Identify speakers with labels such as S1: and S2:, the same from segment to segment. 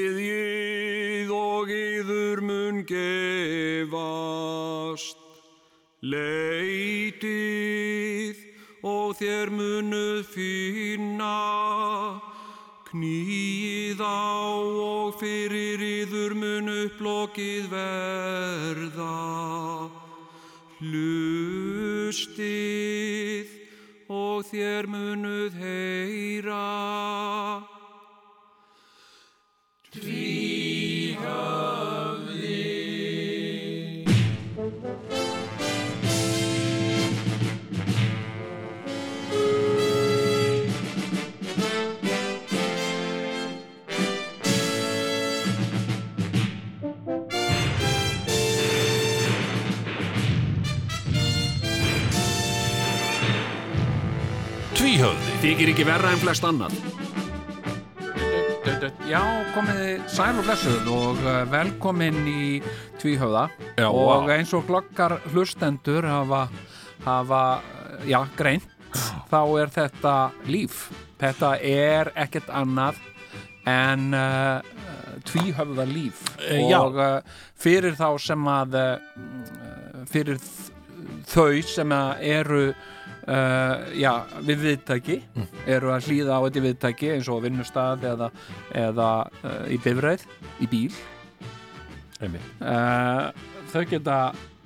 S1: Býðið og yður mun gefast, leitið og þér munuð finna, knýið á og fyrir yður mun upplokið verða, hlustið og þér munuð heyra.
S2: Tvíhöfði
S1: Þykir ekki verra en flest annan.
S3: Já, komið þið sæl og blessuð og eh, velkomin í Tvíhöfða
S2: Já,
S3: og
S2: vá.
S3: eins og glokkar hlustendur hafa, hafa eh, já, greint þá er þetta líf þetta er ekkert annað en uh, tvíhöfða líf
S2: Eh, já.
S3: og uh, fyrir þá sem að uh, fyrir þ- þau sem að eru uh, já, við viðtæki eru að hlýða á þetta viðtæki eins og á vinnustað eða, eða uh, í bifræð, í bíl uh, þau geta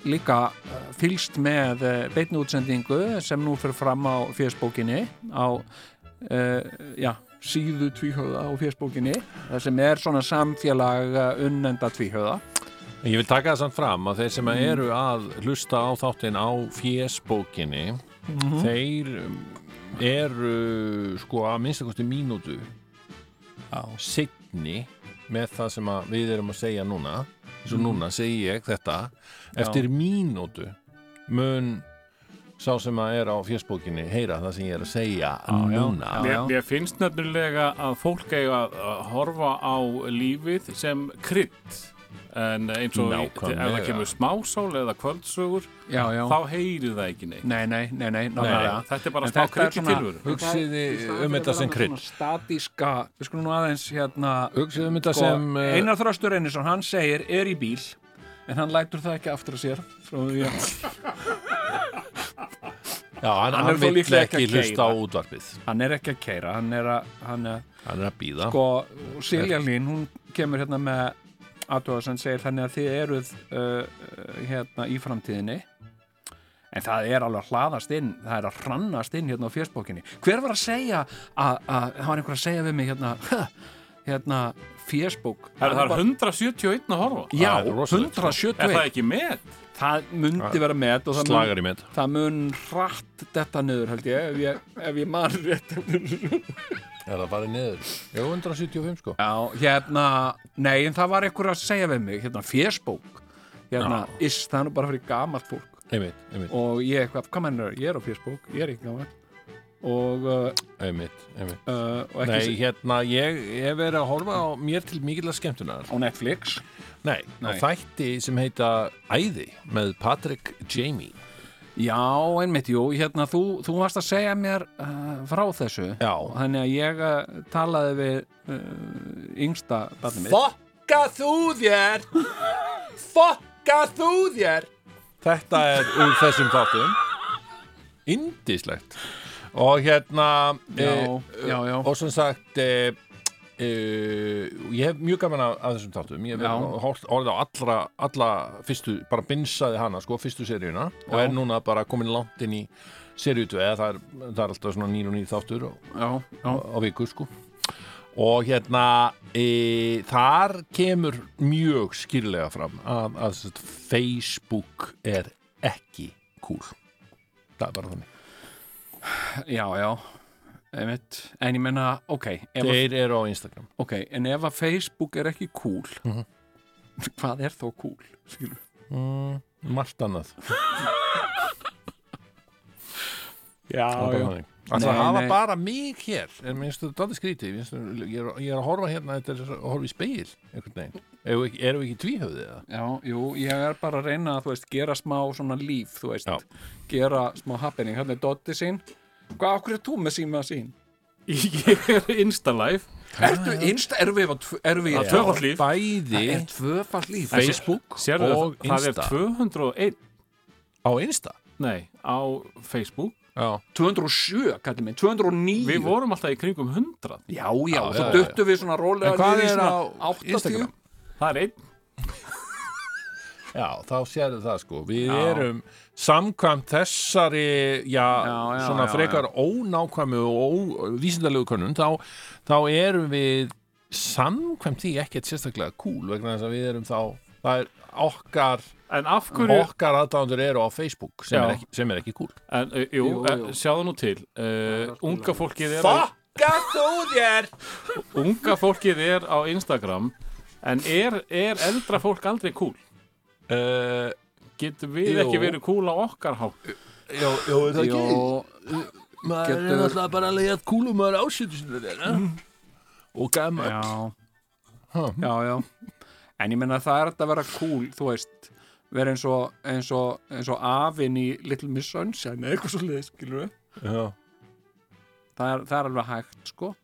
S3: líka uh, fylgst með uh, beitni útsendingu sem nú fyrir fram á fjöspókinni á uh, já, síðu tvíhöða á fjöspókinni það sem er svona samfélag uh, unnenda tvíhöða
S2: Ég vil taka það samt fram að þeir sem
S3: Mhm.
S2: eru að hlusta á þáttinn á fjesbókinni
S3: Mhm.
S2: þeir um, eru sko að minnstakosti mínútu
S3: Já.
S2: signi með það sem að við erum að segja núna eins
S3: Mhm.
S2: og núna segi ég þetta eftir mínútu mun sá sem að er á fjesbókinni heyra það sem ég er að segja núna
S3: Já,
S4: Mér,
S3: já.
S4: mér finnst nefnilega að fólk eiga að að horfa á lífið sem krydd en eins og í- ef
S2: Nákvæmlega.
S4: það kemur smásól eða kvöldsögur
S3: já, já,
S4: þá heyrir það ekki neitt
S3: nei, nei, nei, nei,
S4: Nei,
S3: nákvæmlega.
S4: þetta er bara
S3: En
S4: smá
S3: þetta er
S4: krydd í
S3: svona-
S4: tilvöru
S2: Hugsiði um þetta sem krydd
S3: statíska, við skulum nú aðeins hérna
S2: Hugsiði um þetta
S3: sko,
S2: sem eh,
S3: Einar Þröstur Einarsson, hann segir er í bíl en hann lætur það ekki aftur að sér svo, já,
S2: Já, hann,
S3: Hann
S2: hann,
S3: er þó
S2: vill
S3: líklega
S2: ekki
S3: ekki að
S2: hlusta á
S3: keyra.
S2: útvarpið
S3: hann er ekki að keira hann er að, hann er
S2: Hann er að býða
S3: sko, Silja Lín, hún kemur hérna með aðtöða sem segir þannig að þið eruð uh, hérna í framtíðinni en það er alveg að hlaðast inn það er að hrannast inn hérna á fjöspókinni hver var að segja að, að það var einhver að segja við mig hérna hérna fjöspók
S4: Það það er 171 að horfa
S3: já,
S2: Það er rosalegt, sko.
S4: Er það
S3: 171
S4: ekki með?
S3: það myndi vera met og það mun-
S2: Slagar í með
S3: það mun rætt þetta niður held ég ef ég, ef ég man rétt
S2: Er það farið niður? Jó, 175 sko
S3: Já, hérna, nei en það var einhver að segja við mig, hérna fjesbók hérna, iss, það er nú bara fyrir gamalt fólk
S2: Einmitt, einmitt,
S3: og ég eitthvað, hvað mennur, ég er á fjesbók ég er ekki gamalt og, uh,
S2: einmitt, einmitt
S3: uh, og ekki
S2: Nei, hérna, ég hef verið að horfa á mér til mikilvæg skemmtunar
S3: á Netflix
S2: Nei, á
S3: Nei.
S2: þætti sem heita Æði með Patrick Jamie
S3: Já, einmitt, jú, hérna, þú, þú varst að segja mér uh, frá þessu
S2: Já.
S3: þannig að ég uh, talaði við uh, yngsta barnið mitt
S2: Fokka þú þér! Fokka þú þér! Þetta er úr þessum þáttum Indislegt Og hérna
S3: Já, já, já.
S2: Og sem sagt e, e, Ég hef mjög gaman af, af þessum þáttum Ég
S3: Já.
S2: hef hórt orðið á allra, alla fyrstu, bara binsaði hana sko, fyrstu seríuna og
S3: Já.
S2: er núna bara komin langt inn í seríu 2 eða það er, það er alltaf svona 9 og 9 þáttur og,
S3: Já, já,
S2: á viku sko og hérna e, þar kemur mjög skýrlega fram að, að sem sagt, Facebook er ekki cool það er bara þannig
S3: já, já einmitt, en ég menna, ok ef að
S2: þeir eru á Instagram
S3: Ok, en ef að Facebook er ekki cool
S2: Mhm.
S3: hvað er þó cool? Skilur. Mm.
S2: margt annað
S3: Já,
S2: Það er bara þannig. Ætla að
S3: Nei,
S2: hafa
S3: nei.
S2: bara mig hér en minnstu þetta er skrítið Mér finnst þetta- ég er, ég er að horfa hérna þetta er að horfa í speil einhvern veginn Eru við ekki- erum við ekki tvíhöfðið eða?
S3: Já, jú, ég er bara að reyna að, þú veist, gera smá svona líf, þú veist,
S2: Já.
S3: gera smá happening, hérna er Dotti sín Hvað, okkur er þú með síma sín?
S4: Ég er Insta Live
S3: Ertu innst erfið erfi
S4: Það er tvöfalt líf
S2: Bæði
S3: tvöfall líf
S2: Facebook
S4: Sérðu,
S2: og
S4: það- Það
S2: Insta.
S4: er 201
S2: á Insta
S4: Nei, á Facebook
S2: Já,
S3: 207, kallið minn, 209
S4: Við vorum alltaf í kringum 100
S3: Já, já,
S2: Já,
S3: svo
S2: já,
S3: duttum við svona
S2: En
S3: rólega
S2: hvað
S3: niður í
S2: er
S3: svona
S2: á
S3: 80?
S2: Instagram?
S4: Það er einn
S2: já þá sérðu það sko Við
S3: Já.
S2: erum samkvæmt þessari já,
S3: Já, já,
S2: svona
S3: já,
S2: frekar ónákvæmu og vísindalegu könnun þá, þá erum við samkvæmt því ekkert sérstaklega cool vegna þess að við erum þá það er okkar,
S4: En af hverju
S2: okkar aðdándur eru á Facebook sem
S4: Já.
S2: er, ekki, sem er ekki cool
S4: en, uh, Jú,
S3: Jú,
S4: jú,
S3: jú.
S4: sjáðu nú til uh, Unga fólkið er á,
S2: Fokka þú þér
S4: Unga fólkið er á Instagram En er, er eldra fólk aldrei cool?
S3: Eh,
S2: uh,
S4: Getum við
S2: Jú.
S4: ekki verið cool á okkar hátt?
S2: Jó, jó, er það ekki?
S3: Jó,
S2: maður
S3: Getur- Mm.
S2: er náttúrulega bara að leiða kúlum maður ásýttu sinni þér eh? og gaman
S3: já,
S2: Ha.
S3: já, já En ég meina það er hægt að vera cool, þú veist vera eins og, eins og, eins og afinn í Little Miss Sunshine eða eitthvað svo leið, skilur við
S2: já,
S3: það er, það er alveg hægt, sko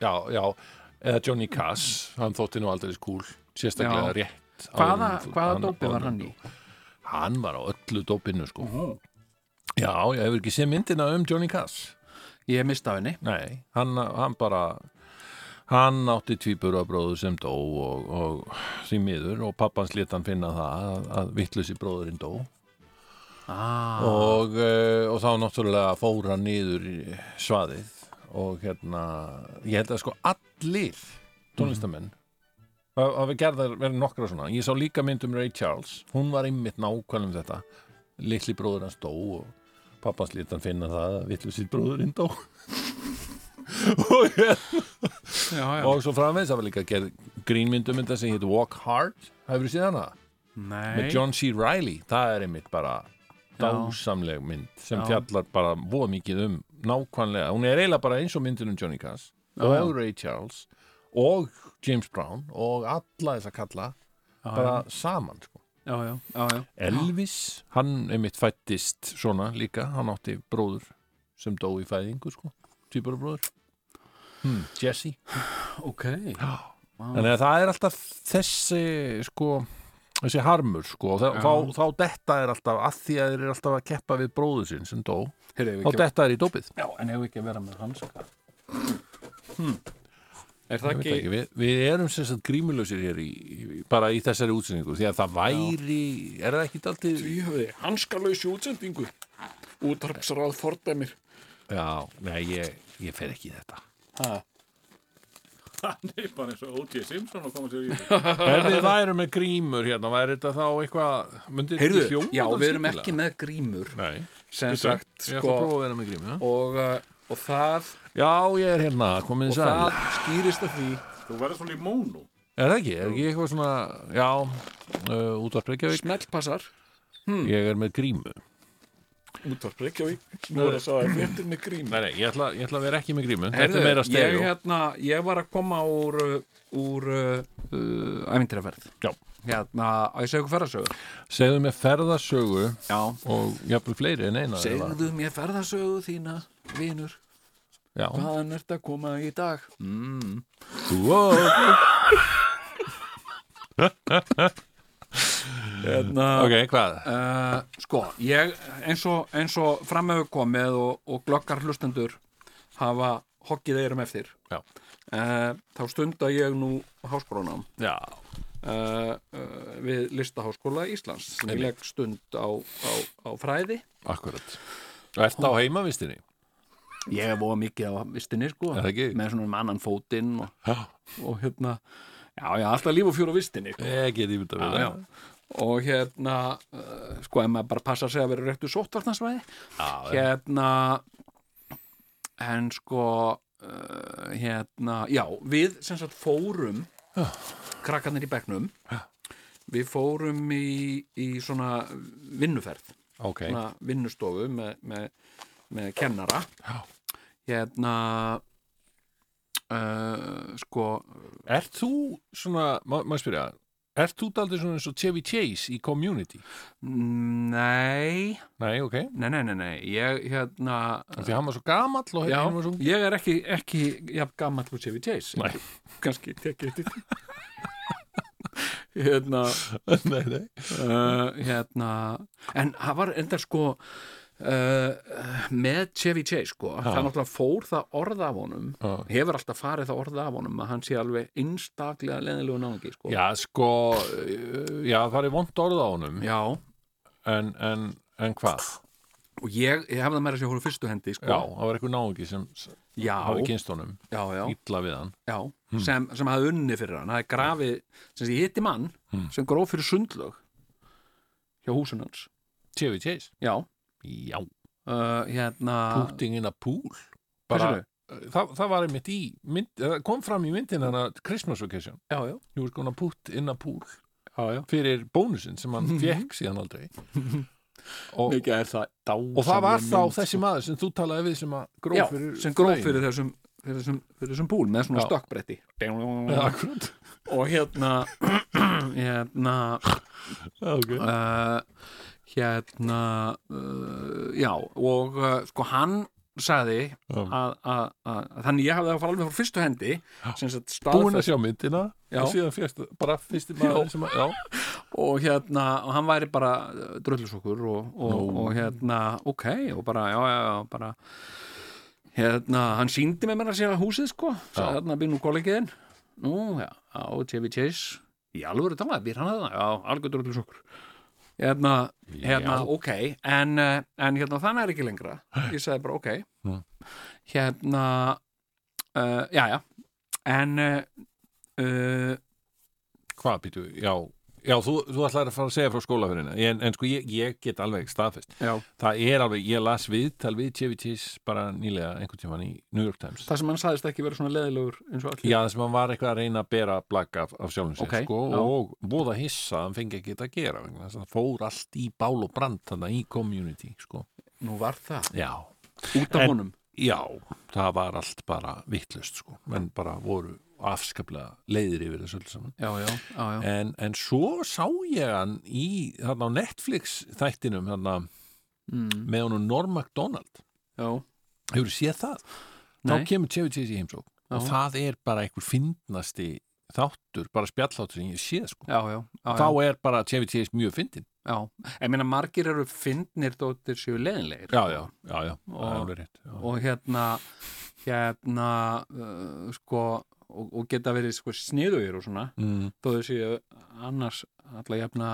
S2: já, já. eða Johnny Cass, hann þótti nú aldrei kúl sérstaklega
S3: Já.
S2: rétt
S3: Hvaða,
S2: áður en-
S3: hvaða dópi var
S2: áður en-
S3: hann í?
S2: hann var á öllu dópinu sko já, ég hefur ekki séð myndina um Johnny Cass
S3: Ég mista af henni
S2: nei, hann, hann bara hann átti tvíburabróður sem dó og, og því miður og pappans lét hann finna það að, að vittlusi bróðurinn dó
S3: ah,
S2: og, uh, og þá náttúrulega fór hann niður í svaðið og hérna ég held að sko allir tónlistamenn það mm. hafi gerðar verið nokkra svona ég sá líka mynd um Ray Charles hún var einmitt nákvæmlega um þetta litli bróður hans dó og pappans lítan finna það að vitlu sitt bróðurinn dó og, hérna,
S3: já, já.
S2: og svo framvegs það var líka gerð grínmyndum þetta sem hétt Walk Hard hefur þið síðan það
S3: Nei,
S2: með John C. Reilly, það er einmitt bara dásamleg mynd sem
S3: Já.
S2: fjallar bara voða mikið um nákvæmlega, hún er eiginlega bara eins og myndin um Johnny Cass og Ray Charles og James Brown og alla þess að kalla bara saman sko.
S3: já, já, já, já.
S2: Elvis, hann einmitt fættist svona líka, hann átti bróður sem dó í fæðingu sko týpur bróður hmm, Jesse
S3: Ok,
S2: Þannig að það er alltaf þessi sko, þessi harmur sko, og þá, þá, þá detta er alltaf að því að þeir eru alltaf að keppa við bróðu sinn sem dó,
S3: heyrðu við
S2: þá detta er í dópið
S3: Já, en hefur ekki að vera með hanska Hmm.
S2: Ég
S4: Er það
S2: veit
S4: ekki,
S2: ekki, við, við erum sem sagt grímulösir hér í, í- bara í þessari útsendingu því að það væri, er það ekki alltið
S3: Ég höfði hanskalausi útsendingu Útarpsráð fordæmir
S2: Já, nei, ég, ég fer ekki í þetta
S4: hann er bara eins og O.J. Simpson að koma sér í þetta?
S2: Hvernig það eru með grímur hérna, væri þetta þá eitthvað myndi
S3: Heyrðu, já, við erum ekki með grímur
S2: Nei,
S3: sem sagt,
S2: ég ætla að
S3: sko
S2: prófa að vera með grímur já.
S3: og, uh, og það
S2: Já, ég er hérna, komið þið
S3: og
S2: sæl
S3: það skýrist af því
S4: Þú verður svona í mónu
S2: Er það ekki? Er ekki eitthvað svona, já, uh, útvarp Reykjavík?
S3: smellpassar
S2: Ég er með grímu.
S3: Útarp Hmm. Reykjavík Nú er það svo að fréttir með grímur
S2: Nei, nei, ég ætla, ég ætla að vera ekki með grímu. Þetta er
S3: Heyrðu,
S2: meira
S3: ég,
S2: stereo.
S3: hérna, ég var að koma úr uh, úr uh, uh, æmyndirverð
S2: Já.
S3: hérna, á ég segja ykkur ferðasögu
S2: Segðu mér ferðasögu
S3: já,
S2: og jafnvel fleiri en eina. eða-
S3: segðu mér ferðasögu þína vinur,
S2: Já.
S3: hvaðan ert að koma í dag mm.
S2: Wow.
S3: hérna,
S2: ok, hvað?
S3: Uh, sko, ég eins og, eins og framöfu komið og, og glokkar hlustendur hafa hoggið eirum eftir
S2: Já.
S3: uh, þá stunda ég nú háskólanám
S2: Já.
S3: uh, uh, við listaháskóla Íslands sem ég legg stund á, á, á fræði
S2: Akkurat. Ertu á heimavistinni?
S3: ég er voða mikið á vistinni sko
S2: Er það ekki?
S3: með svona um annan fótinn og,
S2: Já.
S3: og hérna já, já, alltaf líf og fjör á vistinni sko.
S2: Ég Eh, get ímynda við
S3: já. og hérna uh, sko, ef maður bara passa sig að vera réttu sóttvartnarsvæði
S2: Já, já.
S3: hérna en sko uh, hérna, já, við sem sagt fórum krakkarnir í bekknum við fórum í, í svona vinnuferð
S2: Ok.
S3: svona vinnustofu með, með, með kennara
S2: Já.
S3: hérna eh, sko, uh, sko
S2: Ert þú svona, má, má spyrja, Ert þú daldið svona eins og Chevy Chase í Community?
S3: Nei,
S2: Nei, ok.
S3: nei, nei, nei, nei. Ég, hérna,
S2: Því hann var svo gamall og
S3: já,
S2: hann var svo...
S3: ég er ekki, ekki, já, gammal úr Chevy Chase.
S2: Nei.
S3: Kanski, tekið eftir. því. hérna,
S2: nei, nei.
S3: uh, hérna, en það var enda sko, uh, með Chevy Chase sko, það náttúrulega fór það orða af honum,
S2: Já.
S3: hefur alltaf farið það orða af honum að hann sé alveg einstaklega leðilegu náðingi sko.
S2: Já, sko, eh, já, það er vond orð á honum,
S3: já.
S2: en, en, en hvað?
S3: og ég, ég hefði það meira að sé hóru fyrstu hendi sko.
S2: Já, það var eitthvað náungi sem s-
S3: já,
S2: hafi kynst honum,
S3: já, já,
S2: illa við hann.
S3: já.
S2: Hmm.
S3: sem, sem hafði unni fyrir hann hafði grafið, sem sé, ég hitti mann
S2: Hmm.
S3: sem gróf fyrir sundlög hjá húsun hans
S2: Chevy Chase?
S3: já,
S2: Já.
S3: uh, hérna
S2: Putting in a pool? eh,
S3: Hversu?
S2: það, það var einmitt í, mynd, það kom fram í myndin hann að Christmas Vacation.
S3: já, já,
S2: You were gonna put in a pool.
S3: já, já.
S2: fyrir bónusinn sem hann fekk síðan aldrei og,
S3: Mikið er það dásamlega
S2: og það var þá
S3: mynd, sko.
S2: þessi maður sem þú talaði við sem að gróf
S3: já,
S2: fyrir
S3: sem gróf
S2: flaginu.
S3: fyrir þessum, fyrir þessum, fyrir þessum búl með svona
S2: Já.
S3: stökkbretti
S2: ja, akkurat
S3: og hérna hérna
S2: Já, ok.
S3: uh, hérna uh, já og uh, sko hann sagði
S2: Já.
S3: að, að, að, þannig ég hafði það alveg frá fyrstu hendi sem sagt
S2: búin að
S3: staðfest
S2: sjá myndina
S3: Já.
S2: og síðan fyrst bara fyrsti maður sem að já,
S3: og hérna og hann væri bara dröllusokkur og, og, og hérna ok og bara já já já bara hérna hann síndi með mér að sér að húsið sko sagði
S2: Já.
S3: hérna býr nú kollegiðin nú já á TV Chase í alvöru talað býr hann að það já alveg dröllusokkur hérna hérna,
S2: já.
S3: ok, en, eh, en hérna, þannig er ekki lengra ég sagði bara, ok
S2: Mm.
S3: hérna uh, já, já en uh, uh,
S2: hvað býtu, já Já, þú, þú ætlaði að fara að segja frá skólafyrirna en, en sko, ég, ég get alveg staðfest
S3: já,
S2: Það er alveg, ég las viðtal við Chevy Chase bara nýlega einhvern tímann í New York Times
S3: það sem hann sagðist ekki vera svona leðilegur eins og allir
S2: Já, þess að hann var eitthvað að reyna að bera blakk af, af sjálfum sér
S3: Ok,
S2: sko,
S3: já.
S2: og búða hissa að hann fengi ekki þetta að gera vegna þess að það fór allt í bál og brand þannig í community sko.
S3: nú var það,
S2: Já,
S3: út af
S2: En-
S3: honum
S2: já, það var allt bara vittlust sko, menn bara voru afskaplega leiðir yfir þessu öllu saman
S3: já, já, já, já,
S2: en, en svo sá ég hann í, þarna á Netflix þættinum þarna
S3: mm,
S2: með honum Norm MacDonald
S3: já,
S2: hefur séð það?
S3: Nei.
S2: Þá kemur Chevy Chase í heimsók og
S3: Já.
S2: það er bara einhver fyndnasti þáttur, bara spjalláttur sem ég hef séð sko
S3: já, já, já,
S2: þá
S3: já,
S2: er bara Chevy Chase mjög fyndin
S3: já. ég meina margir eru fyndnir dóttir séu leðilegir
S2: já, já, já, já, það
S3: Og-
S2: er alveg rétt já.
S3: og hérna hérna uh, sko og, og geta verið sko sniðugir og svona
S2: mm,
S3: þó þau séu annars alla jafna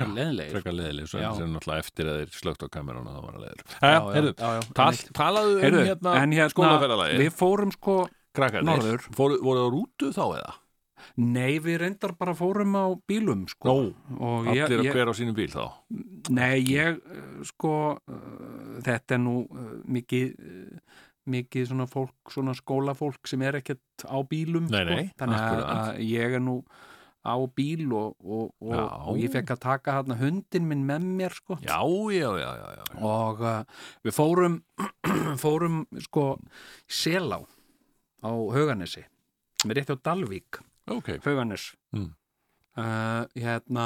S3: leðilegir
S2: frekar leðileg, svo
S3: Já.
S2: sem náttúrulega eftir að þeir slögt á kamerana það var að leðileg
S3: Já,
S2: já,
S3: já,
S2: heyrðu,
S3: já, já,
S2: tal,
S3: einmitt.
S2: talaðu um
S3: Heyrðu,
S2: hérna,
S3: en
S2: hérna skólaferðalagi
S3: við fórum sko norður.
S2: krakkarnir, fóru, voru á rútu þá eða?
S3: nei við reyndar bara fórum á bílum sko
S2: Nó,
S3: og ég,
S2: allir að
S3: ég,
S2: hver á sínum bíl þá
S3: nei ég uh, sko uh, þetta er nú uh, mikið uh, mikið svona fólk, svona skólafólk sem er ekkert á bílum
S2: Nei,
S3: sko.
S2: nei,
S3: þannig að,
S2: akkurat.
S3: að ég er nú á bíl og, og, og,
S2: Já.
S3: og ég fekk að taka hérna hundin minn með mér sko
S2: já, já, já, já, já.
S3: og uh, við fórum fórum sko í Selá á Hauganesi sem er rétt á Dalvík
S2: ok
S3: Hauganes
S2: Mm.
S3: uh, hérna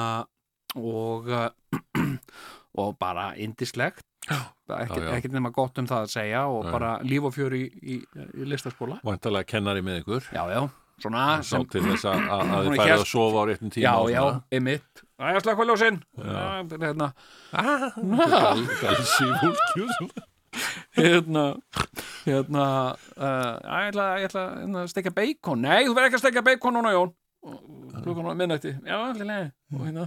S3: og uh, og bara indislegt ekkert,
S2: já.
S3: ekkert nema gott um það að segja og
S2: Nei.
S3: bara líf og fjör í, í, í listaskóla
S2: vantarlega kennari með ykkur
S3: já, já, svona
S2: sá
S3: sem,
S2: til þess að, að að þið
S3: Hún er
S2: færið að
S3: hélt-
S2: sofa á réttum tíma
S3: já,
S2: og
S3: já,
S2: svona.
S3: emitt Það er slökkvaljósin hérna,
S2: Ah. Gal- galsi í fólki og svona.
S3: hérna, hérna uh, ég ætla, ég ætla hérna, að steikja beikon nei, þú verður ekki að steikja beikon núna Jón klukkan á minnætti já, allir leið og hérna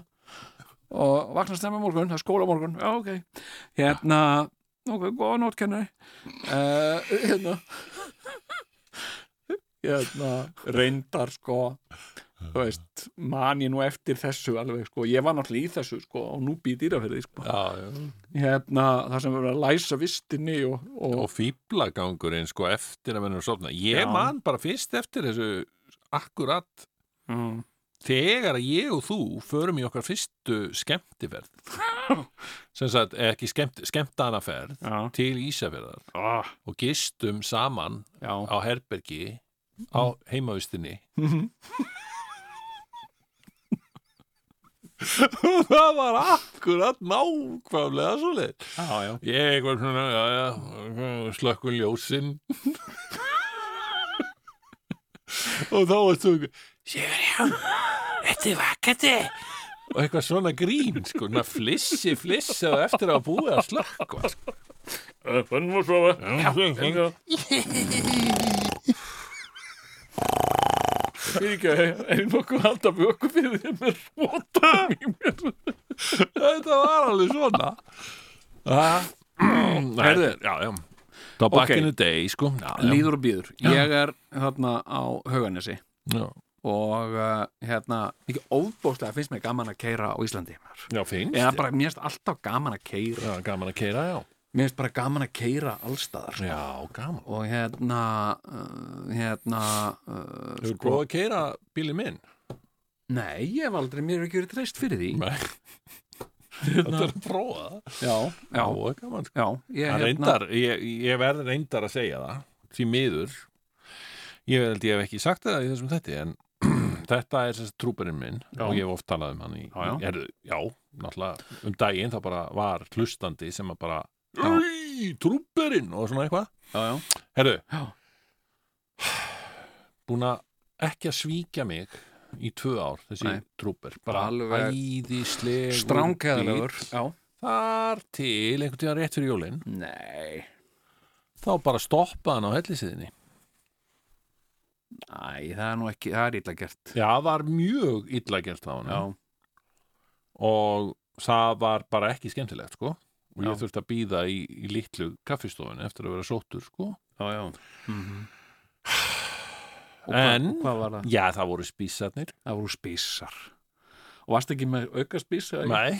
S3: og vakna snemma í morgun, það er skóla á morgun já, ok, hérna ok, góða nótt kennari uh, hérna hérna, reyndar sko þú veist, man ég nú eftir þessu alveg sko, ég var náttúrulega í þessu sko og nú býð dýraferði sko
S2: já, já
S3: hérna, það sem við verðum að læsa vistinni og, og,
S2: og fýblagangurinn sko eftir að mennum sofna ég
S3: Já.
S2: man bara fyrst eftir þessu akkurat
S3: mm.
S2: þegar að ég og þú förum í okkar fyrstu skemmtiferð sem sagt eh, ekki skemmt, skemmtanaferð
S3: Já.
S2: til Ísafjörðar
S3: Ah,
S2: og gistum saman
S3: já.
S2: á herbergi á heimavistinni það var akkurat nákvæmlega svo leið
S3: Já, já.
S2: ég var svona, já, já slökkun ljósin og þá var þú Sigurjón, þetta er vakandi og eitthvað svona grín sko, svona flissi, flissi og eftir að hafa búið að slökkva sko.
S4: Fönnum og sofa. Já,
S3: Fyrir ekki að er nokkuð alltaf vöku fyrir þér með rótum í mér.
S2: þetta var alveg svona Herðu, Mm, já, já Það var back in the day, sko já, já.
S3: Líður og býður. Ég er þarna á Hauganesi
S2: Já.
S3: og uh, hérna, ekki óbóðslega finnst mér gaman að keira á Íslandi. maður.
S2: já, finnst
S3: Eða bara, mér finnst alltaf gaman að keira.
S2: Já, gaman að keira, já
S3: Mér finnst bara gaman að keira allstaðar. sko.
S2: Já, gaman
S3: Og hérna, uh, hérna, uh,
S2: Þú góð að keira bíli minn
S3: nei, ég hef aldrei, mér hef ekki verið treyst fyrir því.
S2: Nei Þetta er að prófa það
S3: Já, já,
S2: það er gaman sko.
S3: já. Ég, hérna-
S2: Það reyndar, ég, ég verð reyndar að segja það Því miður Ég held ég hef ekki sagt það í þessum þetti En þetta er þessi trúperinn minn
S3: Já.
S2: Og ég hef oft talað um hann í
S3: Já, já.
S2: Er, já náttúrulega Um daginn þá bara var hlustandi sem að bara
S3: Já.
S2: Í, trúperinn og svona eitthvað
S3: Já, já.
S2: Herru
S3: Já.
S2: Búin að ekki að svíkja mig í tvö ár, þessi
S3: Nei.
S2: trúper bara
S3: Alveg
S2: æðislegur
S3: Stránkæðalegur.
S2: bíll.
S3: Já.
S2: þar til einhvern tíðan rétt fyrir jólin
S3: Nei.
S2: þá bara stoppaði hann á hellisíðinni
S3: Æ, það er nú ekki, það er illa gert.
S2: já, var mjög illa gert á hann
S3: Já,
S2: og það var bara ekki skemmtilegt sko. og ég
S3: Já.
S2: þurfti að býða í, í litlu kaffistofun eftir að vera sóttur sko.
S3: já, já. Mhm.
S2: en,
S3: Og hvað var það?
S2: já, það voru spísarnir
S3: Það voru spísar. Og varst ekki með auka spís? eða ekki?
S2: nei,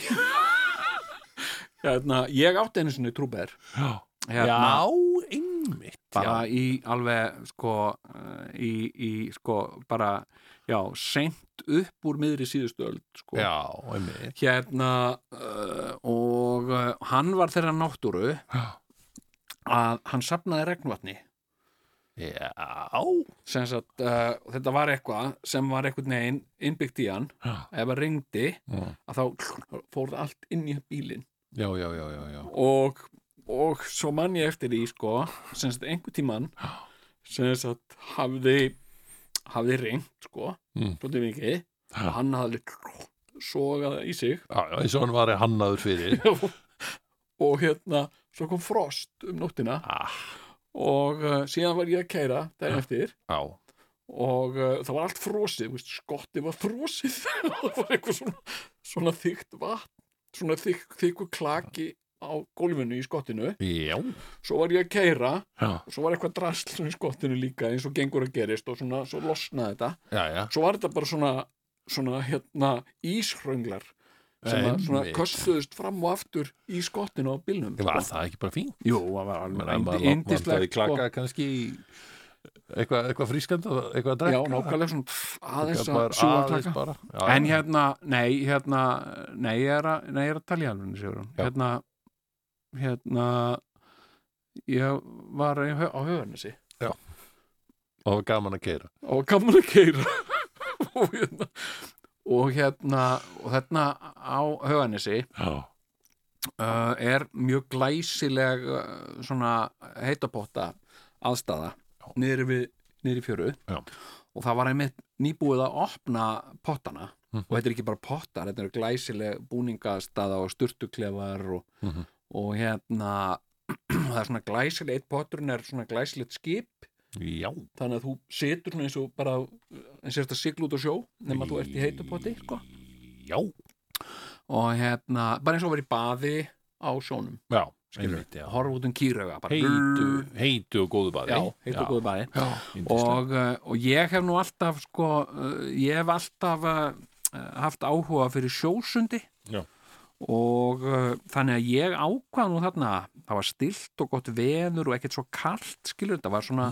S3: Hérna, ég átti einu sinni trúber.
S2: já,
S3: Hérna,
S2: einmitt
S3: bara í alveg, sko, eh, í, í, sko, bara, já, seint upp úr miðri síðustu öld, sko.
S2: já, já einmitt
S3: Hérna, uh, og uh, hann var þeirra náttúru
S2: Já.
S3: að hann safnaði regnvatni.
S2: já,
S3: sem sagt, uh, þetta var eitthvað sem var eitthvað neginn innbyggt í hann
S2: Já.
S3: ef það ringdi
S2: Já.
S3: að þá fór það allt inn í bílinn
S2: já, já, já, já, já.
S3: og, og svo mann ég eftir því sko, sem sagt einhver tíman sem sagt hafði hafði ringt sko
S2: Mm.
S3: svolítið mikið
S2: Já.
S3: og hann hafði sogað í sig
S2: Já, já, eins og hann var hannaður fyrir
S3: og hérna svo kom frost um nóttina
S2: ah,
S3: og uh, síðan var ég að keira daginn eftir
S2: Já,
S3: og uh, það var allt frosið þú veist, skottið var frosið og það var eitthvað svona, svona þykkt vatn svona þykk, þykku klaki á gólfinu í skottinu
S2: já,
S3: svo var ég að keira
S2: já,
S3: og svo var eitthvað drasl svona í skottinu líka eins og gengur að gerist og svona, svo losnaði þetta
S2: já, já.
S3: svo var þetta bara svona, svona hérna, íshrönglar sem að, svona
S2: Einmitt.
S3: köstuðust fram og aftur í skottinu á bílnum sko.
S2: Var það ekki bara fín?
S3: Jú, það var
S2: Maður
S3: alveg
S2: vantaði
S3: indislegt sko.
S2: klaka kannski í eitthvað eitthva frískand og eitthvað að
S3: Já,
S2: drekka
S3: nákvæmlega svona pff, aðeins
S2: Eitthvað
S3: að
S2: bara
S3: sjúga
S2: aðeins
S3: klaka
S2: bara. Já,
S3: En
S2: já.
S3: hérna, nei, hérna, nei, ég er að, nei, ég er að tala í alveg, Sigurðan.
S2: Já.
S3: Hérna, hérna, ég var í hö- á höfarnesi
S2: Og það var gaman að keira
S3: og gaman að keira og hérna, og hérna, og þarna á höfarnesi
S2: Já,
S3: uh, er mjög glæsileg uh, svona heitapotta aðstaða niður við, niður í fjöru
S2: Já.
S3: og það var einmitt nýbúið að opna pottana
S2: Mhm.
S3: og þetta er ekki bara pottar, þetta er glæsileg búningastaða og sturtuklefar og,
S2: Mhm.
S3: og hérna það er svona glæsileg, eitt potturinn er svona glæsilegt skip
S2: já,
S3: þannig að þú setur svona eins og bara eins og þetta sigla út á sjó nema þú ert í heitapotti sko.
S2: já,
S3: og hérna, bara eins og verið í baði á sjónum
S2: já,
S3: skilur.
S2: einmitt, já.
S3: horfa út um kýrauga bara
S2: Heitu, heitu og góðu baði
S3: já, heitu og góðu baði
S2: Já, yndislegt.
S3: og, uh, og ég hef nú alltaf sko, uh, ég hef alltaf uh, haft áhuga fyrir sjósundi
S2: Já.
S3: og uh, þannig að ég ákvað nú þarna það var stilt og gott veður og ekkert svo kalt skilur, það var svona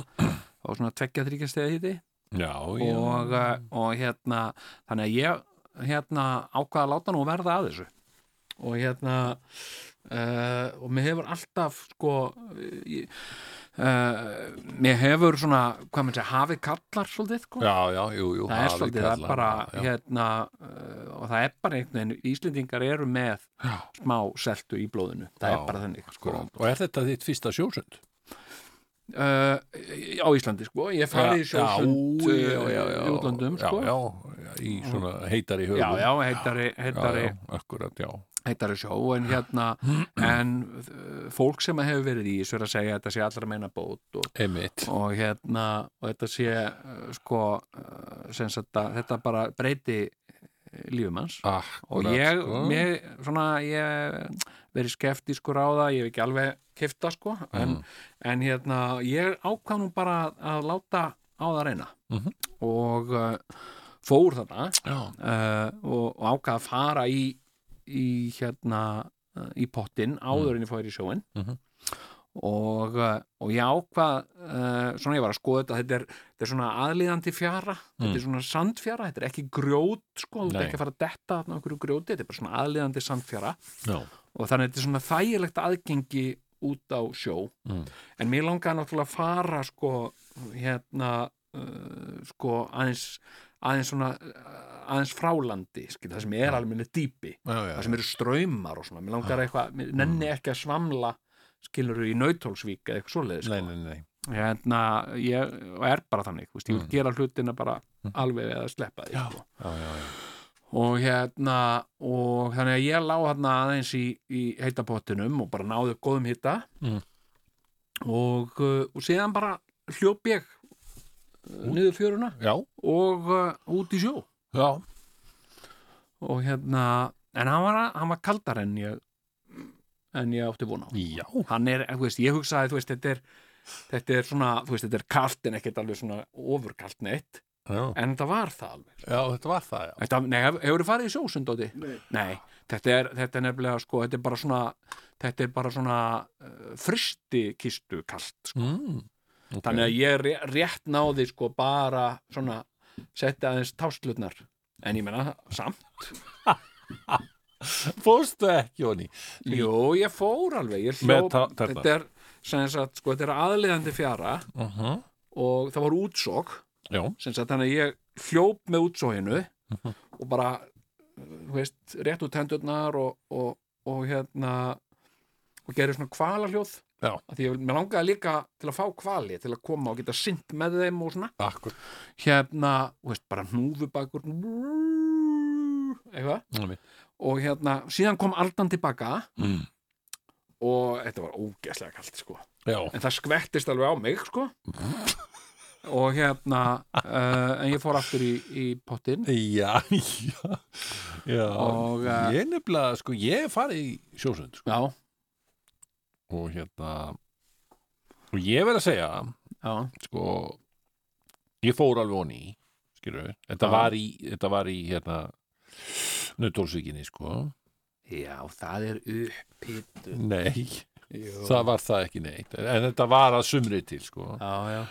S3: það var svona tveggja þryggja steði hitti
S2: já, já,
S3: og, uh, og hérna þannig að ég hérna ákvað að láta nú verða að þessu og hérna uh, og mér hefur alltaf sko uh, uh, mér hefur svona hvað maður segja, hafið kallar svolítið sko
S2: já, já, jú, jú
S3: það er
S2: hafið
S3: svolítið, það er
S2: kallar,
S3: bara
S2: já, já.
S3: hérna uh, og það er bara einhvern veginn Íslendingar eru með smá seltu í blóðinu það
S2: Já,
S3: er bara þannig sko.
S2: Akkúrat. Og er þetta þitt fyrsta sjósund?
S3: uh, á Íslandi sko ég farið í sjósund
S2: Já,
S3: uh,
S2: já, já, já.
S3: í útlöndum
S2: Já,
S3: sko.
S2: já, já, í svona heitari höfum
S3: já, já, heitari, heitari,
S2: já, akkurat, já
S3: heitari sjó en hérna en uh, fólk sem hefur verið í þessu er að segja að þetta sé allra meina bót og
S2: Einmitt,
S3: og hérna og þetta sé uh, sko uh, sem sagt að þetta bara breyti eh, lífum hans og
S2: akkurat
S3: ég,
S2: sko.
S3: mér, svona, ég verið skeftískur á það, ég hef ekki alveg kifta sko, en,
S2: Mm.
S3: en hérna ég ákvað nú bara að láta á það reyna
S2: Mhm.
S3: og uh, fór þarna
S2: Já,
S3: uh, og, og ákvað að fara í, í hérna uh, í pottin áður en ég fór í sjóin
S2: Mm. Mhm.
S3: og, uh, og ég ákvað uh, svona ég var að skoða þetta þetta er, þetta er svona aðlíðandi fjara þetta er svona sandfjara, þetta er ekki grjót sko, þú
S2: Mm.
S3: ert
S2: Nei.
S3: ekki að fara að detta þarna á einhverju grjóti þetta er bara svona aðlíðandi sandfjara
S2: já,
S3: og þannig að þetta er svona þægilegt aðgengi út á sjó
S2: Mm.
S3: en mér langaði náttúrulega að fara sko hérna uh, sko aðeins aðeins svona uh, aðeins frálandi skil, það sem er alveg minni dýpi
S2: já, já,
S3: það sem eru ströymar og svona mér langar eitthvað, mér nenni ekki að svamla skilur í Nauthólsvík eða eitthvað svoleiðis
S2: Nei,
S3: sko.
S2: nei, nei,
S3: hérna, ég og er bara þannig, þú veist, ég vil gera hlutina bara alveg eða sleppa því
S2: Mm. Já.
S3: sko
S2: já, já, já.
S3: og hérna og þannig að ég lá hérna aðeins í, í heitapottinum og bara náðu góðum hita
S2: Mm.
S3: og, uh, og síðan bara hljóp ég uh, niður fjöruna
S2: Já,
S3: og uh, út í sjó
S2: já,
S3: og hérna en hann var, hann var kaldar en ég en ég átti vona á
S2: já
S3: hann er, þú veist, ég hugsaði, þú veist, þetta er þetta er svona, þú veist, þetta er kalt en ekkert alveg svona ofurkalt neitt
S2: Já,
S3: en það var það alveg
S2: já þetta var það, já
S3: Þetta, nei, hef, hefur þið farið í sjósund á því? Nei. þetta er, þetta er nefnilega sko, þetta er bara svona, þetta er bara svona uh, fristi kistu kalt. Sko.
S2: mm. okay.
S3: Þannig að ég ré- rétt náði sko bara svona, setja aðeins táslutnar. En ég menna, samt?
S2: Fórstu ekki, Jóni
S3: Jú, ég fór alveg, ég
S2: Með
S3: hljóp.
S2: tá- tærnar.
S3: Þetta er, sem sagt, sko, þetta er aðliðandi fjara
S2: uh -huh.
S3: og það var útsók,
S2: Já,
S3: sem sagt, þannig að ég hljóp með útsókinu og bara, þú veist, rétt út hendurnar og, og, og hérna og gerir svona kvalarhljóð
S2: Já.
S3: að því ég vil- mér langaði líka til að fá kvali til að koma og geta sint með þeim og svona
S2: akkur
S3: hérna, þú veist, bara hnúfubakur eitthvað og hérna, síðan kom Aldan tilbaka
S2: mm.
S3: og þetta var ógeðslega kalt sko
S2: Já,
S3: en það skvettist alveg á mig sko og hérna uh, en ég fór aftur í, í pottin
S2: já, já, já.
S3: Og, eh,
S2: Ég nefnilega, sko, ég hef farið í sjósund sko.
S3: já,
S2: og hérna og ég verð að segja
S3: já,
S2: sko, ég fór alveg honi skilur, þetta
S3: Já.
S2: var í þetta var í hérna Nautólsvíkinni sko
S3: já það er uppbyttu
S2: Nei, það var það ekki neitt en þetta var að sumri til sko og,
S3: já, já,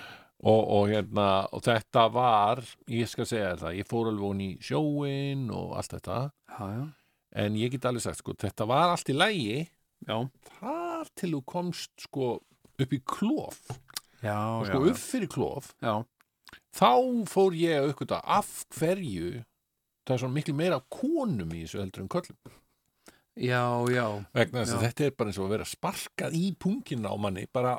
S2: og hérna, og þetta var ég skal segja þér það, ég fór alveg honi í sjóin og allt þetta
S3: já, já,
S2: en ég get alveg sagt sko, þetta var allt í lægi
S3: já,
S2: þar til þú komst sko upp í klof,
S3: já,
S2: sko
S3: já,
S2: upp fyrir klof
S3: já.
S2: þá fór ég að aukvita af hverju það er svona miklu meira af konum í þessu heldur en köllum
S3: Já, já,
S2: vegna þess að
S3: Já.
S2: þetta er bara eins og að vera sparkað í punkin á manni bara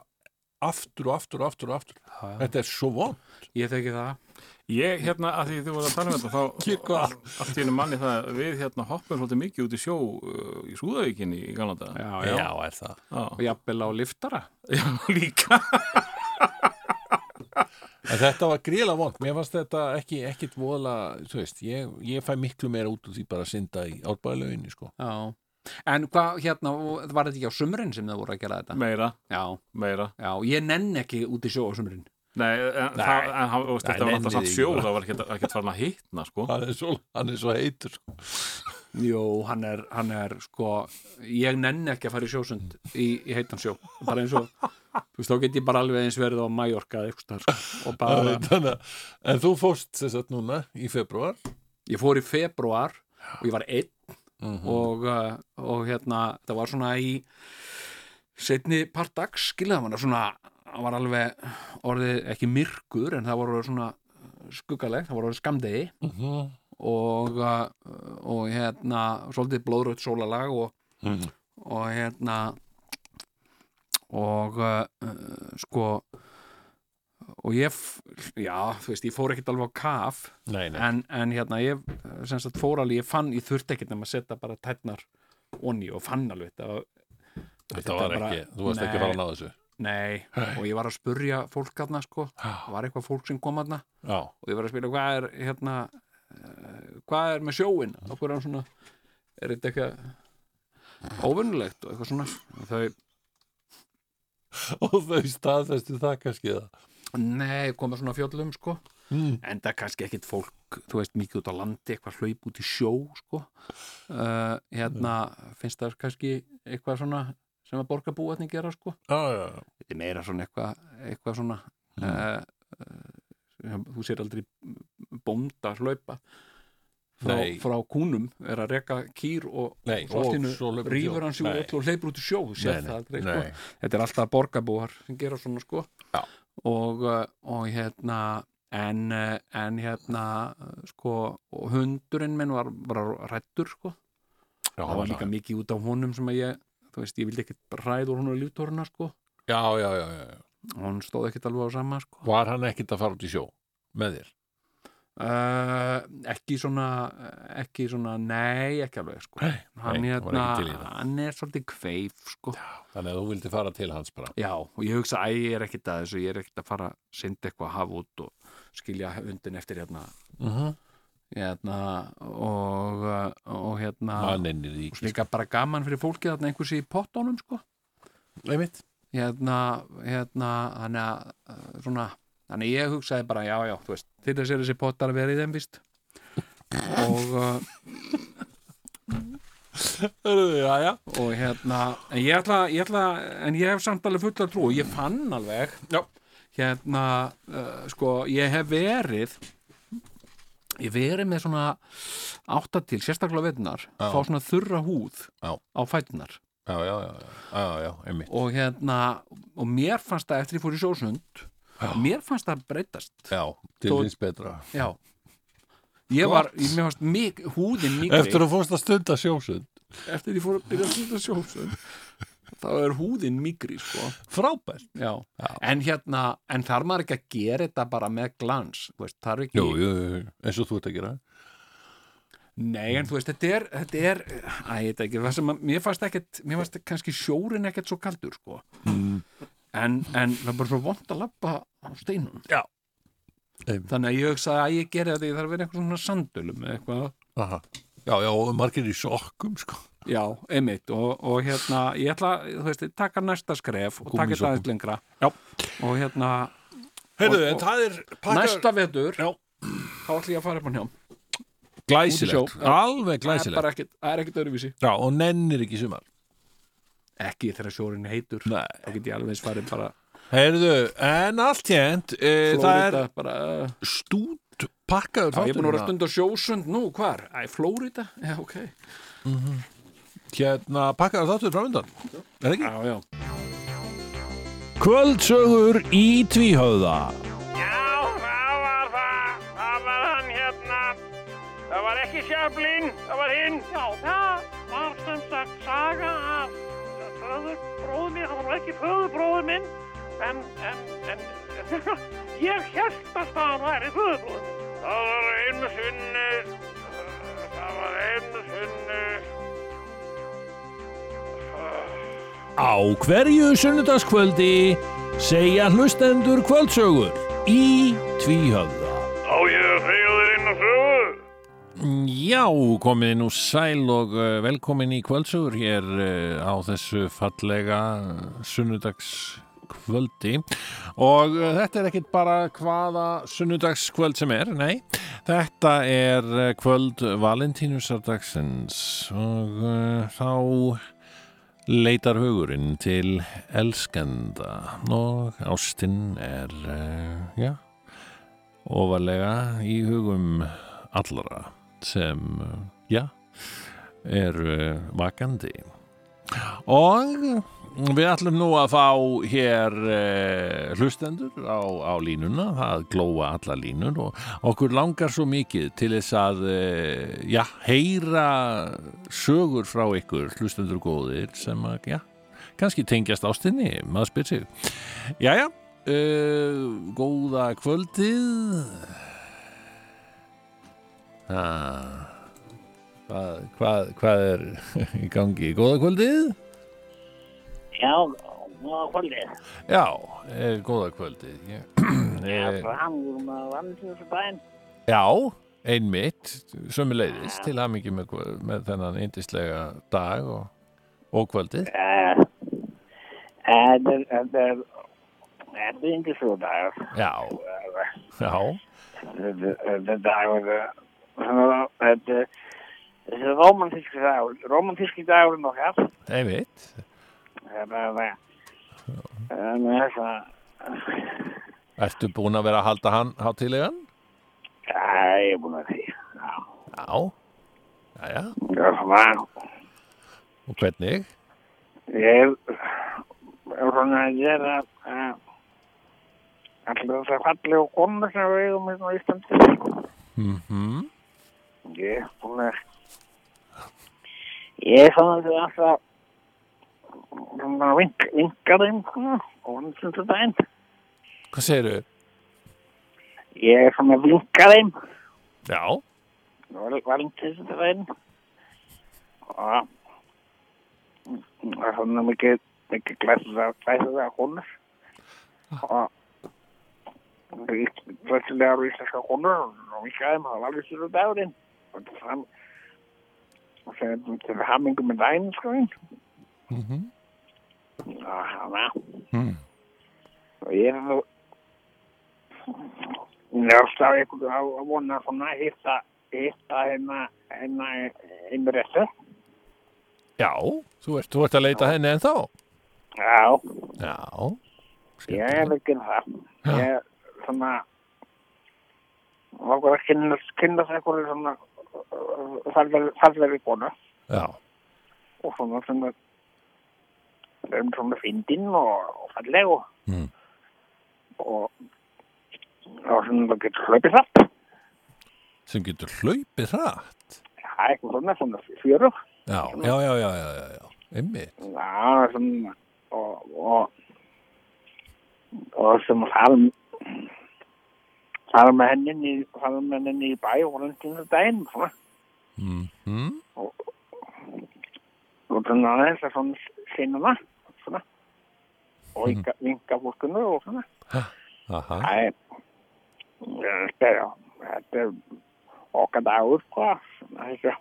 S2: aftur og aftur og aftur og aftur þetta er svo von
S3: ég þekki það
S4: Ég, hérna, að því þú voru að tala um þetta,
S2: Hvað?
S4: þá allt í einu manni það að við hérna hoppum svolítið mikið út í sjó uh, í Súðavíkinni í Galanda.
S3: Já, já,
S2: er það
S3: og jafnvel á liftara
S4: já, líka.
S2: en þetta var gríla vond, mér fannst þetta ekki ekkit vola, þú veist ég, ég fæ miklu meira út úr því bara að synda í árbæðalauginni sko
S3: Já, en hvað, hérna, var þetta ekki á sumrin sem það voru að gera þetta?
S4: Meira,
S3: Já,
S4: meira.
S3: já, ég nenn ekki út í sjó á sumrin
S4: Nei, en,
S2: Nei.
S4: Það, en hann, þú veist,
S2: Nei,
S4: þetta var
S2: nenni
S4: alltaf samt
S2: því
S4: sjó,
S2: bara.
S4: það var ekkert ekkert farin að hitna, sko.
S2: hann er svo, hann er svo heitur sko.
S3: Jú, hann er, hann er, sko, ég nenn ekki að fara í sjósund í, í heitan sjó bara eins og, þú veist, þá get ég bara alveg eins verið á Mallorca eða eitthvað sko, og bara,
S2: Þannig að- en þú fórst þess að núna í februar
S3: ég fór í februar og ég var einn og, uh, og hérna, það var svona í setni partags skilja það var svona, það var alveg orðið ekki myrkur en það var orðið svona skuggalegt, það var orðið skamdegi
S2: mm -hmm.
S3: og, uh, og hérna svolítið blóðrögt sólalag og,
S2: Mhm.
S3: og hérna og uh, uh, sko og ég f- já, þú veist, ég fór ekkert alveg á kaf
S2: Nei, nei.
S3: en, en hérna, ég eh, sem sagt fór alveg, ég fann, ég þurfti ekkert nema að setja bara tætnar onni og fann alveg þetta,
S2: Þetta var
S3: bara-
S2: ekki, þú varst ekki að
S3: Nei.
S2: fara að ná þessu
S3: nei, og ég var að spurja fólk aðna, sko, það var eitthvað fólk sem kom aðna
S2: Já,
S3: og ég var að spila hvað er hérna, eh, hvað er með sjóin okkur án svona, er þetta eitthvað óvinnulegt og eitthvað svona og þau,
S2: og þau staðfestu það kannski það
S3: nei, koma svona fjöllum, sko en það er kannski ekkit fólk þú veist, mikið út á landi, eitthvað hlaup út í sjó sko uh, hérna, finnst það kannski eitthvað svona sem að borgarbúatni gera sko
S2: Já, já, já,
S3: þetta er meira svona eitthvað, eitthvað svona mm. þú sér aldrei bónda hlaupa frá,
S2: Nei.
S3: frá kúnum er að reka kýr og,
S2: Nei,
S3: og allt
S2: og
S3: í einu
S2: svo hleypur í sjó.
S3: rýfur hann sig úr
S2: Nei.
S3: öllu og hleypur út í sjó þú sér
S2: Nei,
S3: það
S2: nei,
S3: aldrei sko
S2: nei.
S3: þetta er alltaf borgarbúar sem gera svona sko
S2: Já.
S3: og, uh, og hérna en, uh, en hérna uh, sko, og hundurinn minn var bara rættur sko
S2: já,
S3: það var
S2: já,
S3: líka mikið út á honum sem að ég þú veist, ég vildi ekkit ræður hún og líftóruna sko
S2: já, já, já, já.
S3: hún stóð ekkit alveg á sama sko
S2: Var hann ekkit að fara út í sjó með þér?
S3: uh, ekki svona ekki svona, nei, ekki alveg sko
S2: Nei,
S3: hann,
S2: nei, hann var
S3: hérna,
S2: ekki til í það.
S3: hann er svolítið kveif sko já.
S2: Þannig að þú vildi fara til hans bara
S3: og ég hugsa, æ, ég er ekkit að þessu ég er ekkit að fara að synda eitthvað haf út og skilja hundin eftir hérna
S2: uh -huh.
S3: hérna og, uh, og hérna
S2: Manninni
S3: og
S2: því
S3: líka bara gaman fyrir fólkið þarna einhversi í pottónum sko
S2: Einmitt
S3: hérna, hérna þannig að uh, svona þannig að ég hugsaði bara já já þú veist til þess er þessi pottar að vera í þeim víst og, uh,
S2: Já, já
S3: og hérna en ég, ætla, ég ætla en ég hef samt alveg fulla trú ég fann alveg
S2: Já.
S3: hérna uh, sko ég hef verið ég hef verið með svona átta til sérstaklega veitnar
S2: Já.
S3: fá svona þurra húð
S2: Já.
S3: á fætunar
S2: Já, já, já, já, já, einmitt
S3: og hérna og mér fannst það eftir ég fór í sjósund mér fannst það breytast
S2: Já, til
S3: Þó-
S2: þins betra
S3: já ég var, ég, mér fannst mik, húðin mikri
S2: Eftir að fórst að stunda sjósund
S3: eftir ég fór að byrja að stunda sjósund þá er húðin mikri sko.
S2: Frábært
S3: já. en hérna, en þarf maður ekki að gera þetta bara með glans þú veist, þarf ekki
S2: Jú, jú, jú, eins og þú ert að gera
S3: Nei, en þú veist, þetta er, þetta er æ, ég veit ekki, það sem að, mér fannst ekkert mér fannst kannski sjórin ekkert svo kaldur, sko
S2: Mm.
S3: en, en það er bara svo vond að labba á steinum
S2: Já. Einmitt.
S3: Þannig að ég hugsaði að ég geri þetta ég þarf að vera eitthvað svona sandölum eða eitthvað,
S2: Aha. Já, já, og margir í sokkum sko.
S3: já, einmitt og, og hérna, ég ætla, þú veist, ég taka næsta skref og taka þetta aðeins lengra já. og hérna,
S2: Heyrðu,
S3: Og-
S2: en
S3: og-
S2: það er pakkar
S3: næsta vetur
S2: Já.
S3: þá ætla ég að fara upp á njám út
S2: Glæsilegt,
S3: í sjó.
S2: alveg
S3: það er
S2: glæsilegt
S3: bara ekkert, það er ekkert öðruvísi
S2: Já, og nennir ekki í sumar
S3: ekki þegar sjórin er heitur
S2: Nei.
S3: þá get ég alveg eins farið bara
S2: Heyrðu, en allt hérnt e, Það er
S3: Flórída bara uh,
S2: stút pakkaður
S3: Já, ég er búin að vera
S2: þátturinn.
S3: stund á sjósund nú, hvar? Æ, Flórida? Já, ok
S2: Hérna pakkaður þáttur framöndan Er það ekki?
S3: Já, já
S2: Kvöldsögur í tvíhauða
S5: Já, það var það. Það var hann hérna. Það var ekki Sjöflin, það var hinn. Já, það var sem sagt saga af föðurbróðu minn. Það var nú ekki föðurbróðu minn, en, en, en, ég held að staðan væri föðurbróðu minn. Það var einu sinni, það var einu sinni.
S2: Á hverju sunnudaskvöldi segja hlustendur kvöldsögur í tvíhauða
S5: Á ég að segja þér inn á sögu?
S2: Já, komið nú sæl og eh, velkomin í kvöldsögur hér eh, á þessu fallega eh, sunnudagskvöldi og eh, þetta er ekkit bara hvaða sunnudagskvöld sem er, nei þetta er eh, kvöld Valentínusardagsins og eh, þá leitar hugurinn til elskenda og ástinn er, eh, já, ofarlega í hugum allra sem, uh, já, er vakandi. Og Við ætlum nú að fá hér eh, hlustendur á, á línuna, það glóa alla línur og okkur langar svo mikið til þess að eh, já, heyra sögur frá ykkur hlustendur góðir sem að, já, kannski tengjast ástinni, maður spyr sig. Jæja, uh, góða kvöldið. Ah, hvað, hvað, hvað er í gangi? Góða kvöldið?
S6: Já, góða kvöldið.
S2: Já, eh, góða kvöldið. Ég,
S6: Það
S2: eh,
S6: er hangur með vandursbæn.
S2: já, einmitt, sömuleiðis til hamingi með, kvö- með þennan yndislega dag og, og kvöldið.
S7: Eh,
S6: Þetta er, þetta er,
S7: eh,
S6: þetta er yngi svo dagur.
S2: Já, já,
S6: Þetta þetta er dagur, svona,
S7: eh,
S6: þetta er, þetta er romantíski dagur, romantíski dagurinn okkar.
S2: einmitt.
S7: eh,
S6: Þetta er það. Þannig að það,
S2: Ertu búin að vera að halda hann hátilegan?
S6: já, ég er búin að því. Já,
S2: Já, já, já,
S6: það er svona,
S2: og hvernig?
S6: ég er, ég er svona að gera,
S7: ah,
S6: eh, allir þessar fallegu konur sem við eigum hérna á Íslandi.
S2: Mhm,
S6: Ég er búin að ég er svona til
S7: ah,
S6: alltaf svona vink, vinka þeim svona og hann sem þetta einn
S2: Hvað segirðu?
S6: ég er svona að vinka þeim
S2: Já,
S6: og var hann sem þetta einn
S7: Ah.
S6: og
S7: Hm,
S6: og svona mikið mikið glæslega glæslega konur
S7: Ah.
S6: og glæslega íslenska konur og vinka þeim og það var alveg sér dagurinn og það og það er hamingu með daginn sko einn
S2: mhm,
S6: og
S7: Ah,
S6: hana
S7: nou.
S2: Mm.
S6: og ég er nú ég er alltaf einhvern veginn að vona svona að hitta hitta hérna hérna einu réttu
S2: já, þú ert, þú ert að leita henni en þá?
S6: já,
S2: Já,
S6: ég er ekki það ég er svona okkur að kynna kynna það einhverju svona fallegri- fallegri konu
S2: já,
S6: og svona sem er um svona fyndinn og, og falleg og
S2: Mm.
S6: og og svona það getur hlaupið það
S2: sem getur hlaupið hratt.
S6: það er eitthvað svona svona fjöru
S2: Já, já, já, já, já, já, já, einmitt.
S6: já svona og og og sem fara fara með henni inn í- fara með henni inn í bæ og hún týnur daginn svona
S2: Mhm,
S6: og þannig að þess að svona sinnuna svona og vinka, vinka fólkinu og svona
S2: aha.
S6: Nei, þetta er, þetta er okkar dagur, hvað, svona þessu,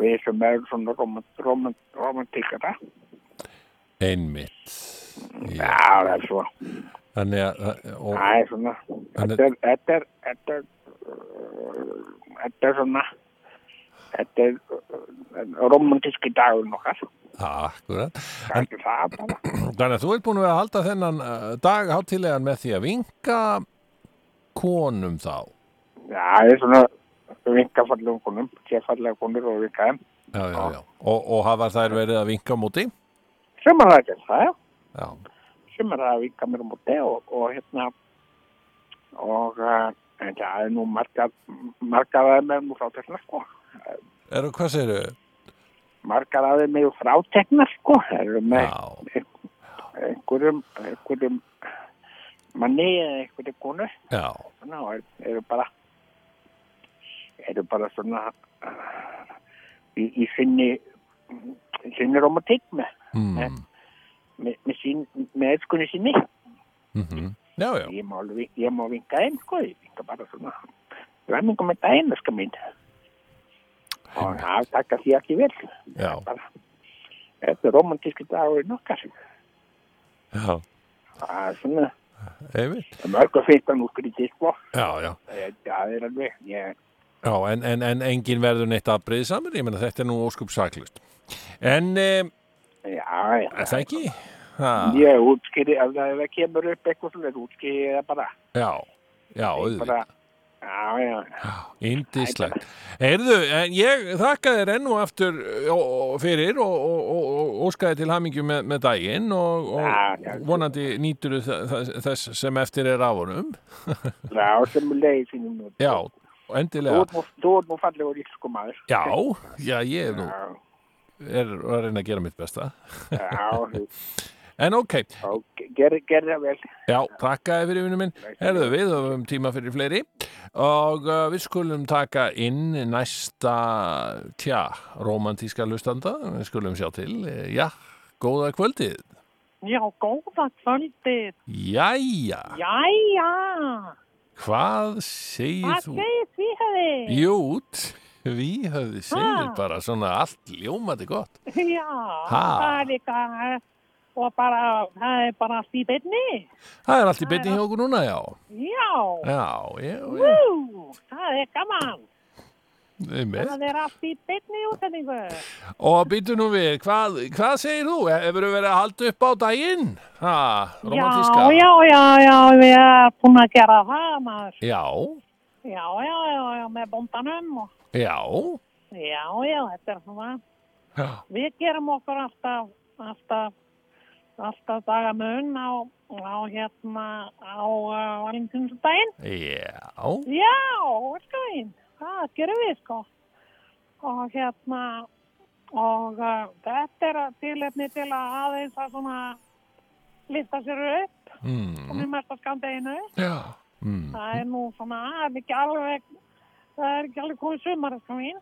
S6: við sem erum svona romant, romant, romantíkara,
S2: Einmitt
S6: já,
S2: Já.
S6: það er svo,
S2: Þannig að og,
S7: Ah,
S6: það er svona,
S2: En
S6: þetta er, þetta er, þetta er, uh, þetta er svona, þetta er uh, romantíski dagurinn okkar,
S2: akkurat
S7: Ah,
S6: það er ekki það bara,
S2: Þannig að þú ert búin að vera að halda þennan eh, dag hátilegan með því að vinka konum þá
S6: já,
S7: Ah,
S6: það er svona, vinka fallegum konum, sé fallega konur og vinka þeim,
S2: Já, já, já Og, og hafa þær verið að vinka á móti
S6: sem að það er það, já.
S7: ¿eh?
S2: Já,
S6: sem er að vika mér á móti og, og hérna og uh, en það er nú margar margar aðeins með nú fráteknar sko
S2: eru hvað segirðu?
S6: margar aðeins með fráteknar sko Það eru með
S2: Já,
S7: Eh,
S6: einhverjum einhverjum manni eða einhverjum konu
S2: já,
S6: svona, og er, eru bara eru bara svona
S7: eh,
S6: uh, í, í sinni í sinni romantík með,
S2: mm,
S6: með, með, sín, með elskunni sinni
S2: mm já, já,
S6: ég má, alveg- ég má vinka einn sko, ég vinka bara svona ræmingum með daginn, sko mín og það taka því ekki vel
S2: já,
S6: bara, þetta er romantíski dagurinn okkar
S2: já,
S6: það er svona,
S2: einmitt
S6: mörgur fyrst hann útgrítið sko,
S2: Já, já,
S6: Eh, það er alveg ég,
S2: já, en, en, en engin verður neitt að breyði saman, ég meina þetta er nú óskup saklust En, e,
S6: já, já
S2: er það ekki? Ha,
S6: ég útskýri, ef það ef það kemur upp eitthvað svona, útskýri ég það bara
S2: já, já,
S6: Ég
S2: auðvitað
S6: bara,
S8: já, já, já.
S2: Indislegt. Heyrðu, en ég þakka þér enn og aftur ö, og- fyrir og, og, og, og óskaði til hamingju með, með daginn og,
S8: Já, já.
S2: og vonandi nýtur þess sem eftir er af honum.
S8: Já, sem leiði sínum nú.
S2: Já,
S8: Þú
S2: endilega.
S8: ert nú- þú ert nú fallegur írsku maður.
S2: Já, já, ég er nú
S8: Já,
S2: er að reyna að gera mitt besta.
S8: já, þú-
S2: En ok,
S8: já, gerð ger það vel.
S2: já, takkaði fyrir vinnu minn. Herðu, við höfum tíma fyrir fleiri og uh, við skulum taka inn næsta, tja, romantíska lustanda. Við skulum sjá til, eh, já, góða kvöldið.
S7: Já, góða kvöldið.
S2: Jæja,
S7: Jæja,
S2: hvað segir
S7: hvað
S2: þú?
S7: segir því hefði?
S2: Jút, við höfum segir
S7: Ha?
S2: bara svona allt ljómandi gott.
S7: Já,
S2: Ha?
S7: það er líka, og bara, það er bara allt í byrni.
S2: Það er allt í beinni hjá okkur núna, já.
S7: Já,
S2: Já, já, já,
S7: ú, það er gaman.
S2: einmitt.
S7: Það er allt í byrni útsendingu.
S2: Og býtu nú við, hvað, hvað segir þú? Hefur þú verið að halda upp á daginn? Ha,
S7: Já,
S2: romantíska?
S7: já, já, já, við erum búin að gera það, maður.
S2: Já,
S7: Já, já, já, já, með bóndanum og,
S2: já,
S7: já, já, þetta er svona.
S2: já,
S7: Við gerum okkur alltaf, alltaf, alltaf dagamun á, á hérna, á uh, valentínsdaginn.
S2: já,
S7: Já, sko einn, það gerum við sko. Og hérna, og uh, þetta er tilefni til að aðeins að svona lifta sér upp
S2: mm,
S7: mm. í mestarskandeginu.
S2: já, mm,
S7: Það er nú svona, það er ekki alveg, það er ekki alveg komið sumar, sko mín.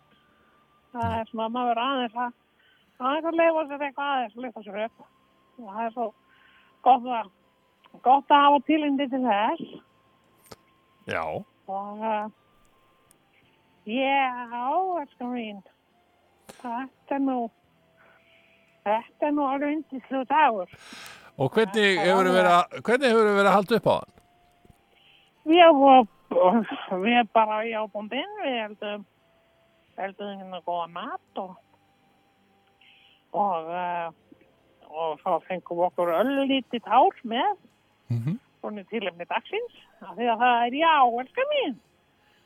S7: Það er svona, maður verður aðeins að, aðeins að leifa sér eitthvað aðeins, að leifa sér upp. Og það er svo gott að, gott að hafa tilindi til þess.
S2: já,
S7: Og, uh, já, sko mín, þetta er nú, þetta er nú alveg yndislu dagur.
S2: og hvernig hefur þú verið að, hvernig hefur þú verið að halda upp á hann?
S7: Ég var, við erum bara í ábúndin, við heldum, heldum hérna góða mat og, og, uh, og þá fengum við okkur öllítið hár með,
S2: Mhm.
S7: svona tilefni dagsins, af því að það er já, elskar mín,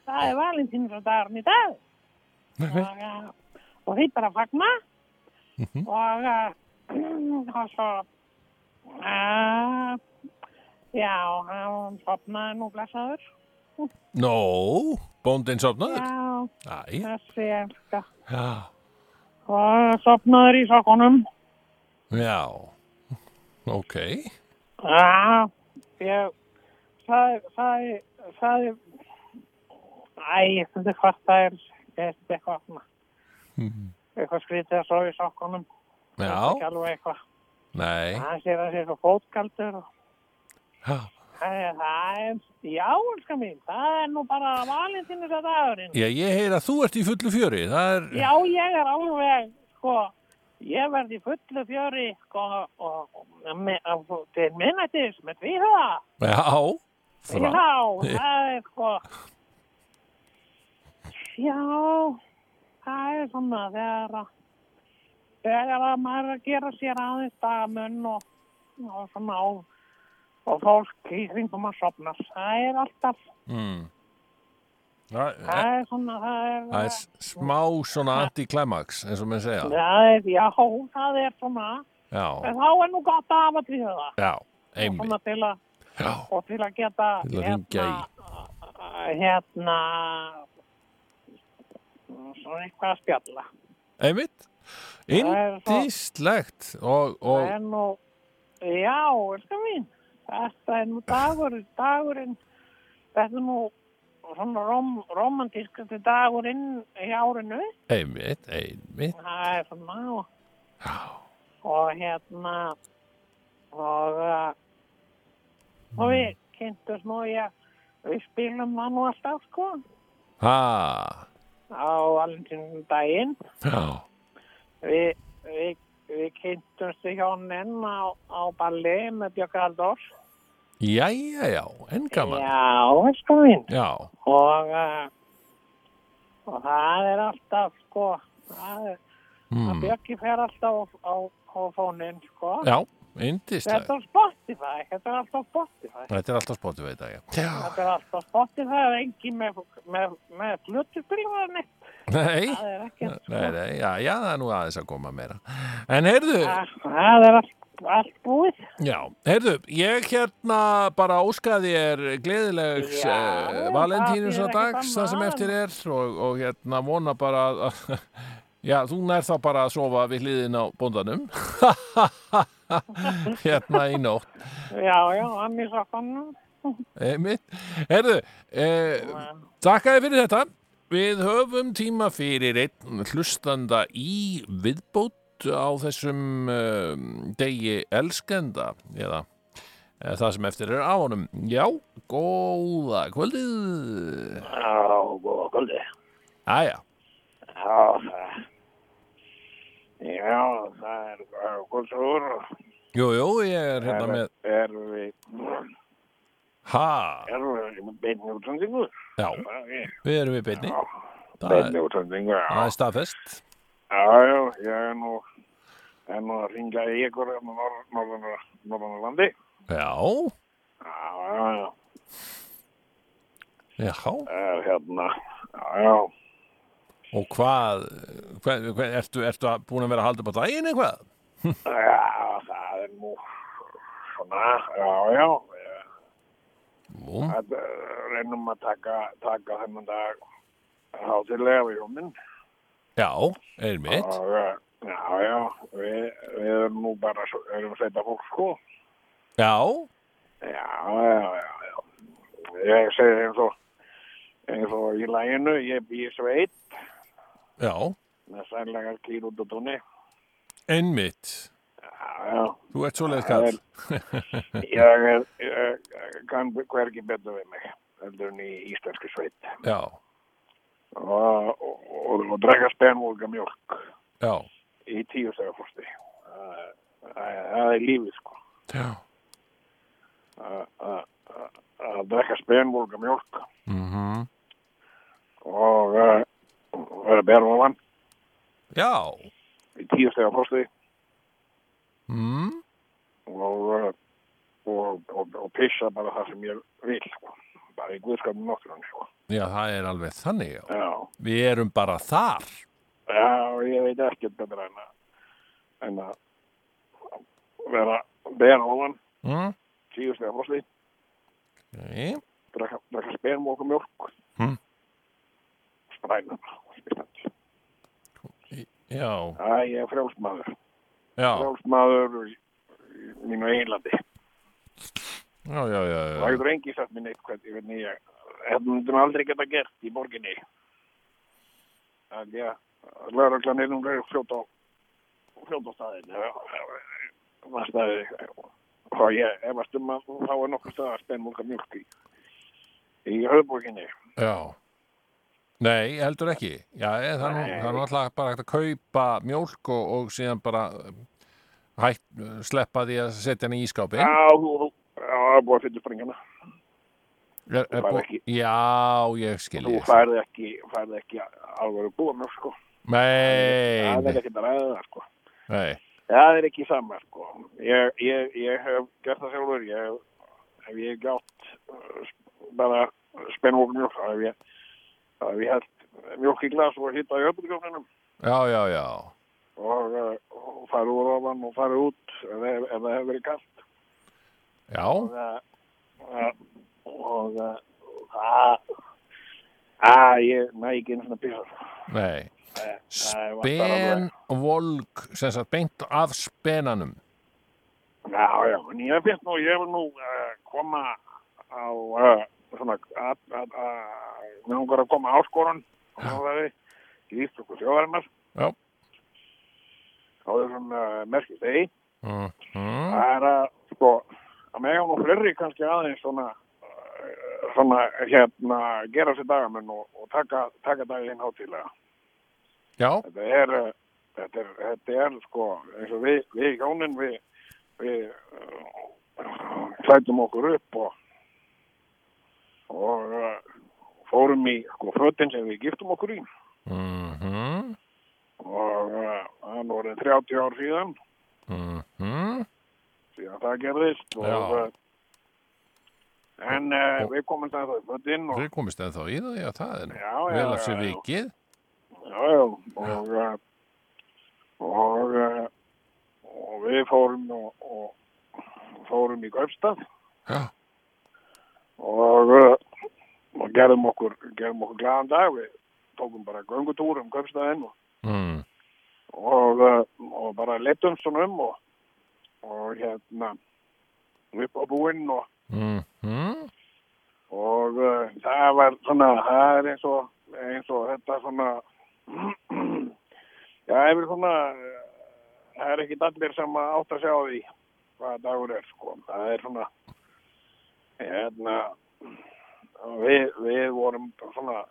S7: það er valentínur og dagarn í dag og, uh, og því bara fagna og, uh, og svo uh, já, hann sopnaði nú blessaður
S2: Nó, bóndin sopnaður?
S7: já,
S2: Æ,
S7: þessi elska
S2: já,
S7: og sopnaður í sokkunum
S2: já, ok,
S7: já, ég sagði sagði, sagði æ, ég finnst eitthvað það er, ég finnst eitthvað svona eitthvað skrítið að sofa í sokkunum ekki
S2: Mhm. já,
S7: alveg eitthvað
S2: nei,
S7: hann sér að sér svo fótkaldur og
S2: já,
S7: Það er, það er, já, elskar mín, það er nú bara valentínus að dagurinn.
S2: já, ég heyr að þú ert í fullu fjöri, það er,
S7: Já, ég er alveg, sko, ég verði fullu fjöri, sko, og, og me- af- til minnættis með tvíhuga.
S2: já,
S7: Já,
S2: frá,
S7: það er, sko, já, það er svona þegar að, þegar að maður er að gera sér aðeins dagamunn og, og svona og, og fólk í kringum að sopna. Það er alltaf,
S2: mm, það er,
S7: Það er svona, það er,
S2: það er smá svona antiklæmaks, eins og menn segja,
S7: það er, já, það er svona,
S2: já,
S7: en þá er nú gott að hafa til það,
S2: já, einmitt,
S7: svona til að,
S2: já,
S7: og til að geta,
S2: Til að hringja í.
S7: hérna, hérna, svona eitthvað að spjalla.
S2: Einmitt.
S7: er svo-
S2: Indislegt og, og
S7: Það er nú, já, elskar mín, þetta er nú dagurinn, dagurinn, þetta er nú svona rom, romantískasti dagurinn í árinu,
S2: einmitt, einmitt,
S7: það er svona og, og hérna og uh, og við kynntum nú ég við spilum það nú alltaf sko
S2: ha,
S7: á valentínum daginn
S2: já,
S7: við, við, við kynntumst í hjónin á, á balli með Björk Aldors
S2: jæja, já, enn gaman,
S7: já, sko mín
S2: já,
S7: og uh, og það er alltaf sko það er,
S2: mm,
S7: Björki fer alltaf á, á, á fónin sko
S2: já, indislegt,
S7: Þetta er spott Spotify, þetta er alltaf Spotify.
S2: Þetta er alltaf spotið veit að ég.
S7: Þetta er alltaf Spotify, það er engin með, með, með flutubílum eða neitt.
S2: Nei,
S7: Það er ekki
S2: nei, nei, já, já, það er nú aðeins að koma meira. En heyrðu,
S7: Það, það er allt, allt búið.
S2: já, heyrðu, ég hérna bara óskaði þér gleðilegs
S7: Já,
S2: uh,
S7: það þýðir
S2: valentínusadags,
S7: ekkert
S2: það sem
S7: annað.
S2: eftir er og, og hérna vona bara að, að Já, þú nær þá bara að sofa við hliðin á bóndanum hérna í nótt
S7: Já, já, hann er svo fannu.
S2: Einmitt. Herðu, eh, takkaði fyrir þetta. Við höfum tíma fyrir einn hlustanda í viðbót á þessum eh, degi elskenda eða eh, það sem eftir er á honum. Já, góða kvöldið.
S8: Já, góða kvöldi.
S2: Æja,
S8: Já, það... Já, það er uh, kultúr.
S2: jú, jú, ég er hérna með...
S8: Er við...
S2: Ha,
S8: Er við beinni útlendingur?
S2: já, við erum í beinni. Það er,
S8: Beinni útlendingur,
S2: það
S8: já.
S2: er staðfest.
S8: Já, já, ég er nú... Er nú að ringa í ykkur hérna norð- norðan- norðanlandi.
S2: Já,
S8: Já, já, já.
S2: já.
S8: Er hérna... Já, já.
S2: Og hvað, hvað, hvað ertu, ertu að- búin að vera að halda upp á daginn eitthvað?
S8: Já, það er nú... Svona, já, já. Ég
S2: Búm.
S8: að eh, reynum að taka, taka þennan dag hátilega við hjóminn
S2: Já, er mitt.
S8: og eh, já, já, við, við erum nú bara svo- erum sveita fólk sko
S2: Já,
S8: já, já, já, já ég segi eins og eins og í læginu, ég bý í sveit
S2: já,
S8: með sænlegar kýr út og tóni
S2: einmitt.
S8: já, já,
S2: Þú ert svo leið kall.
S8: ég, er- ég, ég kann hvergi betur við mig heldur en í íslenski sveit
S2: Já,
S8: og, og, og, og drekka spenvólga mjólk
S2: já,
S8: í tíu þegar fórsti það er lífið sko
S2: já.
S8: Að- að- að- að drekka spenvólga mjólk
S2: Mm
S8: og eh, vera bera ofan
S2: Já,
S8: í tíu þegar fórsti
S2: mm.
S8: og, eh, og, og, og pissa bara það sem ég vil sko. bara í guðskapnum náttúrunni sko.
S2: já, það er alveg þannig, já.
S8: já.
S2: Við erum bara þar.
S8: já, ég veit ekkert betra en að, en að vera bera ofan
S2: Mm.
S8: tíu þegar fórsti
S2: Okay.
S8: drekka, drekka spenvólga mjólk
S2: Mm.
S8: spræna spennandi
S2: Já,
S8: Æ, ég er frjálsmaður.
S2: já,
S8: Frjálsmaður í í mínu einlandi.
S2: já, já, já,
S8: Það
S2: já.
S8: getur engi sagt mér neitt hvernig, hvernig ég... Þetta myndum aldrei geta gert í borginni. Það er að lauruglan er núna fljóta á fljóta á staðinu. Það staði og ég efast um að þá er nokkur stað að spenna múlka mjölk í í höfðborginni.
S2: já. Nei, heldur ekki. Já, eh, það er nú- það er nú alltaf bara hægt að kaupa mjólk og, og síðan bara um, hætt, sleppa því að setja hann í ískápi.
S8: Já, þú- þú- já, það er búið að fylla springana.
S2: Er, er
S8: Þú færð
S2: bú-
S8: ekki-
S2: Já, ég skil
S8: Þú
S2: ég.
S8: færði ekki, færði ekki alveg búið sko.
S2: Nei,
S8: Það
S2: nei,
S8: er ekki að ræða það sko.
S2: nei,
S8: Það er ekki sama, sko. Ég, ég, ég hef gert það sjálfur, ég hef, hef ég gjátt uh, sp- bara spennvók mjólk, þá hef ég, þá hef ég held mjólk í glas og hittað í öfnugjóknunum
S2: já, já, já,
S8: og, uh, og farið úr ofan og farið út ef, það- ef það hefur verið kallt.
S2: já,
S8: Og, uh, og uh, það, að ég næ ekki einu svona písar.
S2: nei,
S8: það er vantar
S2: spen, volk, sem sagt, beint af spenanum,
S8: Já, já, en ég finnst nú, ég vil nú uh, koma á uh, svona, að, að, að, við langar að koma áskorun og það er í Ístöku þjóðarinnar
S2: já,
S8: á þessum uh, merkist eigi.
S2: mm
S8: Það er að, sko, að með hjá nú fleiri kannski aðeins svona, uh, svona, hérna, gera sér dagamenn og, og taka, taka daginn hátíðlega.
S2: já,
S8: Þetta er, eh, þetta er, þetta er sko, eins og við, við hjónin, við, við uh, klættum okkur upp og, og uh, fórum í sko fötin sem við giftum okkur í eh,
S2: mhm,
S8: og uh, hann voru 30 ár síðan,
S2: mhm,
S8: síðan þegar það gerðist og
S2: Já.
S8: uh, en uh,
S2: Og-
S8: við komum það í fötin og
S2: Þeir komist ennþá í það, já, það er nú
S8: Já, já,
S2: vel af sér
S8: já, já.
S2: vikið.
S8: já, já, og uh, og uh, og við fórum og, og fórum í Kaupstað
S2: Já,
S8: og, uh, og gerðum okkur gerðum okkur glæðan dag við tókum bara göngutúr um Kaupstaðinn og,
S2: mm.
S8: og, uh, og bara leittum svona um og, og hérna upp á búinn og
S2: Mm. Mm.
S8: og uh, það var svona, það er eins og, eins og þetta svona, já, yfir svona, uh, það er ekki allir sem að átt að sjá því hvað dagur er, sko, það er svona, hérna, við, við vorum svona,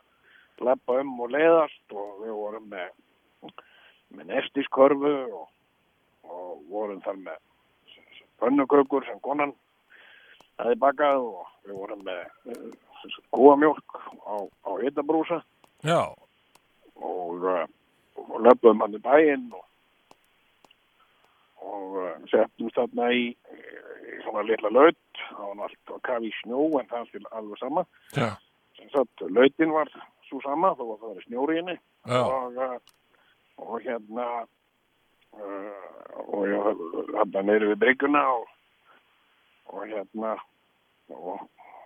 S8: leppa um og leiðast og við vorum með, með nestiskörfu og, og vorum þar með pönnukökur sem konan aðeins bakað og við vorum með eh, kúamjólk á, á hitabrúsa
S2: Já,
S8: og, eh, og löpum hann í bæinn og, og eh, settumst þarna í, í svona litla laut það var allt að kafi í snjó en það er alveg sama
S2: já,
S8: sem sagt lautin var svo sama þó að það var snjóri henni
S2: já,
S8: og, eh, og hérna uh, og ég hérna neyri við bryggjuna og, og hérna og,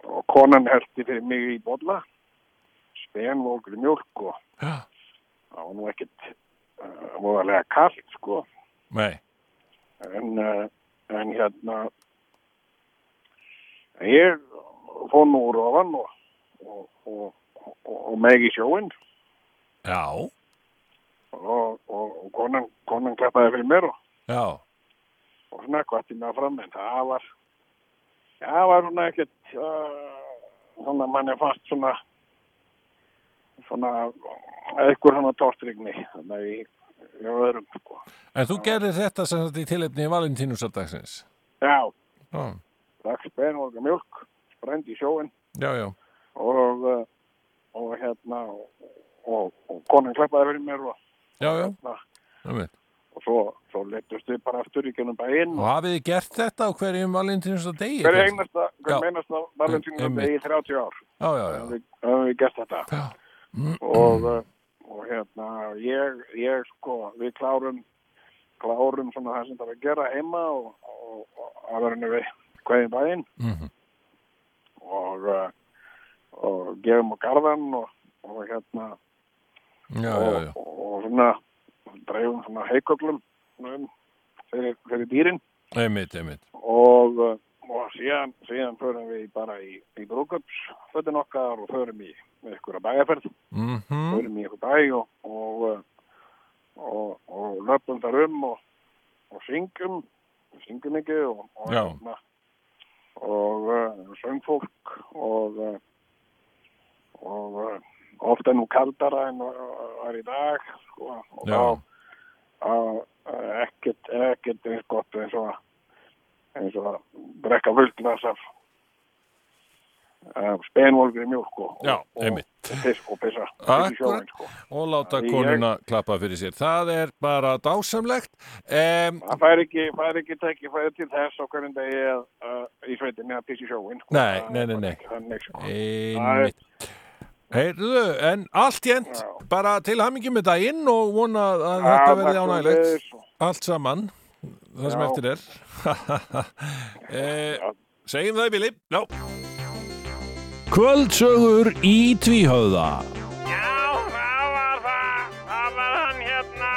S8: og konan heldi fyrir mig í bolla spenvókri mjólk og
S2: já,
S8: það var nú ekkit uh, voðalega kallt sko
S2: nei,
S8: en, uh, en hérna en ég fór nú úr ofan og, og, og, og, og megi sjóinn
S2: já,
S8: og, og, og konan, konan klappaði fyrir mér og
S2: já,
S8: og svona hvati með fram en það var það var svona ekkert uh, svona manni fast svona svona eitthvað svona tortrygni þannig að ég, ég var öðrum sko.
S2: en þú gerðir þetta sem þetta í tilefni Valentínusardagsins.
S8: já,
S2: Já,
S8: rakk spen og mjölk sprendi í sjóin
S2: já, já,
S8: og uh, og hérna og, og, og konan klappaði fyrir mér og,
S2: já, já,
S8: og,
S2: einmitt.
S8: og svo, svo leittust við bara aftur í gennum bæinn
S2: Og hafið þið gert þetta á hverjum Valentínusardegi?
S8: hver einasta,
S2: Já.
S8: hver meinasta valentínum
S2: Einmitt.
S8: í 30 ár
S2: Já, já,
S8: höfum
S2: já,
S8: við, höfum við gert þetta
S2: já,
S8: og, uh, og hérna ég, ég sko, við klárum klárum svona það sem það var að gera heima og, og, og að verðinu við hverjum bæinn
S2: Mhm.
S8: og, uh, og gefum á garðan og, og hérna
S2: já,
S8: og,
S2: já, já,
S8: Og, og svona dreifum svona heiköklum svona um fyrir, fyrir dýrin
S2: einmitt, einmitt.
S8: og, uh, og síðan, síðan förum við bara í, í brúkupsfötin okkar og förum í ykkur að bæjarferð
S2: Mm
S8: förum í eitthvað bæ og, og, og, og, og löpum þar um og, og syngjum, syngjum ekki og, og,
S2: Já.
S8: og, og uh, söngfólk og, uh, og uh, ofta nú kaldara en var í dag sko, og
S2: Já,
S8: þá uh, ekkert, ekkert eins gott eins og að- eins og að drekka völdglas af af spenvolgri mjólk og,
S2: já,
S8: og, og,
S2: einmitt.
S8: piss, og pissa
S2: Akkurat.
S8: í sjóin sko.
S2: og láta
S8: Ég-
S2: konuna klappa fyrir sér. Það er bara dásamlegt. Um,
S8: Það fær ekki, fær ekki tækifæði til þess á hverjum degi að, að í sveitinni að pissi sjóin. Sko.
S2: Nei,
S8: Það
S2: nei,
S8: er
S2: nei,
S8: bara
S2: nei.
S8: ekki Þannig, sko.
S2: Einmitt. Heyrðu, en allt jæmt,
S8: Já.
S2: bara til hammingi með daginn og vona að þetta verði
S8: eh,
S2: ánægilegt. Allt saman, það sem
S8: Já.
S2: eftir er. eh, segjum það í bíli. Já.
S9: Kvöldsögur í Tvíhöða
S5: Já, það var það. Það var hann hérna.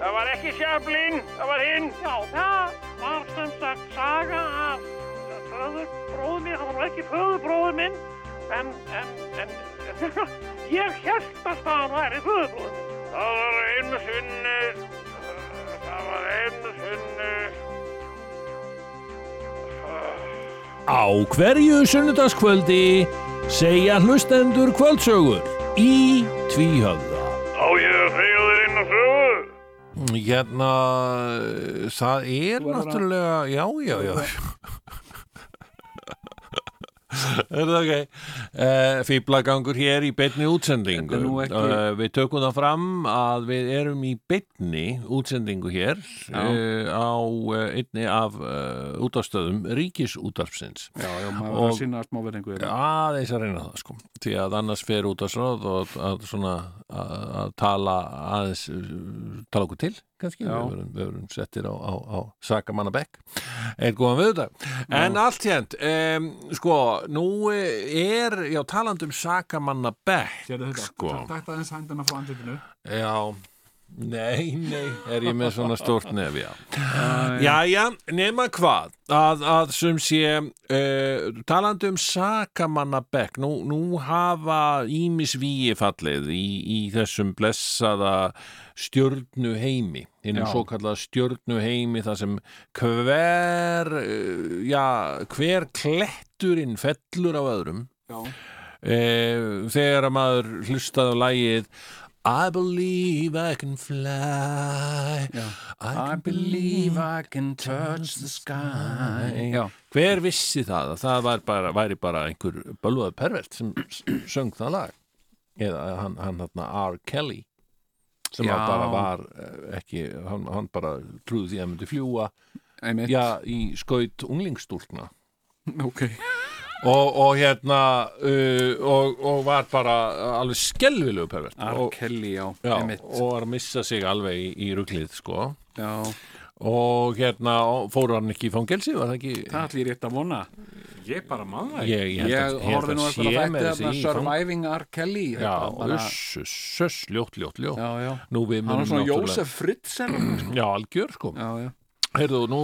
S5: Það var ekki sjöflin, það var hinn. Já, það var sem sagt saga af föður bróður minn. Það var ekki föður bróður minn, en, en, en ég held að það væri föður bróður minn. Það var einu sinni, það var einu sinni.
S9: Á hverju sunnudagskvöldi segja hlustendur kvöldsögur í Tvíhöða
S5: Á ég að segja þér einu sögu?
S2: Hérna, það er náttúrulega, já, já, já. Er það ok? Uh, Fýblagangur hér í beinni útsendingu.
S3: Þetta er nú ekki-
S2: Eh, við tökum það fram að við erum í beinni útsendingu hér uh, á uh, einni af uh, útastöðum ríkisútarpsins.
S3: já, já, maður verður
S2: Og-
S3: að hérna. sína smá verðingu
S2: aðeins að reyna það sko því að annars fer út að svona og að svona að, að tala aðeins uh, tala okkur til kannski,
S3: Já.
S2: við verum, við verum settir á, á, á sakamanna bekk eitt góðan við þetta en allt hérnt, um, sko nú er, já talandi um sakamanna bekk sko
S10: Takk aðeins hændana frá andlutinu
S2: já Nei, nei, er ég með svona stórt nefi, já. Jæja, nema hvað, að, að sem sé, uh, talandi um sakamannabekk, nú, nú hafa ímisvíi fallið í, í þessum blessaða stjörnuheimi, hinnum
S3: Já.
S2: svo kallaða stjörnuheimi, þar sem hver, uh, já, hver kletturinn fellur á öðrum, eh, þegar að maður hlustaði á lagið I believe I can fly I can believe I
S3: can touch the sky Já,
S2: Hver vissi það að það var bara, væri bara einhver bölvaður pervert sem s- söng það lag eða hann, hann hann R. Kelly sem
S3: Já.
S2: að bara var eh, ekki, hann, hann bara trúði því að hann myndi fljúa
S3: einmitt
S2: já, í skaut unglingstúlna
S3: ok
S2: og, og hérna uh, og, og var bara alveg skelvilegu pervert
S3: R.
S2: og,
S3: Kelly, já,
S2: Já,
S3: einmitt
S2: og var að missa sig alveg í, í ruglið sko
S3: Já,
S2: og hérna og fór hann ekki í fangelsi var það ekki
S3: það allir rétt að vona
S4: Ég bara man það
S2: ég, ég, held
S3: Ég
S2: að- ég held
S3: horfði nú
S2: að
S3: eitthvað
S2: sé
S3: að
S2: með
S3: þætti
S2: þessi
S3: þarna
S2: í fangelsi
S3: Surviving R. Kelly
S2: já,
S3: þetta bara-
S2: uss, uss, uss, ljótt, ljótt, ljótt
S3: já, já
S2: nú við
S3: Hann
S2: munum
S3: var svona
S2: náttúrulega-
S3: Jósef Fritzen
S2: já, algjör sko
S3: Já, já
S2: heyrðu nú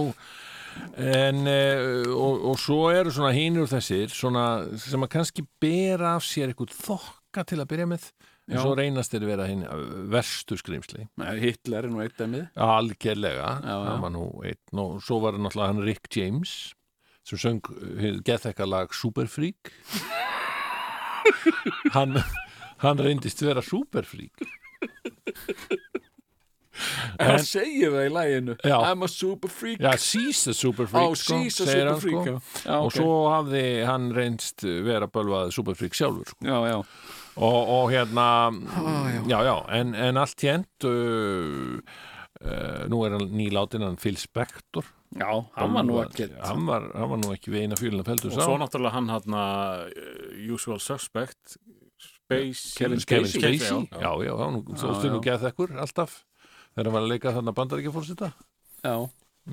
S2: en eh, og, og svo eru svona hinur þessir svona sem að kannski bera af sér eitthvað þokka til að byrja með en
S3: Já.
S2: svo reynast þeir vera hinn eh, verstu skrýmsli
S3: Nei, Hitler er nú eitt emið
S2: algjörlega
S3: Já, já.
S2: það var nú einn og svo var náttúrulega hann Rick James sem söng geðþekka lag Superfreak hann, hann reyndist vera Superfreak
S3: Það segir það í læginu
S2: Já.
S3: I'm a super freak
S2: já, she's the Superfreak
S3: Oh,
S2: sko,
S3: she's a
S2: segir hann,
S3: super freak
S2: sko.
S3: já. Já,
S2: og
S3: ok.
S2: svo hafði hann reynst vera bölvað Superfreak sjálfur sko.
S3: Já, já
S2: og, og hérna já, já, en, en allt hérnt uh, uh, nú er hann nýlátin hann Phil Spector
S3: Já, hann var nú ekki
S2: hann var, hann var nú ekki við eina fjölina feldur
S4: Og svo náttúrulega hann hann uh, Usual Suspect Space
S3: Kevin
S2: Kevin
S3: Spacey.
S2: Spacey,
S4: já.
S2: já, já, hann stóðstu nú geðþekkur alltaf þegar hann var að leika þarna bandaríkjafórseta
S3: Já,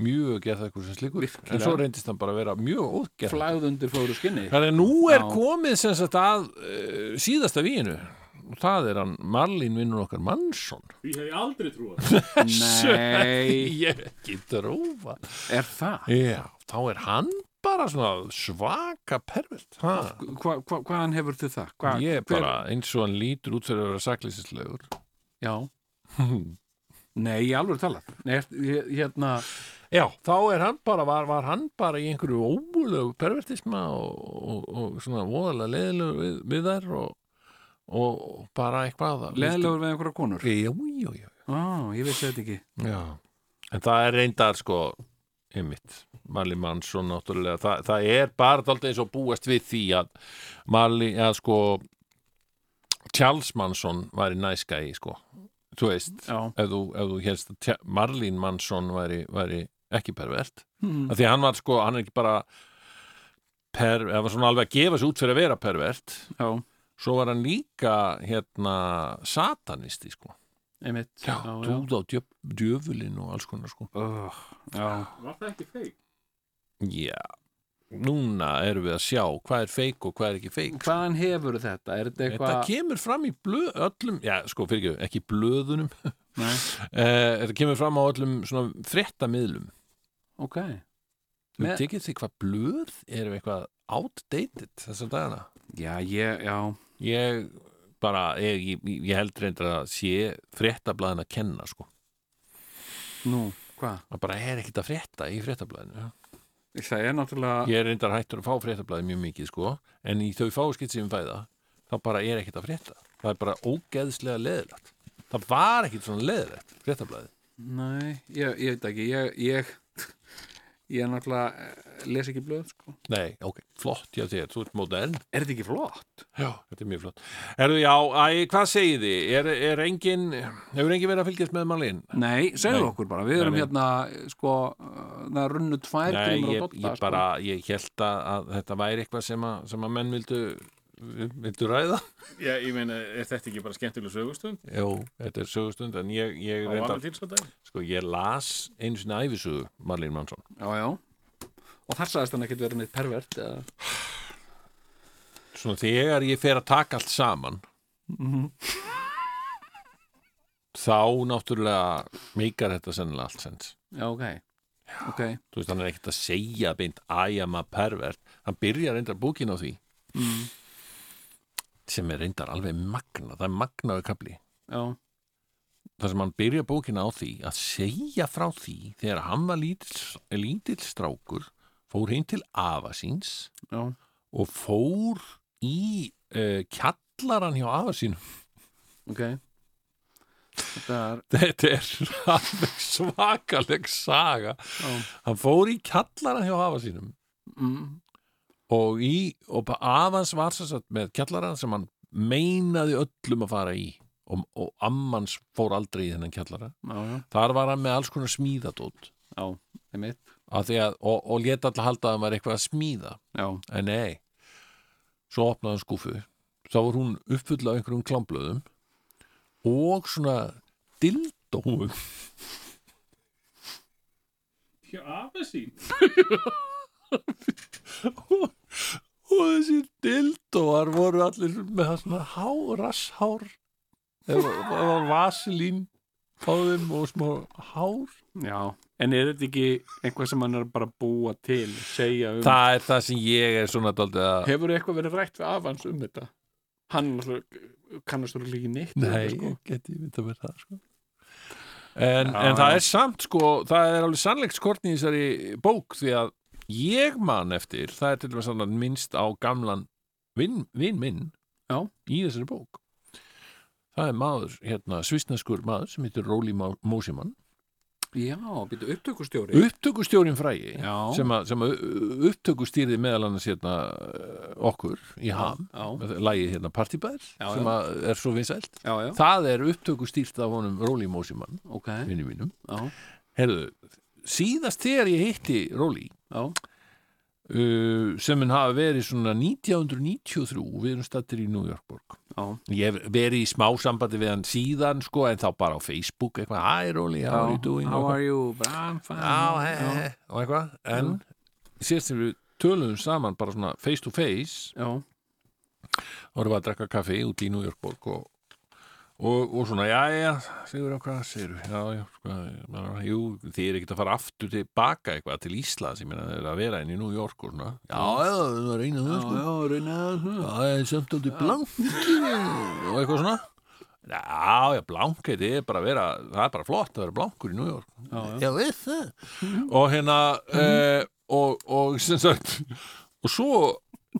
S2: mjög geðþekkur sem slíkur
S3: Virkilega.
S2: en svo reyndist hann bara að vera mjög ógeðþekkur
S3: flagð undir fóru skinni
S2: þannig að nú er
S3: Já.
S2: komið sem sagt að uh, síðasta víinu og það er hann Marlín vinnur okkar Mansson
S4: Því hef ég aldrei trúið
S3: Nei,
S2: ég getur óva
S3: er það?
S2: já, þá er hann bara svona svaka pervert ha?
S3: Hva, hva, hvaðan hefur þið það? Hva,
S2: ég er
S3: hver-
S2: bara eins og hann lítur út þegar að vera saklýsinslegur
S3: Já Nei, ég alveg talað Nei, er- ég- hérna
S2: Já, þá er hann bara, var, var hann bara í einhverju óbúlegu pervertisma og, og, og svona voðalega leðilegur við, við þær og, og bara eitthvað að-
S3: Leðilegur við einhverja konur
S2: Já, já, já,
S3: Á, ég vissi þetta ekki
S2: já. En það er reyndar sko, einmitt, Marley Mansson náttúrulega, Þa, það er bara alltaf eins og búast við því að Marley, að sko, Charles Mansson var í næskæi, sko, þú veist,
S3: Já,
S2: ef þú, ef þú helst að Tja- Marlín Mansson væri, væri ekki pervert
S3: Hmm.
S2: af því að hann var sko, hann er ekki bara per, eða var svona alveg að gefa sér út fyrir að vera pervert
S3: já,
S2: svo var hann líka hérna satanisti sko
S3: einmitt Já, já,
S2: trúð á djöf, djöfulinn og alls konar sko
S3: Öh, já.
S4: Var það ekki feik?
S2: já, núna erum við að sjá hvað er feik og hvað er ekki feik sko.
S3: Hvaðan hefur þetta? Er þetta
S2: þetta
S3: eitthvað
S2: kemur fram í blöð, öllum já, sko, fyrir ekki, ekki blöðunum uh,
S3: Nei,
S2: þetta kemur fram á öllum svona fréttamiðlum
S3: ok
S2: Þú
S3: Með-
S2: tekið því hvað blöð eru eitthvað outdated þessar dagana?
S3: Já, ég, já
S2: Ég bara, ég, ég, ég held reyndar að sé fréttablaðin að kenna sko.
S3: Nú, hvað?
S2: Það bara er ekkert að frétta í fréttablaðinu.
S3: Það er náttúrulega
S2: Ég er reyndar hættur að fá fréttablaði mjög mikið sko, en í þau fáskitt sem ég fæða, þá bara er ekkert að frétta. Það er bara ógeðslega leðilegt. Það var ekkert svona leðilegt, fréttablaði.
S3: Nei, ég, ég veit ekki Ég, ég, ég er náttúrulega les ekki blöð sko.
S2: Nei, ok, flott, já þér, þú ert mótern
S3: Er þetta ekki flott?
S2: Já, þetta er mjög flott Erðu, já, æ, hvað segið þið? Er, er engin, hefur engin verið að fylgjast með Marlín?
S3: Nei, segðu
S2: Nei.
S3: okkur bara, við erum
S2: Nei, nei.
S3: hérna sko, uh, það runnu tvær
S2: Nei,
S3: grímur á
S2: ég,
S3: Dodda, sko.
S2: ég bara, ég held að, að þetta væri eitthvað sem að, sem að menn vildu vildu ræða
S4: Já, ég meina, er þetta ekki bara skemmtileg sögustund?
S2: Jó, þetta er sögustund, en ég, ég
S4: Á
S2: reyndar,
S4: Valentínsdag?
S2: sko, ég las einu sinni æfisögu Marlín Mansson
S3: sko. Já, já Og þar sagðist hann ekkert verið neitt pervert eða...
S2: Svona þegar ég fer að taka allt saman þá náttúrulega mikar þetta sennilega allt sens
S3: Já, ok Ok,
S2: þú veist, hann er ekkert að segja beint æjama pervert, hann byrjar reyndar bókin á því sem er reyndar alveg magna það er magnaðu kapli
S3: já,
S2: þar sem hann byrja bókina á því að segja frá því þegar hann var lítill, lítill strákur fór heim til afa síns
S3: já
S2: og fór í uh, kjallaran hjá afa sín
S3: Ok Þetta er,
S2: þetta er alveg svakaleg saga
S3: já,
S2: hann fór í kjallaran hjá afa sínum
S3: mm,
S2: og í og bara afans var sem sagt með kjallaran sem hann meinaði öllum að fara í og, og ammans fór aldrei í þennan kjallara
S3: já, já,
S2: þar var hann með alls konar smíðatótt
S3: já, einmitt
S2: af því að, og, og lét alltaf halda að hann var eitthvað að smíða
S3: Já,
S2: en nei, svo opnaði hann skúfu þá var hún uppfull af einhverjum klámblöðum og svona dildóum
S4: Já, afa sín.
S2: og þessir dildóar voru allir með það svona há, rasshár eða það var vasilín á þeim og smá hár
S3: já En er þetta ekki einhvað sem hann er bara að búa til, segja um
S2: það er það sem ég er svona daldið að
S3: Hefur eitthvað verið rætt við afans um þetta? Hann náttúrulega- kannast þú líka neitt við
S2: nei,
S3: þetta, sko.
S2: geti ég mynda með það sko. en,
S3: Já,
S2: en það
S3: já.
S2: er samt sko það er alveg sannleikskortni í þessari bók því að ég man eftir það er til dæmis annan minnst á gamlan vinn vin minn
S3: Já.
S2: í þessari bók það er maður, hérna, svistneskur maður sem heitir Róli Mósimann
S3: Já, býttu upptökustjóri
S2: upptökustjórin frægi
S3: Já.
S2: sem að, sem að uh, upptökustýrði meðal annars hérna eh, okkur í ham
S3: Já,
S2: lagið hérna Partibær
S3: Já,
S2: sem
S3: já.
S2: að er svo vinsælt
S3: já, já,
S2: það er upptökustýrt af honum Róli Mósimann,
S3: ok
S2: vinni mínum
S3: Já,
S2: Herðu, síðast þegar ég hitti Róli
S3: já,
S2: uh, sem hann hafa verið svona 1993 við erum stattir í New Yorkborg
S3: já,
S2: ég hef verið í smá sambandi við hann síðan sko, en þá bara á Facebook eitthvað, hi Róli, how are you doing Og
S3: How
S2: eitthvað.
S3: are you? Bara, I'm fine
S2: já, he, he, he, og eitthvað en síðast þegar við töluðum saman bara svona face to face
S3: Já,
S2: vorum við að drekka kaffi út í New Yorkborg og, og, og svona, já, já, sigur á hvað segir við, já, já, hvað, maður- jú þið er ekkert að fara aftur til baka eitthvað til Íslands, ég meina þeir eru að vera inn í New York og svona, já, já, það er einu það sko,
S3: já, reynaði
S2: já, það er samt aldrei blanki og eitthvað svona Já, já, blankið, það er bara að vera, það er bara flott að vera blankur í New York.
S3: Já, já,
S2: Já, við það. Og hérna, eh, og, og sem sagt, og svo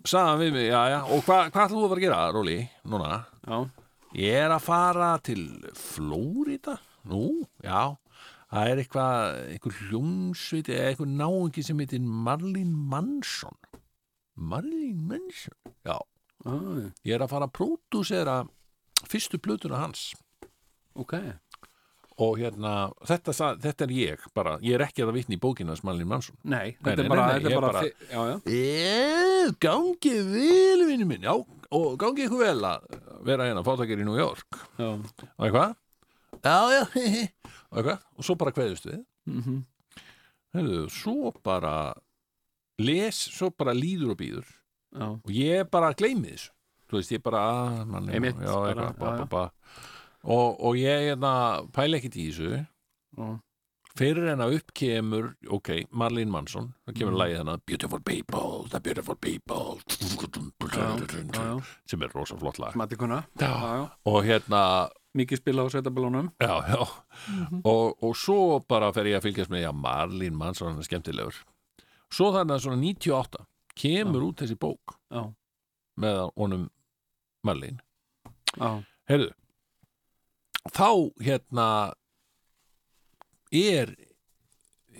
S2: sagði hann við mig, já, já, og hva, hvað ætlum þú að fara að gera, Róli, núna?
S3: já,
S2: Ég er að fara til Flórida. Nú, já, það er eitthvað, eitthvað hljómsveit, eða eitthvað náungi sem heitir Marlin Manson. Marlin Manson? Já,
S3: já,
S2: ég er að fara að pródúsera fyrstu plötuna hans
S3: ok
S2: og hérna, þetta, sa- þetta er ég bara, ég er ekki að vitna í bókina sem Malin Mansson Nei,
S3: Nei, þetta
S2: nei,
S3: er bara,
S2: nei, nei,
S3: þetta
S2: ég
S3: er bara
S2: bara-
S3: þi- Já, já,
S2: Éh, gangi Eh, vel vinnu minn, já, og gangi ykkur vel að vera hérna fátakir í New York
S3: já
S2: og eitthvað já, já, hei, hei, og eitthvað og svo bara kveðust við
S3: mhm,
S2: Heyrðu, svo bara les, svo bara líður og býður
S3: Já,
S2: og ég bara gleymi þessu þú veist, ég bara, að, mann, já,
S3: Einmitt,
S2: já,
S3: bara,
S2: eitthvað, ba,
S3: já, já.
S2: ba, ba. Og, og ég hérna, pæla ekkit í þessu
S3: já,
S2: fyrir en að upp kemur ok, Marlene Manson, það
S3: Mhm.
S2: kemur mm. lagið hennar Beautiful People, The Beautiful
S3: já, já,
S2: People sem er rosa flott lag
S3: matikuna Já, já,
S2: og hérna,
S3: mikið spila á sveitabælunum
S2: já, já og, og svo bara fer ég að fylgjast með já, Marlene Manson, hann er skemmtilegur svo þannig að svona 98 kemur út þessi bók
S3: Já,
S2: með honum Marlene
S3: já,
S2: Heyrðu, þá hérna er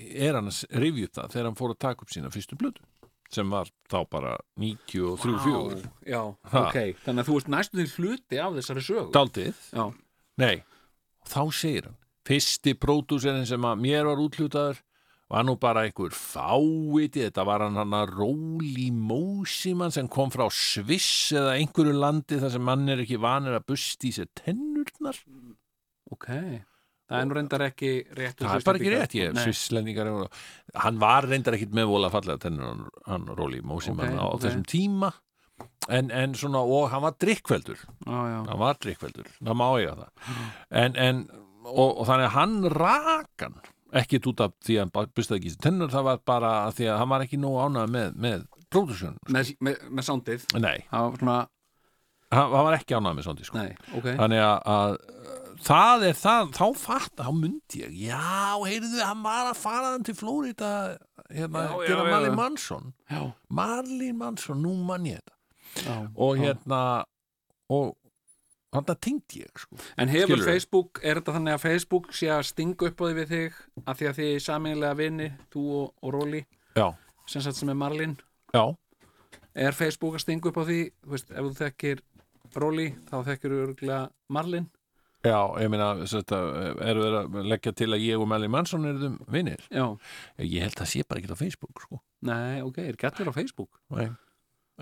S2: er hann að rifja upp það þegar hann fór að taka upp sína fyrstu blödu sem var þá bara 93-4
S3: já,
S2: Ha.
S3: ok, þannig að þú ert næstu þinn hluti af þessari sögu
S2: daldið,
S3: já,
S2: nei þá segir hann, fyrsti pródúserinn sem að mér var útlutaður var nú bara einhver fáviti þetta var hann hann að Róli Mósimann sem kom frá Sviss eða einhverju landi þar sem mann er ekki vanir að busti í sér tennurnar
S3: ok það er nú reyndar ekki rétt
S2: það er bara ekki rétt, ég,
S3: Nei.
S2: svisslendingar eru- hann var reyndar ekkit með vola fallega tennur hann, hann Róli Mósimann
S3: Ok,
S2: á
S3: ok.
S2: þessum tíma en, en svona, og hann var drikkveldur
S3: já, já,
S2: hann var drikkveldur, það má ég að það en, en og, og þannig að hann rakan ekkit út af því að hann bustaði ekki í sér tennur það var bara að því að hann var ekki nóg ánað með, með pródusjón,
S3: með, með, með soundið
S2: nei,
S3: það var svona,
S2: hann, hann var ekki ánað með svona, sko
S3: nei, ok
S2: þannig að, að uh, það er það, þá fatt þá myndi ég, já, heyrðu hann var að fara hann til Flórida hérna,
S3: Já, já,
S2: gera
S3: já, já.
S2: Marlin Mansson
S3: já,
S2: Marlin Mansson, nú mann ég þetta
S3: já,
S2: og
S3: já.
S2: hérna og hann það tengdi ég sko.
S3: En hefur
S2: Skilurðu?
S3: Facebook, er þetta þannig að Facebook sé að stinga upp á því við þig að því að þið er saminlega vini, þú og, og Róli
S2: já,
S3: sem sagt sem er Marlin
S2: já,
S3: er Facebook að stinga upp á því, þú veist, ef þú þekkir Róli, þá þekkir þú örgulega Marlin
S2: já, ég meina þetta, er verið að leggja til að ég og Marlin Mansson erum vinnir
S3: Já,
S2: Eh, ég held að það sé bara ekki á Facebook sko.
S3: nei, ok, er gættur á Facebook
S2: Nei.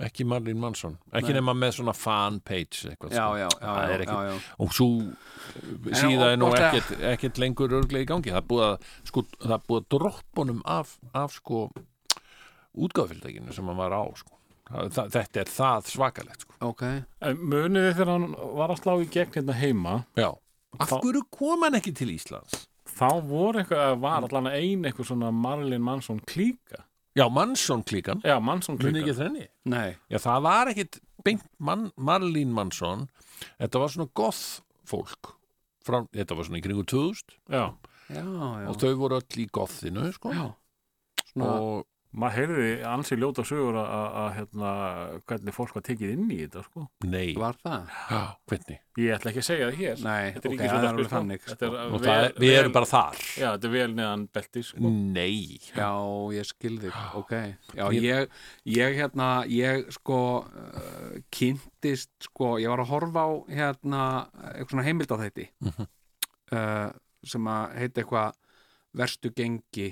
S2: ekki Marlin Mansson ekki
S3: Nei.
S2: nema með svona fanpage eitthvað,
S3: Já,
S2: sko.
S3: já, já,
S2: það er
S3: já,
S2: ekki
S3: já, já.
S2: og svo síða er nú
S3: óbóta-
S2: ekkert, ekkert lengur örglega í gangi það er búið að, sko, það er búið að droppunum af, af sko útgáðfyrirtækinu sem hann var á sko. það, það- þetta er það svakalegt sko.
S3: Ok,
S4: En munið þið þegar hann var að slá í gegn hérna heima,
S2: já Af
S4: Þá-
S2: hverju kom hann ekki til Íslands?
S4: þá voru eitthvað, var allan ein eitthvað svona Marlin Mansson klíka.
S2: Já, Mansson klíkan
S4: Já, Mansson
S2: Muni
S4: klíka.
S2: ekki þenni?
S3: nei,
S2: Já, það var ekkit beint man, Marlín Mansson Þetta var svona goth fólk Frá, Þetta var svona í kringu 2000
S4: Já,
S3: já,
S2: og
S3: já
S2: þau voru öll í gothinu sko.
S3: Já, svona,
S2: og
S4: maður heyrði ansi ljóta sögur að- að að, hérna, hvernig fólk var tekið inn í þetta, sko.
S2: nei,
S3: var það?
S2: Já, hvernig?
S4: Ég ætla ekki að segja það hér.
S3: Nei,
S4: Þetta er
S3: ok,
S4: ekki
S3: það
S4: svona
S3: er alveg þannig
S4: Þetta er
S3: sko.
S2: Og
S4: vel-
S2: það er, við erum
S4: vel-
S2: bara þar
S4: Já, þetta er vel neðan belti,
S3: Mm.
S4: sko.
S2: Nei
S3: Já, ég skil þig, ok Já,
S2: Ég-
S3: ég, ég hérna, ég sko uh, kynntist, sko, ég var að horfa á hérna, eitthvað svona heimildatætti uh, sem að heita eitthvað verstu gengi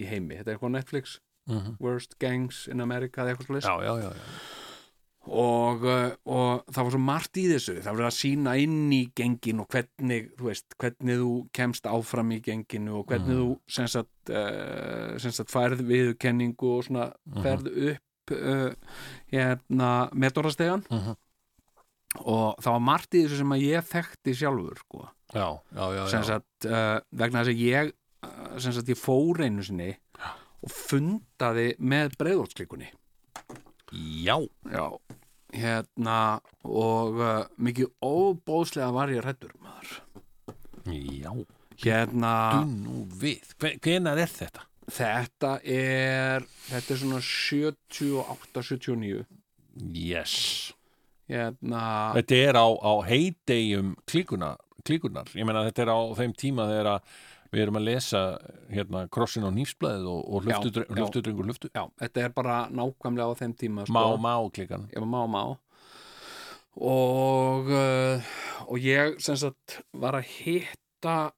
S3: í heimi, þetta er eitthvað á Netflix
S2: Mhm.
S3: Worst Gangs in America eða eitthvað slúðis
S2: Já, já, já, já.
S3: og, uh, og það var svo margt í þessu það var að sína inn í gengin og hvernig, þú veist, hvernig þú kemst áfram í genginu og hvernig
S2: Mm.
S3: þú sem sagt, uh, sem sagt færð viðurkenningu og svona
S2: Mhm.
S3: ferð upp uh, hérna metórastegan
S2: Mhm.
S3: og það var margt í þessu sem að ég þekkti sjálfur sko
S2: Já, já, já, já.
S3: sem sagt, uh, vegna þess að ég uh, sem sagt, ég fór einu sinni og fundaði með breiðortsklikunni
S2: já.
S3: já hérna og uh, mikið óbóðslega var ég rættur maður
S2: Já,
S3: hérna
S2: þú nú við Hve- Hvenær er þetta?
S3: þetta er þetta er svona 78-79
S2: Yes
S3: hérna
S2: Þetta er á, á heidegjum klíkunar, klíkunar Ég meina þetta er á þeim tíma þegar að við erum að lesa hérna krossin á nýfsblæðið og, og
S3: Já,
S2: hlöftudre-
S3: já.
S2: hlöftudrengur hlöftu
S3: já, þetta er bara nákvæmlega á þeim tíma sko.
S2: Má, má klíkan
S3: ég var má má og uh, og ég sem sagt var að hitta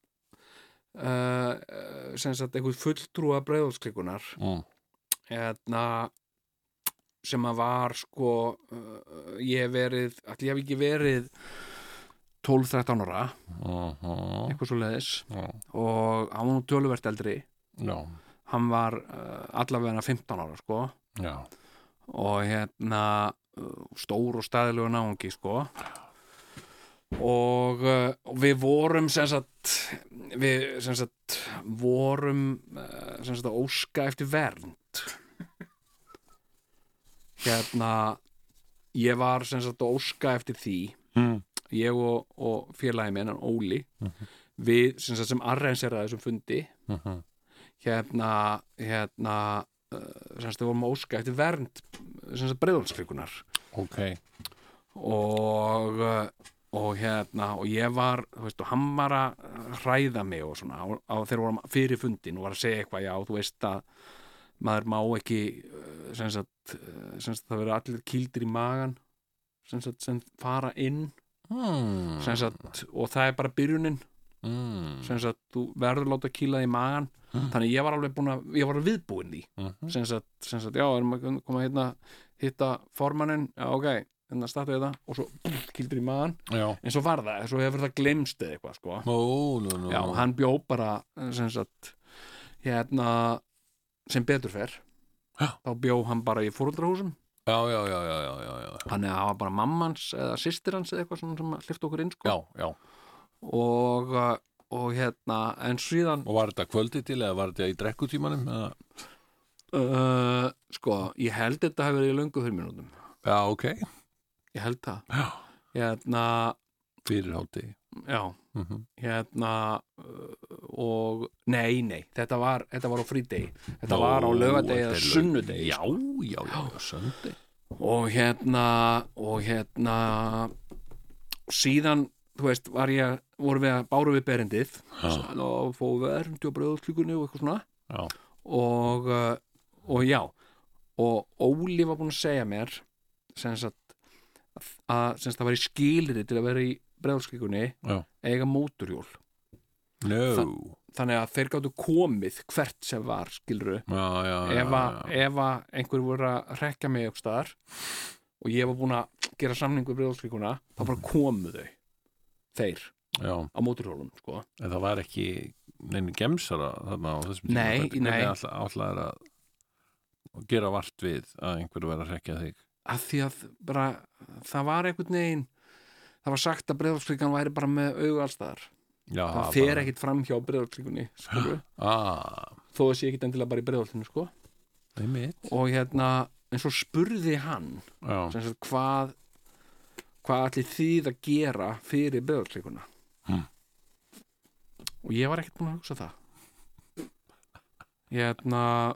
S3: uh, sem sagt einhver fulltrúa breiðolsklikunar
S2: mm.
S3: hérna sem að var sko uh, ég hef verið, allir ég hef ekki verið 12-13 ára
S2: uh -huh.
S3: eitthvað svo leiðis
S2: Já,
S3: og hann var nú töluvert eldri
S2: já,
S3: hann var uh, allavega 15 ára sko
S2: já
S3: og hérna uh, stór og staðilegu náungi sko og, uh, og við vorum sem sagt við sem sagt vorum uh, sem sagt að óska eftir vernd hérna ég var sem sagt að óska eftir því
S2: Mm.
S3: ég og, og félagi minn, hann Óli við sem sagt sem arrenseraði þessum fundi
S2: Mhm.
S3: hérna hérna uh, semst við vorum að óska eftir vernd semst breiðolskrikunar
S2: Ok,
S3: og uh, og hérna, og ég var þú veist, og hann var að hræða mig og svona, á, á þegar vorum fyrir fundin og var að segja eitthvað, já, þú veist að maður má ekki eh, sem sagt, eh, sem sagt það verður allir kýldir í magan sem sagt, sem fara inn
S2: Mm.
S3: sem sagt, og það er bara byrjunin
S2: Mm.
S3: sem sagt, þú verður láta kýla þig í magan þannig að ég var alveg búin að, ég var viðbúin því
S2: Mhm.
S3: sem sagt, sem sagt, já, erum að koma hérna hitta formannin, já, ok hérna startu þetta og svo kýldur í magan
S2: Já.
S3: en svo var það, svo hefur það glemst eða eitthvað, sko
S2: Ó, nú, nú,
S3: já,
S2: nú.
S3: hann bjó bara, sem sagt hérna, sem betur fer
S2: Já.
S3: þá bjó hann bara í fóröldrahúsum
S2: já, já, já, já, já, já, já.
S3: hann eða hafa bara mammans eða systir hans eða eitthvað svona sem hlifta okkur inn, sko
S2: Já, já.
S3: og, uh, og hérna, en síðan
S2: Og var þetta kvöldið til eða var þetta í drekkutímanum? Eða?
S3: uh, sko, ég held þetta hefur verið í löngu þurr mínútum
S2: Já, ok.
S3: ég held það
S2: Já.
S3: hérna,
S2: Fyrir hátti.
S3: já,
S2: Mm -hmm.
S3: hérna uh, og, nei, nei þetta var, þetta var á frídegi þetta
S2: Nó,
S3: var á lögadegi
S2: þetta
S3: eða
S2: er laug-
S3: sunnudegi sko.
S2: Já, já, já, já, söndi.
S3: og hérna og hérna síðan, þú veist, var ég vorum við að báru við berendið
S2: Já.
S3: og fóðum við erindi og bröðklíkunni og eitthvað svona
S2: Já.
S3: og, uh, og já og Óli var búinn að segja mér sem sagt að sem sagt, það var í skilrið til að vera í brjóðskikunni
S2: Já.
S3: eiga móturhjól
S2: No.
S3: þannig að þeir gáttu komið hvert sem var skilru
S2: Já, já, já.
S3: ef, að,
S2: já.
S3: ef að einhver voru að rekja mig upp staðar og ég var búinn að gera samningu brjóðskikuna þá
S2: Mhm.
S3: bara komu þau þeir
S2: já.
S3: á móturhjólum sko.
S2: En það var ekki neinu gemsara þarna á þessum tíma.
S3: Nei,
S2: Hvernig
S3: nei.
S2: Alltaf, alltaf er að að gera vart við að einhverju vera að rekja þig.
S3: að því að bara, það var einhvern veginn það var sagt að breyðalskrikan væri bara með augu allstaðar
S2: Já,
S3: það fer ekkit fram hjá breyðalskrikunni þó
S2: Ah,
S3: að sé ekkit endilega bara í breyðalskrikunni sko.
S2: það er mitt.
S3: og hérna, en svo spurði hann
S2: Já.
S3: sem sagt hvað hvað allir þið að gera fyrir breyðalskrikuna
S2: Hmm.
S3: og ég var ekkit búin að hugsa það hérna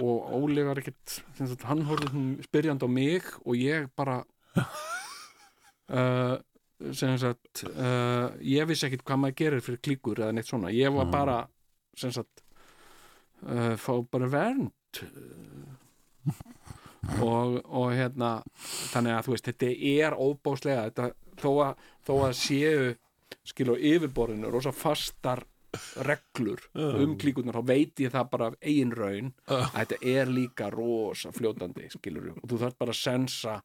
S3: og Óli var ekkit sem sagt, hann horfði svona spyrjandi á mig og ég bara uh, sem sagt uh, ég vissi ekkit hvað maður gerir fyrir klíkur eða neitt svona, ég var
S2: Mm.
S3: bara sem sagt uh, fá bara vernd og, og hérna þannig að þú veist, þetta er óbáslega þetta, þó, að, þó að séu skil á yfirborðinu rosa fastar reglur um klíkunar, þá veit ég það bara af eigin raun
S2: Oh.
S3: að þetta er líka rosa fljótandi skilur og þú þarf bara að sensa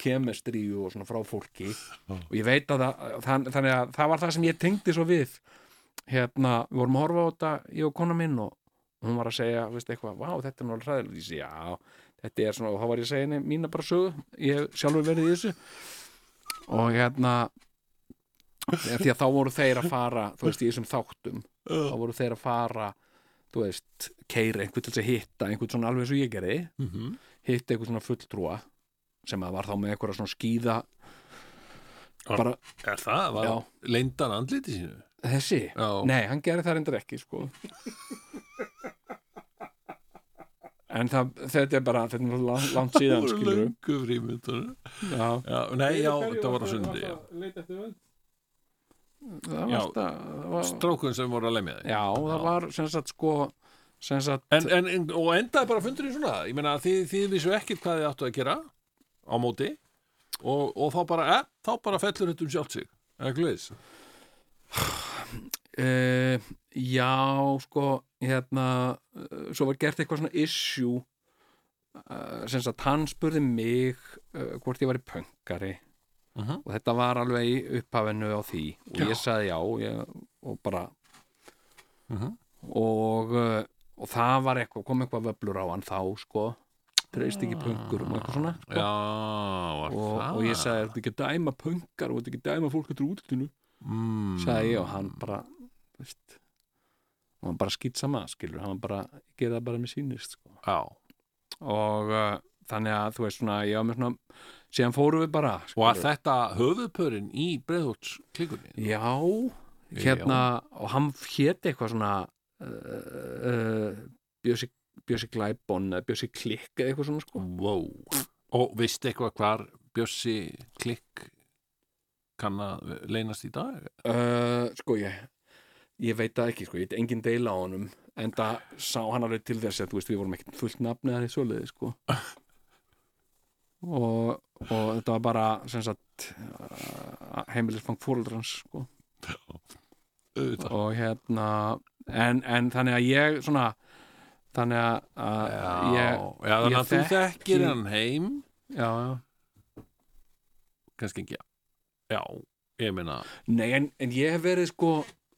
S3: kemestríu og svona frá fólki og ég veit að það, þann, þannig að það var það sem ég tengdi svo við hérna, við vorum að horfa á þetta ég og kona minn og hún var að segja veist eitthvað, vá, þetta er náttúrulega hræðilegt ég segi, já, þetta er svona, og þá var ég að segja henni mína bara sögu, ég hef sjálfur verið í þessu og hérna eða því að þá voru þeir að fara þú veist, í þessum þáttum þá voru þeir að fara, þú veist keira einhvern til þess að hitta einhvern svona alveg eins og ég gerði,
S2: Mhm.
S3: hitta einhvern svona fulltrúa sem að var þá með einhverja svona skýða bara,
S2: Er það? Var
S3: Já.
S2: leyndan andliti sínu?
S3: þessi
S2: Já.
S3: Nei, hann gerði það reyndar ekki sko. En það, þetta er bara þetta er nú langt, langt síðan skilur
S2: Löngu frímyndunum.
S3: Já,
S2: Já, nei, já, þetta var á sundi já.
S3: það
S2: Já.
S3: var, það, það var
S2: Strákun sem voru að lemja þig
S3: Já, það var sem sagt sko sem sagt,
S2: en, en, en, Og endaði bara fundurinn svona Ég meina, þið, þið vissu ekkert hvað þið áttu að gera á móti og, og þá bara, eh, þá bara fellur þetta um sjálft sig eða glöðis
S3: uh, já sko hérna uh, svo var gert eitthvað svona issue uh, sem sagt hann spurði mig uh, hvort ég var í pöngari
S2: Mhm.
S3: og þetta var alveg í upphafinu á því og
S2: Já.
S3: ég sagði já ég, og bara
S2: Mhm.
S3: og, uh, og það var eitthvað kom eitthvað vöblur á hann þá sko treyst ekki pöngurum og eitthvað svona sko.
S2: Já, var
S3: og,
S2: það
S3: og ég sagði, "Ertu ekki að dæma pöngar og ertu ekki að dæma fólk eftir útlutinu
S2: mm,
S3: sagði ég og hann bara þú veist hann var bara skýt sama, skilur, hann var bara gera það bara með sínist, sko
S2: Já,
S3: og uh, þannig að, þú veist, svona, ég var með svona síðan fórum við bara,
S2: og
S3: skilur
S2: að þetta höfuðpörin í breiðhóts klíkunni
S3: já, hérna og hann héti eitthvað svona uh, uh, bjösi, bjösi glæbon eða bjösi klikk eða eitthvað svona, sko
S2: Wow Og veistu eitthvað hvar Bjössi klikk kann að leynast í dag?
S3: Uh, sko ég ég veit það ekki sko, ég veit engin deila á honum en það sá hann alveg til þess að þú veist við vorum ekkert fullt nafni að þessu liði sko og, og þetta var bara sem sagt uh, heimilisfang fóreldrans sko
S2: Auðvitað.
S3: og hérna en, en þannig að ég svona þannig að, að
S2: Já,
S3: ég,
S2: já þannig að þú
S3: ég þekki-
S2: þekkir hann heim
S3: já, já
S2: kannski ekki Já, ég meina
S3: Nei, en, en ég hef verið sko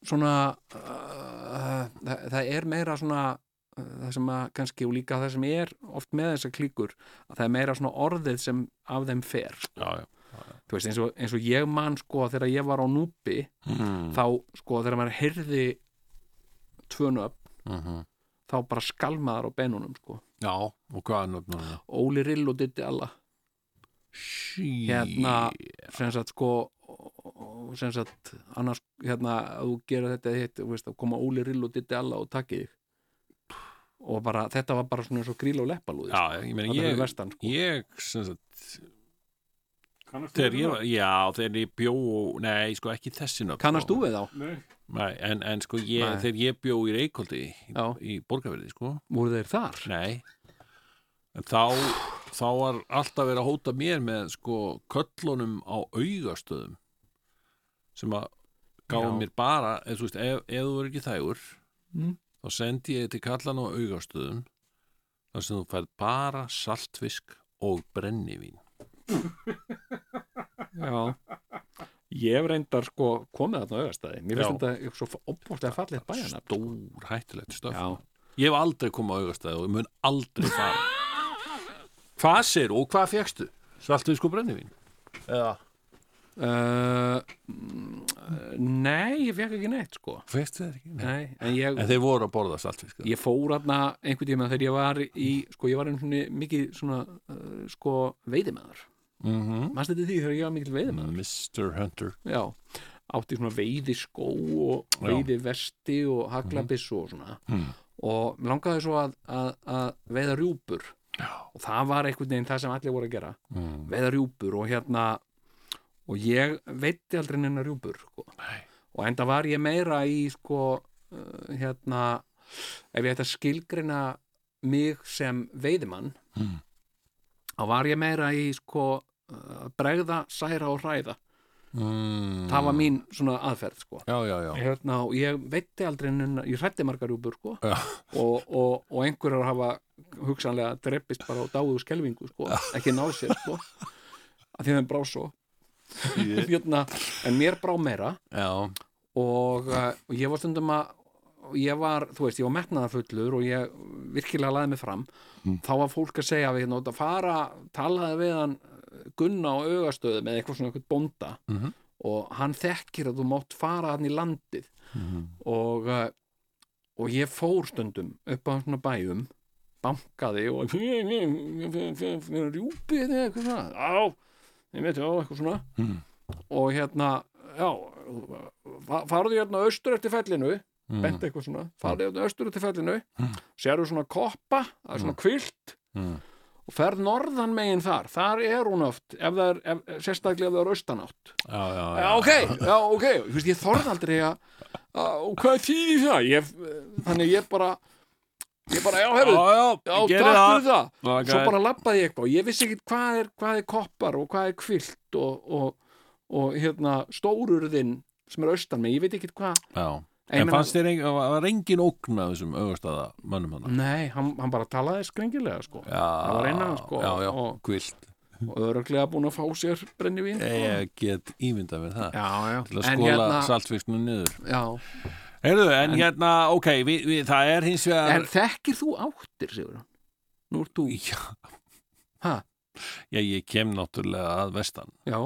S3: svona uh, það, það er meira svona uh, það sem að kannski og líka það sem er oft með þessar klíkur að það er meira svona orðið sem af þeim fer
S2: Já, já
S3: þú veist, eins og, eins og ég man sko að þegar ég var á núpi
S2: mm.
S3: þá sko þegar maður heyrði tvönu upp
S2: mm
S3: þá bara skalmaðar á benunum sko
S2: Já, og hvað er nöfnum það?
S3: Óli Rill og Ditti Alla
S2: Sí
S3: hérna sem sagt sko sem sagt annars hérna að þú gera þetta eða hitt þú veist, að koma Óli Rill og Ditti Alla og takki þig og bara þetta var bara svona eins og gríla og leppalúði
S2: Já, ég meina
S3: það er
S2: ég,
S3: vestan sko
S2: ég sem sagt,
S4: Kannast
S2: þegar ég var, já, þegar ég bjó nei, sko ekki þessi nöfn sko.
S3: kannast þú við þá?
S4: Nei,
S2: Nei, en, en sko ég,
S3: Nei.
S2: þegar ég bjó í Reykjóldi í,
S3: Já.
S2: í Borgarverði, sko
S3: voru þeir þar?
S2: Nei En þá, þá var alltaf verið að hóta mér með sko köllunum á augastöðum sem að gáði
S3: Já.
S2: mér bara eða þú veist, ef, ef þú verður ekki þægur
S3: Mm.
S2: þá sendi ég til kallan á augastöðum þar sem þú færð bara saltfisk og brennivín
S3: já ég hef reyndar sko komið þarna á auðvastæði mér
S2: Já.
S3: finnst þetta eitthvað svo opvort að fallið bæjana
S2: Stór hættulegt stöf
S3: sko. já
S2: Ég hef aldrei komið á augastæði og ég mun aldrei fara Hvað sér og hvað fegstu? Saltfisk og brennivín Eða
S3: uh, nei, ég fekk ekki neitt sko
S2: Fegstu þér ekki? Nei.
S3: nei, en ég
S2: En þeir voru að borða saltfisk
S3: ég fór aðna einhvern tíma þegar ég var í, sko ég var einu svona mikið svona, uh, sko veiðimæður
S2: mm -hmm.
S3: mannst þetta því þegar ég var mikil veiðimæður
S2: Mr. Hunter
S3: já, átti svona veiðiskó og
S2: Já.
S3: veiðivesti og haglabissu og svona
S2: Mm.
S3: og mig langaði svo að, að, að veiða rjúpur
S2: Já.
S3: og það var einhvern veginn það sem allir voru að gera
S2: mm.
S3: veiða rjúpur og hérna og ég veitti aldrei neina rjúpur sko.
S2: Nei.
S3: og enda var ég meira í sko uh, hérna ef ég ætti að skilgrina mig sem veiðimann
S2: Mm.
S3: þá var ég meira í sko uh, bregða, særa og hræða
S2: Mm.
S3: það var mín svona aðferð sko
S2: Já, já, já
S3: hérna og ég veitti aldrei neina, ég hrætti margar rjúpur sko
S2: Já.
S3: og, og, og einhverjar hafa hugsanlega dreppist bara á dáðu skelvingu sko, ekki náð sér sko að því að þeim brá svo hérna, en mér brá meira
S2: Já,
S3: og, uh, og ég var stundum að og ég var, þú veist, ég var metnaðarfullur og ég virkilega laði mig fram þá var fólk að segja við hérna út að fara talaði við hann uh, Gunna á augastöðu með eitthvað svona eitthvað bónda
S2: Mhm.
S3: og hann þekkir að þú mátt fara hann í landið og, uh, og ég fór stundum upp á svona bæjum bankaði og rjúpið eða eitthvað svona á, ég veit, já, eitthvað svona
S2: Mhm.
S3: og hérna, já fa- farðu hérna austur eftir fellinu mm. bent eitthvað svona, farðu hérna austur eftir fellinu mm. sérðu svona koppa það er svona kvilt
S2: Mm.
S3: og ferð norðan megin þar, þar er hún oft ef það er, ef, sérstaklega ef það er austanátt
S2: já, já,
S3: já, ok, já, ok Þú veist, ég þorð aldrei að að- og hvað þýðir það ég, þannig ég bara ég bara, já, herru,
S2: já,
S3: já,
S2: ég geri
S3: takk fyrir það
S2: Ok.
S3: svo bara labbaði ég eitthvað og ég vissi ekkit hvað er, hvað er koppar og hvað er kvilt og, og, og hérna stórurðin sem er austan mig, ég veit ekkit hvað
S2: Já,
S3: Ég
S2: en
S3: meina-
S2: fannst þér engin, var engin ógn af þessum augastæða mönnum hana?
S3: nei, hann, hann bara talaði skringilega sko.
S2: Já,
S3: Mm. það var eina sko,
S2: já, já,
S3: og,
S2: kvilt
S3: og öruglega búin að fá sér brennivín sko.
S2: Ég get ímyndað mér það
S3: já, já,
S2: Til að
S3: en
S2: skóla
S3: hérna
S2: hérna... saltfisknu niður
S3: já.
S2: Heyrðu, en, hérna, ok, vi, vi, það er hins vegar
S3: en þekkir þú áttir, Sigur nú ert þú,
S2: Já,
S3: ha,
S2: já, ég kem náttúrulega að vestan
S3: já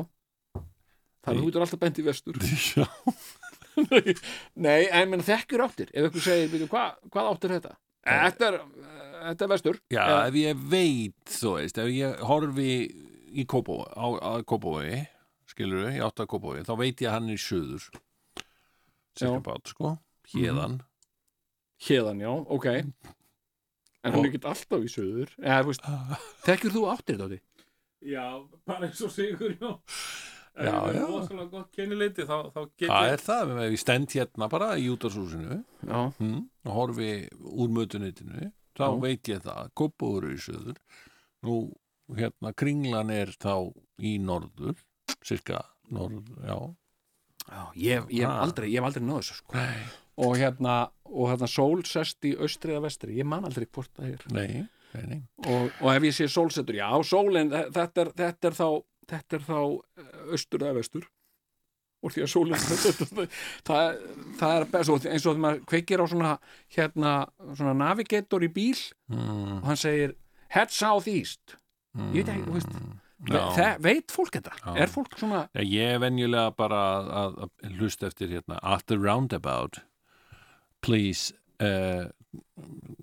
S3: þannig að þú getur alltaf bent í vestur
S2: Já,
S3: Nei, en menn þekkir áttir ef ykkur segir, veitum, hva, hvað áttir þetta? Þetta er, þetta er vestur
S2: Já,
S3: Eða-
S2: ef ég veit, þú veist, ef ég horfi í Kópói, á, á Kópói, skilur við, ég átt að Kópói, þá veit ég að hann er í söður,
S3: Já.
S2: sérkabát, sko, hérðan.
S3: Hérðan, já, ok En hann er ekkert alltaf í söður
S2: Mhm.
S3: Eða, þú veist, þekkir þú áttir þetta átti?
S4: já, bara eins og sigur já.
S2: Já,
S4: ég
S2: já.
S4: er rosalega gott kennileiti þá, þá get
S2: Það
S4: ég
S2: er það, ef ég stend hérna bara í útarsúsinu
S3: já,
S2: mm, og horfi úr mötuneytinu, þá
S3: Já.
S2: veit ég það, kópaður er í söður, nú hérna kringlan er þá í norður, cirka norður, já,
S3: já ég, ég, hef
S2: Ah.
S3: aldrei, ég hef aldrei náðu þessu sko. og hérna og hérna sól sest í austri eða vestri ég man aldrei hvort það er
S2: nei, nei, nei.
S3: og, og ef ég sé sólsetur, já, sólin þe- þetta er, þetta er þá þetta er þá eh, austur eða vestur og því að sólin það, það er best og eins og þegar maður kveikir á svona hérna, svona navigator í bíl
S2: Mm,
S3: og hann segir head south east ég veit ekki, þú veist
S2: Mm. já.
S3: það, veit fólk þetta,
S2: Já.
S3: er fólk svona
S2: Já, ég er venjulega bara að, að, að hlusta eftir hérna At the roundabout Please uh,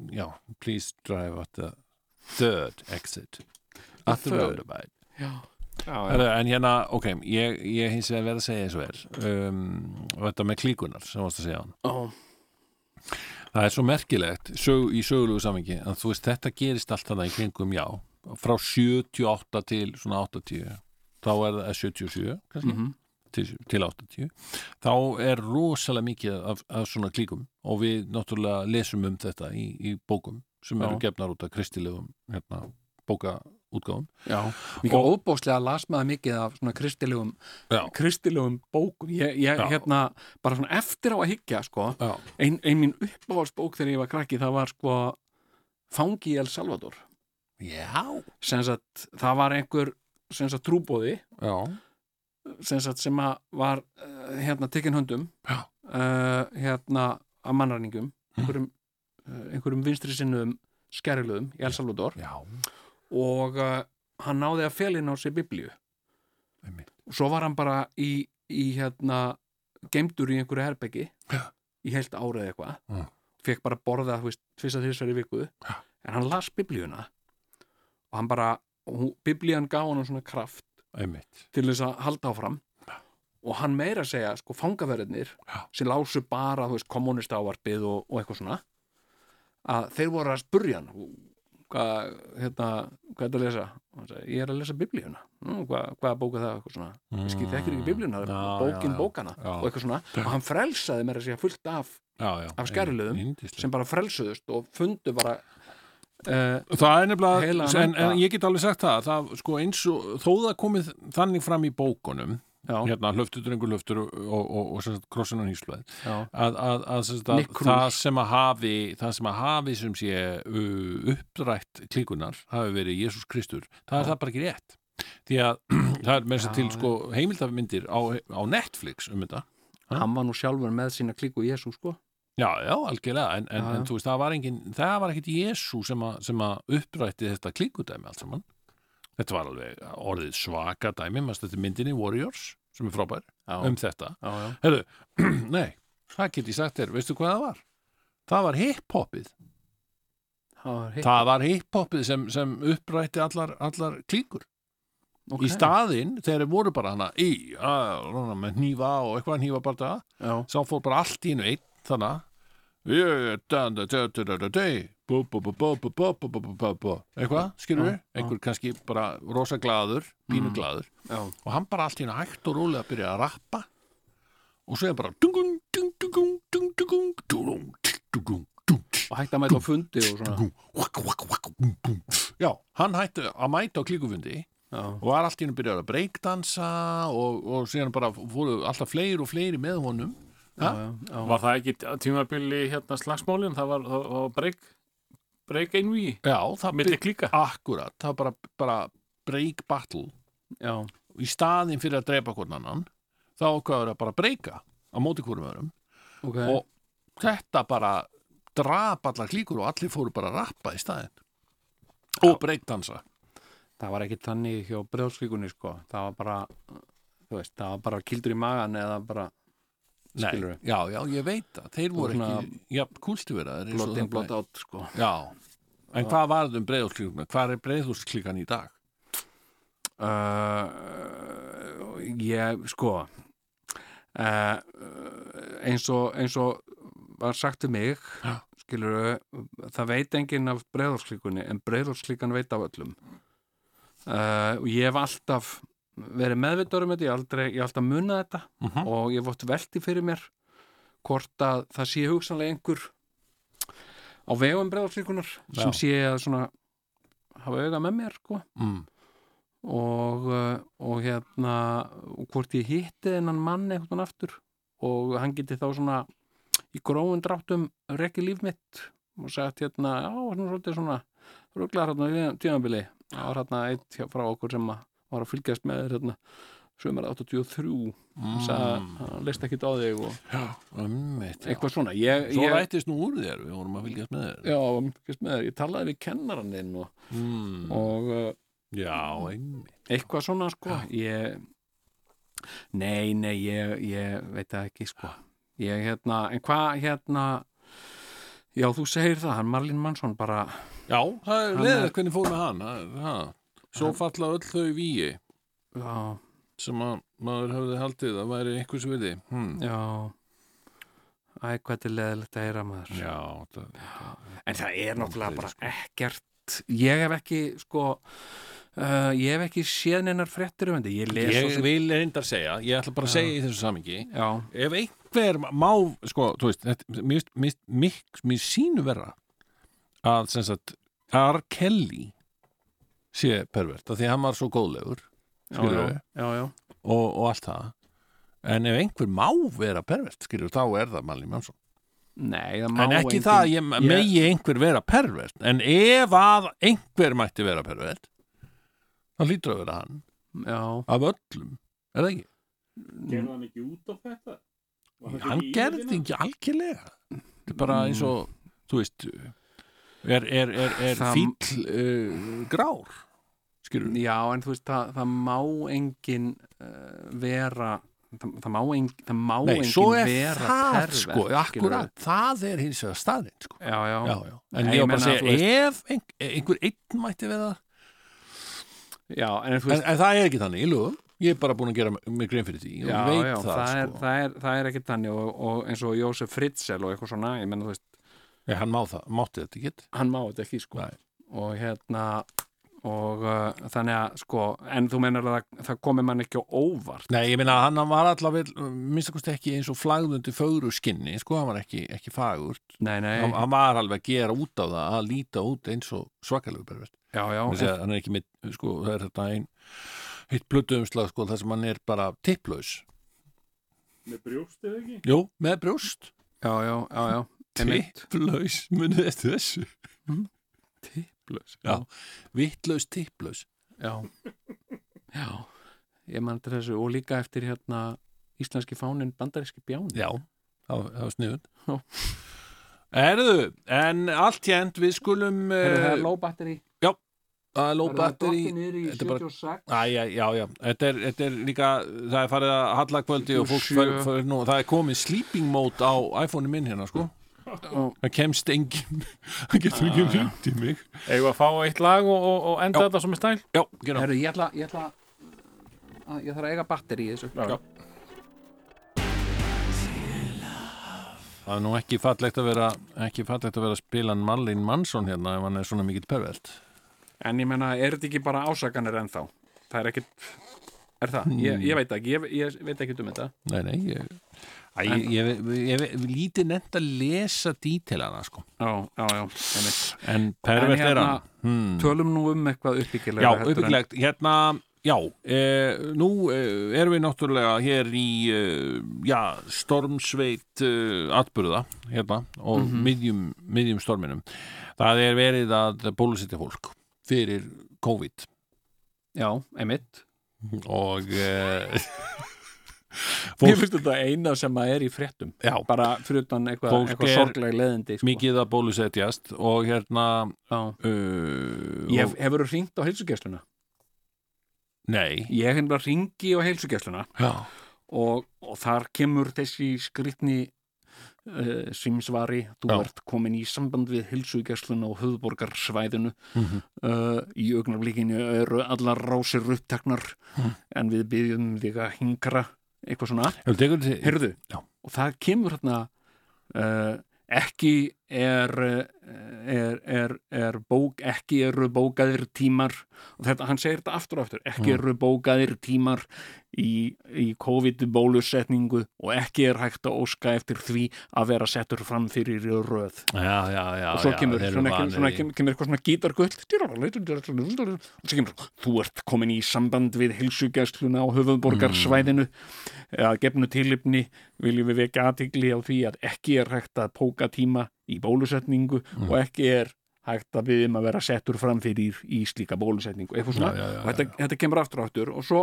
S2: Já, please drive at the third exit At the
S3: third.
S2: roundabout
S3: já, já,
S2: Herru, En hérna, ok, ég, ég hins vegar verð að segja eins og er um, og Þetta með klíkunar sem varst að segja hann
S3: já,
S2: Það er svo merkilegt sög, í sögulegu samingi að þú veist þetta gerist allt þannig í kringum já frá 78 til svona 80 þá er það eh, 77 kannski,
S3: Mhm.
S2: til, til 80 þá er rosalega mikið af, af svona klíkum og við náttúrulega lesum um þetta í, í bókum sem eru gefnar út af kristilegum hérna, bókaútgáfum
S3: já. Mikið óbóðslega las maður mikið af svona kristilegum
S2: Já.
S3: kristilegum bókum ég, ég
S2: Já.
S3: hérna, bara svona eftir á að hyggja sko,
S2: Já,
S3: ein, ein mín uppáhaldsbók þegar ég var krakki, það var sko Fangi í El Salvador
S2: já,
S3: sem sagt, það var einhver sem sagt trúbóði
S2: já.
S3: sem, sagt, sem að var uh, hérna tekin höndum uh,
S2: Já. Mm.
S3: hérna af mannræningum einhverjum, uh, einhverjum vinstri sinnum skæriluðum í El Salvador
S2: já.
S3: og uh, hann náði að felin á sér biblíu
S2: Einmitt.
S3: og svo var hann bara í, í hérna gemdur í einhverju herbeggi
S2: Já.
S3: í heilt árið eitthvað
S2: Já.
S3: fekk bara borða þú veist, tvisa þessari viku
S2: Já.
S3: en hann las biblíuna og hann bara, og hún, biblían gaf hann svona kraft
S2: einmitt
S3: til þess að halda áfram og hann meira að segja, sko, fangaverðinir
S2: Já.
S3: sem lásu bara, þú veist, kommunistávarpið og, og eitthvað svona að þeir voru að spurja hann hvað, hérna, hvað er þetta að lesa og hann sagði, ég er að lesa biblíuna mm, hvað, hvaða bóka það, eitthvað svona ég skil þekkir ekki biblíuna, það
S2: Mm, Já,
S3: er bókin
S2: já, já.
S3: bókana
S2: Já.
S3: og eitthvað svona, og hann frelsaði meira að segja fullt af
S2: já, já.
S3: Af skæruliðum
S2: Yndislegt.
S3: sem bara frelsuðust og fundu bara uh,
S2: Það er nefnilega,
S3: Heilagan
S2: en,
S3: anda.
S2: en ég get alveg sagt það, það sko eins og þó það komið þannig fram í bókunum,
S3: já,
S2: hérna hlöftudrengur hlöftur og, og, og, og, og krossin og nýsluð,
S3: já,
S2: að, að, að, sem sagt að
S3: Nick Cruz.
S2: það sem að hafi, það sem að hafi sem sé u- upprætt klíkunar hafi verið Jésús Kristur, það er það bara ekki rétt. Því að það er með þess að
S3: Já,
S2: til
S3: já.
S2: sko heimildafmyndir á, á Netflix um þetta.
S3: hann var nú sjálfur með sína klíku Jésu, sko
S2: Já, já, algjörlega, en, en,
S3: Já, já.
S2: en þú veist, það var, engin, það var ekkit Jésu sem, að- sem að upprætti þetta klíkudæmi allt saman. Þetta var alveg orðið svaka dæmi, maður stætti myndinni Warriors, sem er frábær,
S3: já,
S2: um þetta.
S3: já, já.
S2: Hefðu, nei, það get ég sagt þér, veistu hvað það var? Það var hip-hopið.
S3: Það var hitt.
S2: Það var hip-hopið sem, sem upprætti allar, allar klíkur.
S3: Ok.
S2: Í staðinn, þegar þeir voru bara hana í, að, með hnífa og eitthvað hnífa bara það,
S3: já,
S2: sá fór bara allt í einu einn þannig eitthvað, skilur við einhver kannski bara rosa glaður pínu glaður
S3: Mm. já,
S2: og hann bara allt í einu hægt og rólega að byrja að rappa og svo er bara dungun, dung, dungun, dung, dungun, dungun, dungun, dung,
S3: og hægt að mæta á fundi og svona
S2: dungun, wak, wak, wak, bum, bum. já, hann hætti að mæta á klíkufundi
S3: já,
S2: og var allt í hennu byrjar að breakdansa og, og síðan bara fóru alltaf fleiri og fleiri með honum
S3: já, já, já.
S4: Var það ekki tímabili hérna slagsmálin? Það var, það var breyk, breyk einví,
S2: Já, það
S4: milli
S2: byrjar
S4: klíka.
S2: akkurat, það var bara, bara break battle
S3: já,
S2: í staðin fyrir að drepa hvern annan þá ákvaður að bara breyka á móti hverjum öðrum
S3: ok
S2: og þetta bara drap allar klíkur og allir fóru bara að rappa í staðin og breakdansa
S3: það var ekki þannig hjá brjóðskvíkunni sko það var bara, þú veist, það var bara kildur í magan eða bara
S2: Nei,
S3: skilur við,
S2: Já, já, ég veit það, þeir voru
S3: svona-
S2: ekki jafn kultiveraðir eins og
S3: blott inn,
S2: það
S3: blott
S2: blæ-
S3: átt sko
S2: Já, en hvað varð um breiðhúsklíkuna? Hvað er breiðhúsklíkan í dag?
S3: uh, Eh, ég, sko uh, eins og eins og var sagt um mig
S2: Já.
S3: skilur það veit enginn af breyðarslíkunni en breyðarslíkan veit af öllum uh, og ég Eh, hef alltaf verið meðvitaður um þetta, ég hef aldrei, ég hef alltaf munað þetta og ég hef oft velti fyrir mér hvort að það sé hugsanlega einhver á vegum breyðarsvíkunar sem sé að svona hafa auga með mér sko.
S2: Mm.
S3: og, uh, og hérna og hvort ég hitti þennan mann eitthvað aftur og hann geti þá svona í grófum dráttum rekki líf mitt og sagt hérna, já, hann er svolítið svona rugglar hérna við tímabili það var hérna eitt hjá- frá okkur sem að var að fylgjast með þér hérna sömur 83 mm. sagði, hann leist ekki á þig og
S2: Einmitt, já.
S3: eitthvað svona ég,
S2: Svo
S3: ég,
S2: rættist nú úr þér, við vorum að fylgjast með þér
S3: já, hann fylgist með þér, ég talaði við kennaran þinn og,
S2: mm.
S3: og uh,
S2: Já, einmitt
S3: eitthvað svona sko ég, nei, nei ég, ég veit það ekki sko ég hérna, en hvað hérna já, þú segir það hann Marlin Mansson bara
S2: Já, það er
S3: Hann
S2: leðið
S3: er-
S2: hvernig fór með hann það, það. Svo falla öll þau víi
S3: já,
S2: sem að maður hafði haldið að væri einhvers viti hmm.
S3: já æ, hvað þetta er leðilegt að heyra maður
S2: Já, það,
S3: en það er náttúrulega
S2: Vonbrigði,
S3: bara
S2: sko.
S3: ekkert ég hef ekki sko uh, ég hef ekki séð neinar fréttir um þetta ég les svo
S2: ég
S3: sem-
S2: vil reyndar segja ég ætla bara að segja í þessu samingi
S3: já,
S2: ef einhver má sko, þú veist, þetta, mér, finnst- mér, finnst- mér, mér sínu vera að sem sagt, R. Kelly sé pervert, af því að hann var svo góðlegur
S3: já,
S2: skilur
S3: já,
S2: við,
S3: já, já,
S2: og, og allt það en ef einhver má vera pervert, skilur, þá er það Malin Mansson,
S3: nei, það má
S2: en ekki
S3: engin-
S2: það að ég, megi einhver vera pervert, en ef að einhver mætti vera pervert þá hlýtur að vera hann
S3: já,
S2: af öllum, er það ekki?
S4: Gerði hann ekki út á þetta? Var þetta
S2: hann
S4: ekki í
S2: gerði
S4: yfirvinna?
S2: ekki algjörlega þetta er
S3: Mm.
S2: bara eins og þú veist er, er, er, er
S3: Það-
S2: fíll uh, grár skilur við
S3: Já, en þú veist, það, það má engin uh, vera það, það má, eng, það má
S2: Nei,
S3: engin
S2: svo er
S3: vera
S2: það
S3: pervert,
S2: sko,
S3: skilurðu.
S2: akkurat, það er hins vegar staðinn sko.
S3: Já, já,
S2: já,
S3: já,
S2: já. En
S3: Nei,
S2: ég
S3: ég
S2: var bara að
S3: meina, þú
S2: segja, ef ein, einhver einn mætti vera
S3: en þú
S2: en,
S3: veist
S2: en það er ekki þannig, í lögum Ég er bara búin að gera mig grein fyrir því og
S3: Já,
S2: veit
S3: já,
S2: það,
S3: er,
S2: sko.
S3: það, er, það er ekki þannig og, og eins og Jósef Fritzl og eitthvað svona, ég menna, þú veist,
S2: Nei, hann má það, mátti þetta ekki
S3: hann má þetta ekki, sko
S2: Nei.
S3: og hérna og uh, þannig að, sko, en þú menar að það, það komi mann ekki á óvart
S2: Nei, ég meina að hann hann var allavega minnstakosti ekki eins og flagðundi fögru skinni sko, hann var ekki, ekki fagurt
S3: Nei, nei,
S2: hann, hann var alveg að gera út á það að líta út eins og svakalegu pervert
S3: já, já,
S2: Þannig
S3: en,
S2: að hann er ekki með, sko, það er þetta ein hitt blöduumslag, sko, þar sem hann er bara tipplaus.
S4: Með brjóstið ekki?
S2: Jú, með brjóst
S3: já, já, já, já einmitt. Mm.
S2: tipplaus, munið eftir þessu
S3: Tipplaus,
S2: já, vittlaus tipplaus
S3: Já, já, ég mann til þessu og líka eftir hérna íslenski fánin bandaríski bjáni.
S2: já, það það var
S3: Já.
S2: sniðun Erðu, en allt jænt við skulum
S3: Heyrðu, það
S2: eh,
S3: er low battery.
S2: að low
S3: Það er
S2: battery
S3: dottið niður í
S2: þetta er bara-
S3: 76.
S2: Æ, já, já, já, þetta er, þetta er líka það er farið að halla kvöldi og fólk
S3: 77.
S2: fyrir, fyrir, nú, það er komið sleeping mode á iPhone-in minn hérna, sko
S3: Ó.
S2: það kemst engin það getur ekki hringt í mig
S4: Eigum við að fá eitt lag og, og, og enda þetta sem er stæl?
S2: já, gerum
S3: Herru, ég ætla, ég ætla að ég þarf að eiga batteri í þessu.
S4: Já.
S2: Það er nú ekki fallegt að vera ekki fallegt að vera að spila hann Marlin Mansson hérna ef hann er svona mikill pervelt
S3: En ég menna, er þetta ekki bara ásakanir ennþá? Það er ekkit, er það? Ég,
S2: Hmm.
S3: ég veit ekki, ég, ég veit ekki um þetta.
S2: Nei, nei, ég Æ, ég, ég, ég, ég, ég líti nefnt að lesa dítilana sko
S3: Já, já, já, einmitt.
S2: En pervert
S3: En
S2: er
S3: hérna-
S2: hann hmm.
S3: Tölum nú um eitthvað uppbyggilega.
S2: Já, uppbygglegt, hérna Já, e, nú e, erum við náttúrulega hér í e, já, stormsveit e, atburða, hérna og miðjum, miðjum storminum það er verið að bólusetja fólk fyrir COVID
S3: Já, einmitt.
S2: og e,
S3: Ég
S2: fólk,
S3: finnst þetta eina sem að er í fréttum.
S2: já,
S3: Bara fyrir utan eitthvað,
S2: Fólk
S3: eitthvað
S2: er
S3: sorgleg leðindi. Sko.
S2: mikið að bólusetjast og hérna
S3: Já.
S2: uh,
S3: Ég
S2: og,
S3: hef, hefur hringt á heilsugjæsluna
S2: nei,
S3: Ég hef bara hringi á heilsugjæsluna
S2: já,
S3: og, og þar kemur þessi skritni uh, símsvari þú
S2: Já.
S3: ert komin í samband við heilsugjæsluna og höfðborgarsvæðinu
S2: Mhm.
S3: uh, í augnablikinu eru allar rásir uppteknar en við byggjum þig að hingra eitthvað svona
S2: hefur tekur til
S3: Heyrðu,
S2: Já.
S3: og það kemur hérna uh, ekki eh, er, uh, er, er, er bók, ekki eru bókaðir tímar og þetta, hann segir þetta aftur og aftur ekki eru bókaðir tímar í, í COVID-bólusetningu og ekki er hægt að óska eftir því að vera settur fram fyrir í röð
S2: já, já, já
S3: og svo
S2: já, hérna,
S3: kemur,
S2: þeir eru
S3: svona, kemur,
S2: vanir
S3: svona,
S2: í-
S3: kemur, kemur eitthvað svona gítargull og svo kemur þú ert komin í samband við heilsugjæsluna á höfuðborgarsvæðinu
S2: Mm.
S3: að gefnu tilipni viljum við vekja aðtigli á því að ekki er hægt að póka tíma í bólusetningu
S2: Mm.
S3: og ekki er hægt að við um að vera settur fram fyrir í slíka bólusetningu eitthvað svona
S11: Já, já, já,
S3: og þetta, þetta kemur aftur og aftur og svo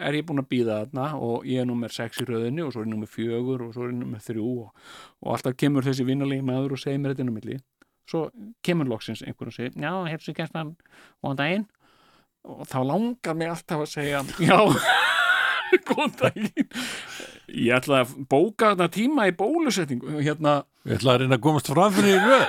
S3: er ég búin að býða þarna og ég er nummer 6 í röðinni og svo er ég nummer 4 og svo er ég nummer 3 og, og alltaf kemur þessi vinnarlegi maður og segir mér þetta inn á milli svo kemur loksins einhverjum og segir já, hefstu gæstan góðan daginn og þá langar mig alltaf að segja já, góðan daginn ég ætla að bóka þarna tíma í bólusetningu hérna,
S11: Ég ætla að reyna að komast fram fyrir í röð.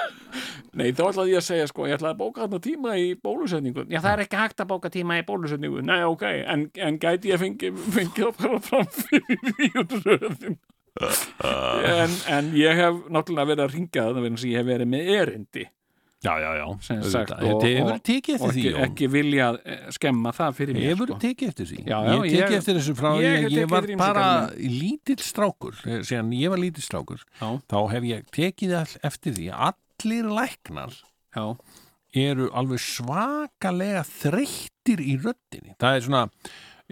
S3: Nei, þá ætlaði ég að segja sko, ég ætlaði að bóka þarna tíma í bólusetningu. Já, það er ekki hægt að bóka tíma í bólusetningu. Nei, ok, en, en gæti ég fengi, fengi að fara fram fyrir því út röðin. En, en ég hef náttúrulega verið að ringa þarna vegna sem ég hef verið með erindi
S2: já, já, já
S3: sem sagt
S2: Auðvitað. Þetta hefur tekið
S3: og
S2: eftir því
S3: ekki,
S2: Jón.
S3: ekki viljað eh, skemma það fyrir mér
S2: Hefur
S3: sko.
S2: tekið eftir því
S3: Já, já,
S2: Ég tekið
S3: ég-
S2: eftir þessu frá
S3: ég hef
S2: Ég,
S3: tekið
S2: ég var
S3: eftir ýmsu,
S2: bara
S3: Garðar
S2: lítill strákur eh, síðan ég var lítill strákur
S3: Já.
S2: þá hef ég tekið all- eftir því að allir læknar
S3: Já,
S2: eru alveg svakalega þreyttir í röddinni það er svona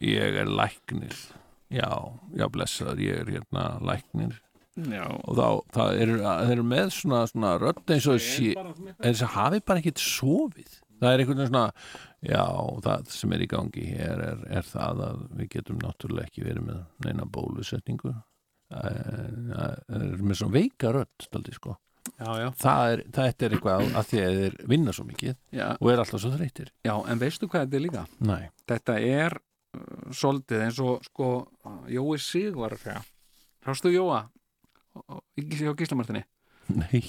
S2: ég er læknir já, já blessaður, ég er hérna læknir
S3: já,
S2: og þá, það eru, það eru með svona, svona rödd eins og sé, eins og hafi bara ekkert sofið það er einhvern veginn svona já, það sem er í gangi hér er, er það að við getum náttúrulega ekki verið með neina bólusetningu það er, það er með svona veika rödd daldi, sko.
S3: já, já,
S2: það er, þetta er eitthvað að því að þeir vinna svo mikið
S3: já,
S2: og er alltaf svo þreytir
S3: já, en veistu hvað þetta er líka?
S2: Nei.
S3: þetta er uh, svolítið eins og sko Jói Sig var að segja Hrástu Jóa Ó- ó, í Gís- hjá Gíslamartinni
S2: Nei,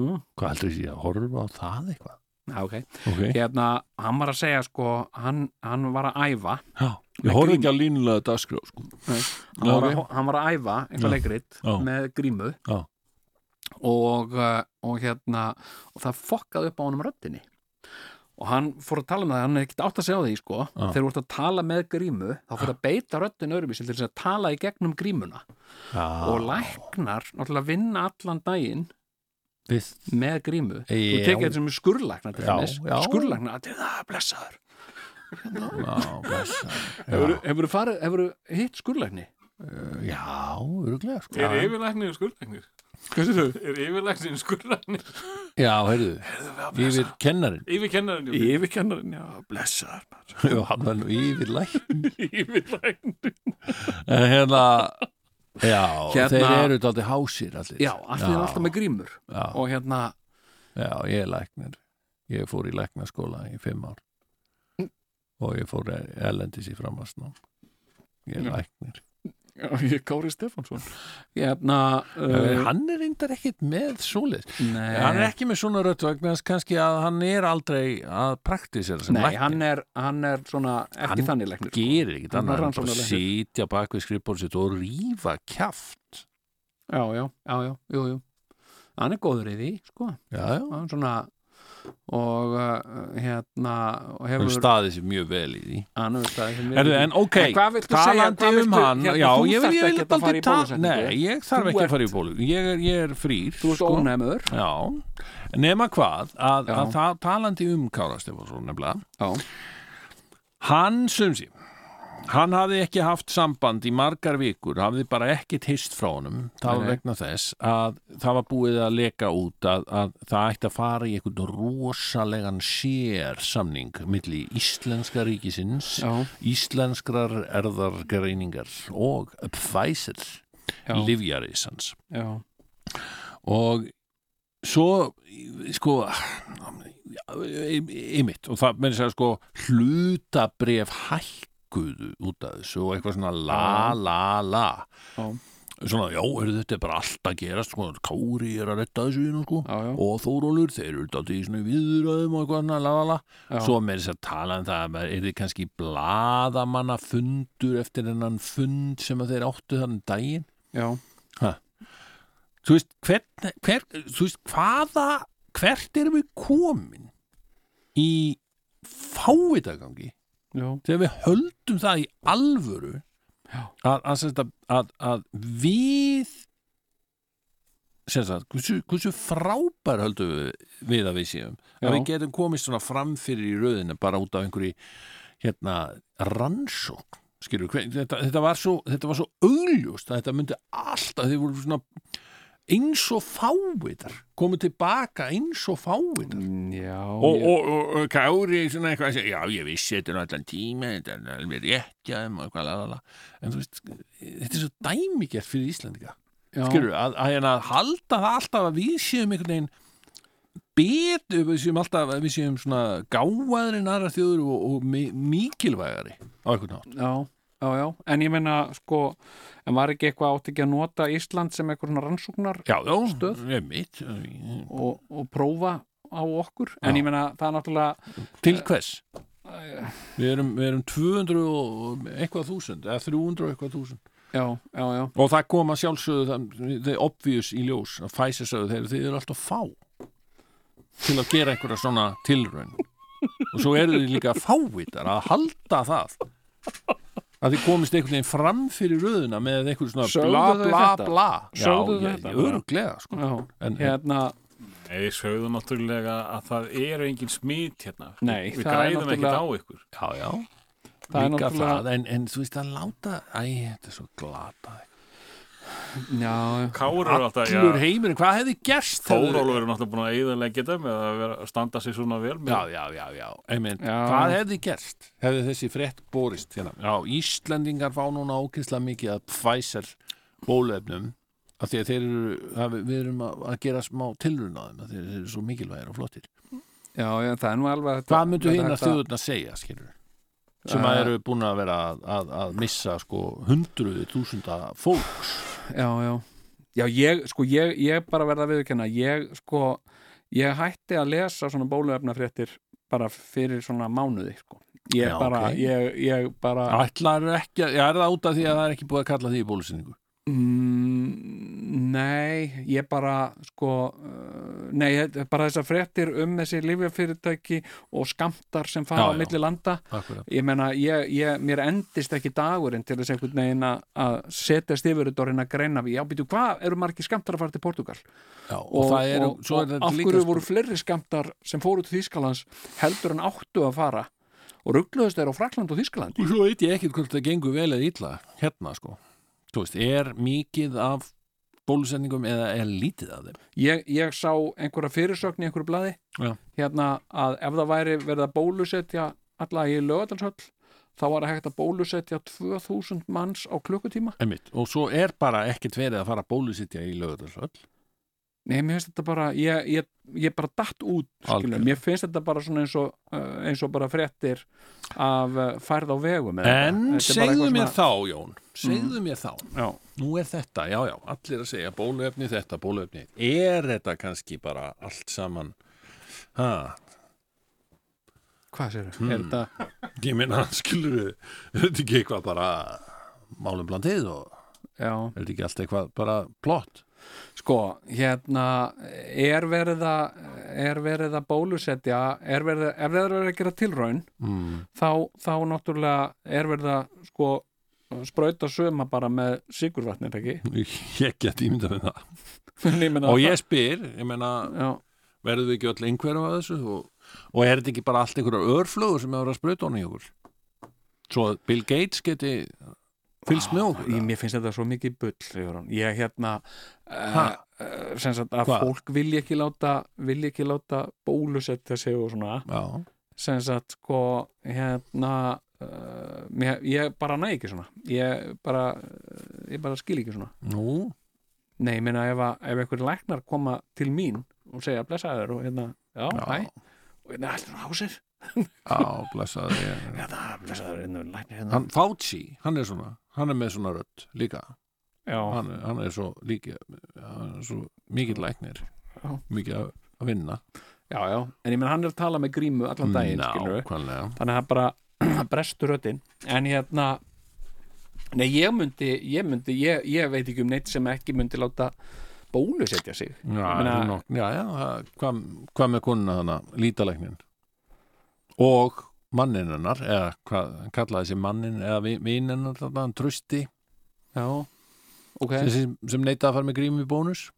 S3: hm?
S2: hvað heldur því að horfa á það eitthvað
S3: Já, ok,
S2: okay.
S3: hérna hann var að segja sko, hann, hann var að æfa
S2: Já,
S3: Með
S2: ég horfa
S3: grímu.
S2: ekki á línulega dagskrá sko.
S3: hann,
S2: Já, ok.
S3: var, að, hann var að æfa eitthvað
S2: Já.
S3: leikrit
S2: Já.
S3: með grímu
S2: Já.
S3: og, uh, og hérna og það fokkaði upp á honum röddinni og hann fór að tala um það, hann er ekkert átt að segja á því sko,
S2: Já.
S3: þegar þú ert að tala með grímu þá fyrir að beita röddin öðruvísil til þess að tala í gegnum grímuna
S2: Já,
S3: og læknar náttúrulega vinna allan daginn
S2: við
S3: með grímu þú
S2: Já.
S3: tekið þetta sem skurrlæknar til
S2: Já,
S3: þess
S2: já.
S3: skurrlæknar, til það, blessaður
S2: Já, blessaður.
S3: hefur, hefur, farið, hefur hitt skurrlækni
S2: Já, já öruglega sko.
S4: Er yfirlæknir skurlæknir?
S3: hvað sér þau?
S4: Er yfirlæknir skurlæknir?
S2: Já, heyrðu, yfir kennarin
S4: Yfirkennarinn jú.
S3: yfirkennarinn, já, blessaður maður.
S2: Já, hann var nú yfir lækn
S4: Yfirlæknir
S2: En hérna, já,
S3: Hérna-
S2: þeir eru dátti hásir allir
S3: já, allir er alltaf með grímur
S2: já,
S3: og hérna,
S2: já, ég er læknir Ég fór í læknaskóla í fimm ár
S3: Mm.
S2: Og ég fór e- erlendis í framhastnám Ég
S3: Mm.
S2: er læknir
S3: já, ég er Kári Stefánsson hérna
S2: Uh, hann er reyndar ekkit með svoleið
S3: nei,
S2: Hann er ekki með svona rödd vegna þess kannski að hann er aldrei að praktisera sem
S3: nei,
S2: læknir
S3: hann er, hann er svona ekki
S2: Hann
S3: þannig læknir sko.
S2: gerir ekkit
S3: Hann er
S2: annað en bara
S3: rannsóknarlæknir.
S2: sitja bak við skrifbólið sitt og rífa kjaft
S3: já, já, já, já, jú, jú hann er góður í því, sko
S2: já, já,
S3: hann svona og uh, hérna og
S2: hann
S3: hefur
S2: staðið sér mjög vel í því
S3: hann hefur staðið sem við-
S2: Erðu, en ok,
S3: En hvað viltu segja,
S2: talandi um
S3: hvað viltu-
S2: hann
S3: hérna,
S2: já,
S3: þú
S2: ég vil
S3: þarft
S2: ég vil
S3: ekkert að fara í
S2: aldrei ta-
S3: bólusetningu.
S2: nei, ég þarf
S3: Þú
S2: ekki
S3: ert-
S2: að fara í bólu ég er, ég er frýr sko.
S3: þú ert ónæmur
S2: já, nema hvað að,
S3: Já.
S2: að það talandi um Kára Stefánsson nefnilega
S3: já,
S2: Hann sumsi Hann hafði ekki haft samband í margar vikur, hafði bara ekkit hist frá honum, það
S3: Nei,
S2: var
S3: nei.
S2: vegna þess að það var búið að leka út að, að það ætti að fara í einhvern rosalegan sér samning milli íslenska ríkisins,
S3: já,
S2: íslenskrar erðargreiningar og Pfizer
S3: Já.
S2: livjarísans
S3: já,
S2: og svo sko ymitt og það með þess að segja, sko hlutabref hækkuðu út af þessu og eitthvað svona la la la
S3: Já.
S2: svona já, heyrðu, þetta er bara allt að gerast sko, Kári er að retta þessu hérna sko
S3: já, já,
S2: og Þórólur, þeir eru dálítið í svona viðræðum og eitthvað annað, la la la
S3: já.
S2: svo með þess að tala um það að maður er þið kannski bladamanna fundur eftir hennan fund sem að þeir áttu þann daginn
S3: já,
S2: þú veist, hvern, hver, þú veist hvaða hvert erum við komin í fávitagangi
S3: já,
S2: þegar við höldum það í alvöru
S3: Já.
S2: að, að, sem sagt að, að, að við sem sagt, hversu, hversu frábær höldum við, við að við séum
S3: Já.
S2: að við getum komist svona fram fyrir í röðina bara út af einhverju hérna rannsókn skilur, hver, þetta, þetta var svo þetta var svo augljóst að þetta myndi alltaf þið voru svona eins og fávitar komið tilbaka eins og fávitar
S3: Mm, já,
S2: og,
S3: ég-
S2: og, og, og Kári svona eitthvað að segja, já ég vissi þetta er allan tíma, þetta er alveg rétt hjá þeim og eitthvað lalala, en þú veist þetta er svo dæmigert fyrir Íslandika
S3: já,
S2: skilur, að, að, hérna halda það alltaf að við séum einhvern veginn betur, við séum alltaf að við séum svona gáðar en aðra þjóður og, og mi mikilvægari á einhvern hátt
S3: já, já, já en ég meina, sko, en var ekki eitthvað átt ekki að nota Ísland sem eitthvað svona rannsóknar
S2: Já, já,
S3: Stöð.
S2: er mitt
S3: og, og prófa á okkur en
S2: Já.
S3: ég meina, það er náttúrulega
S2: Til hvers? Við erum, við erum 200 og eitthvað þúsund eða 300 og eitthvað þúsund
S3: já, já, já,
S2: Og það kom að sjálfsögðu það, þeir obvious í ljós að Pfizer sögðu þeir, þeir eru alltaf fá til að gera einhverja svona tilraun og svo eru þeir líka fávitar að halda það að þeir komist einhvern veginn fram fyrir röðuna með einhverju svona
S3: Sögðu
S2: bla
S3: þau
S2: bla
S3: þetta?
S2: bla
S3: Sögðu þau
S2: Já, ég,
S3: þetta?
S2: ég öruglega sko
S3: já.
S2: En-
S3: hérna,
S4: Nei, við sögðum náttúrulega að það eru engin smít hérna.
S3: Nei,
S4: við
S3: það er
S4: græðum ekkert á
S3: náttúrulega-
S4: ykkur.
S2: Já, já,
S3: það er
S2: líka
S3: náttúrulega
S2: það en, en þú veist að láta, æ, þetta er svo glata
S3: já, já,
S4: Kárur alltaf,
S2: Allur
S4: já,
S2: heimurinn, hvað hefði gerst hefði-
S4: Þórólfur er náttúrulega búin að eðalegja þetta með að vera, standa sig svona vel með.
S2: Já, já, já, já, einmitt,
S3: Já.
S2: hvað hefði gerst? Hefði þessi frétt borist hérna? Já, Íslendingar fá núna ókýrslega mikið að Pfizer bólefnum af því að þeir eru, að við- við erum að að gera smá tilruna á þeim, að þeir eru svo mikilvægir og flottir.
S3: já, já, það er nú alveg þetta-
S2: Hvað myndu
S3: þetta-
S2: hinn að
S3: þetta-
S2: þjóðurna segja, skilur? Sem að
S3: Eh.
S2: eru búin að vera að, að, að missa sko hundruði túsunda fólks.
S3: já, já Já, ég, sko, ég, ég bara verða að viðurkenna ég, sko, ég hætti að lesa svona bóluefnafréttir bara fyrir svona mánuði, sko ég
S2: Já,
S3: bara,
S2: ok.
S3: ég, ég bara
S2: Ætlar ekki, að- já, er það út af því að það er ekki búið að kalla því í bólusinningu?
S3: mm, nei, ég bara sko, uh, nei ég- bara þessar fréttir um þessi lífjafyrirtæki og skamtar sem
S2: Já,
S3: fara á
S2: já.
S3: milli landa
S2: Akkurat.
S3: ég meina, ég, ég, mér endist ekki dagurinn til þess einhvern veginn að- að setjast yfir þetta og reyna að greina við já, býtu, hvað eru margir skamtar að fara til Portugal?
S2: Já, og, það er,
S3: og,
S2: svo er
S3: og
S2: þetta
S3: af
S2: líka
S3: hverju
S2: sko-
S3: voru fleiri skamtar sem fóru til Þýskalands heldur en áttu að fara og ruggluðust þeir á Frakland og Þýskalandi
S2: Og svo veit ég ekkert hvort það gengur vel eða illa hérna sko. Þú veist, er mikið af bólusendingum eða er lítið af þeim?
S3: ég, ég sá einhverja fyrirsögn í einhverju blaði
S2: Já.
S3: hérna að ef það væri verið að bólusetja alla í lögatanshöll þá var það hægt að bólusetja 2000 manns á klukkutíma
S2: Einmitt. Og svo er bara ekkert verið að fara að bólusetja í lögutarsöll.
S3: nei, mér finnst þetta bara ég, ég, ég bara datt út skilur.
S2: Algjörlega.
S3: mér finnst þetta bara svona eins og, uh, eins og bara fréttir af uh, færð á vegum eða
S2: En
S3: eitthvað. Mm. Þetta er bara
S2: segðu
S3: eitthvað
S2: mér
S3: svona-
S2: þá, Jón, segðu mér þá.
S3: Já.
S2: Nú er þetta, já, já, allir að segja bóluefni þetta, bóluefni. Er þetta kannski bara allt saman? Ha,
S3: hvað sér hmm. er þetta
S2: ég minna, skilur þetta ekki eitthvað bara málum blandið og
S3: Já.
S2: er þetta ekki allt eitthvað bara plott?
S3: Sko, hérna er verið að er verið að bólusetja er verið, ef það er verið að gera tilraun
S2: Mm.
S3: þá, þá náttúrulega er verið að sko sprauta söma bara með sigurvatnir ekki
S2: Ég get ímyndað með það.
S3: En ég meina
S2: og
S3: það-
S2: ég spyr, ég meina
S3: já,
S2: verðum við ekki öll einhverjum að þessu og, og er þetta ekki bara allt einhverjar örflögur sem hefur að sprauta honum í okkur svo að Bill Gates geti fylgst með okkur
S3: ég,
S2: eða?
S3: mér finnst þetta svo mikið bull Sigurjón. ég hérna
S2: Ha?
S3: uh, sem sagt að
S2: Hva?
S3: fólk vilja ekki láta vilja ekki láta bólusetja sig og svona
S2: Já,
S3: sem sagt sko hérna uh, mér, ég bara næ ekki svona ég bara, eh, ég bara skil ekki svona
S2: nú
S3: nei, ég meina ef, að- ef einhver læknar koma til mín og segja blessaður og hérna já,
S2: Já.
S3: hæ, og hérna allir á sér
S2: Já, blessaði ég.
S3: hérna, blessaður, hérna, læknir hérna
S2: Hann Fauci, hann er svona hann er með svona rödd líka
S3: já,
S2: hann, er- hann er svo líki hann er svo mikið læknir
S3: Já.
S2: mikið að, að vinna Mm,
S3: já, já, en ég meina hann er að tala með grímu allan daginn, skilur við
S2: Nákvæmlega
S3: þannig að það bara það brestur röddinn en hérna nei ég myndi, ég myndi ég, ég veit ekki um neitt sem ekki myndi láta bólusetja sig
S2: já,
S3: meina-
S2: nokk, já, já það- hvað hva með konuna hana, lítalæknin og mannin hennar eða hvað hann kallaði þessi mannin eða vi- vin hennar þarna, hann trösti
S3: Já, ok
S2: sem, sem neitaði að fara með grími bónus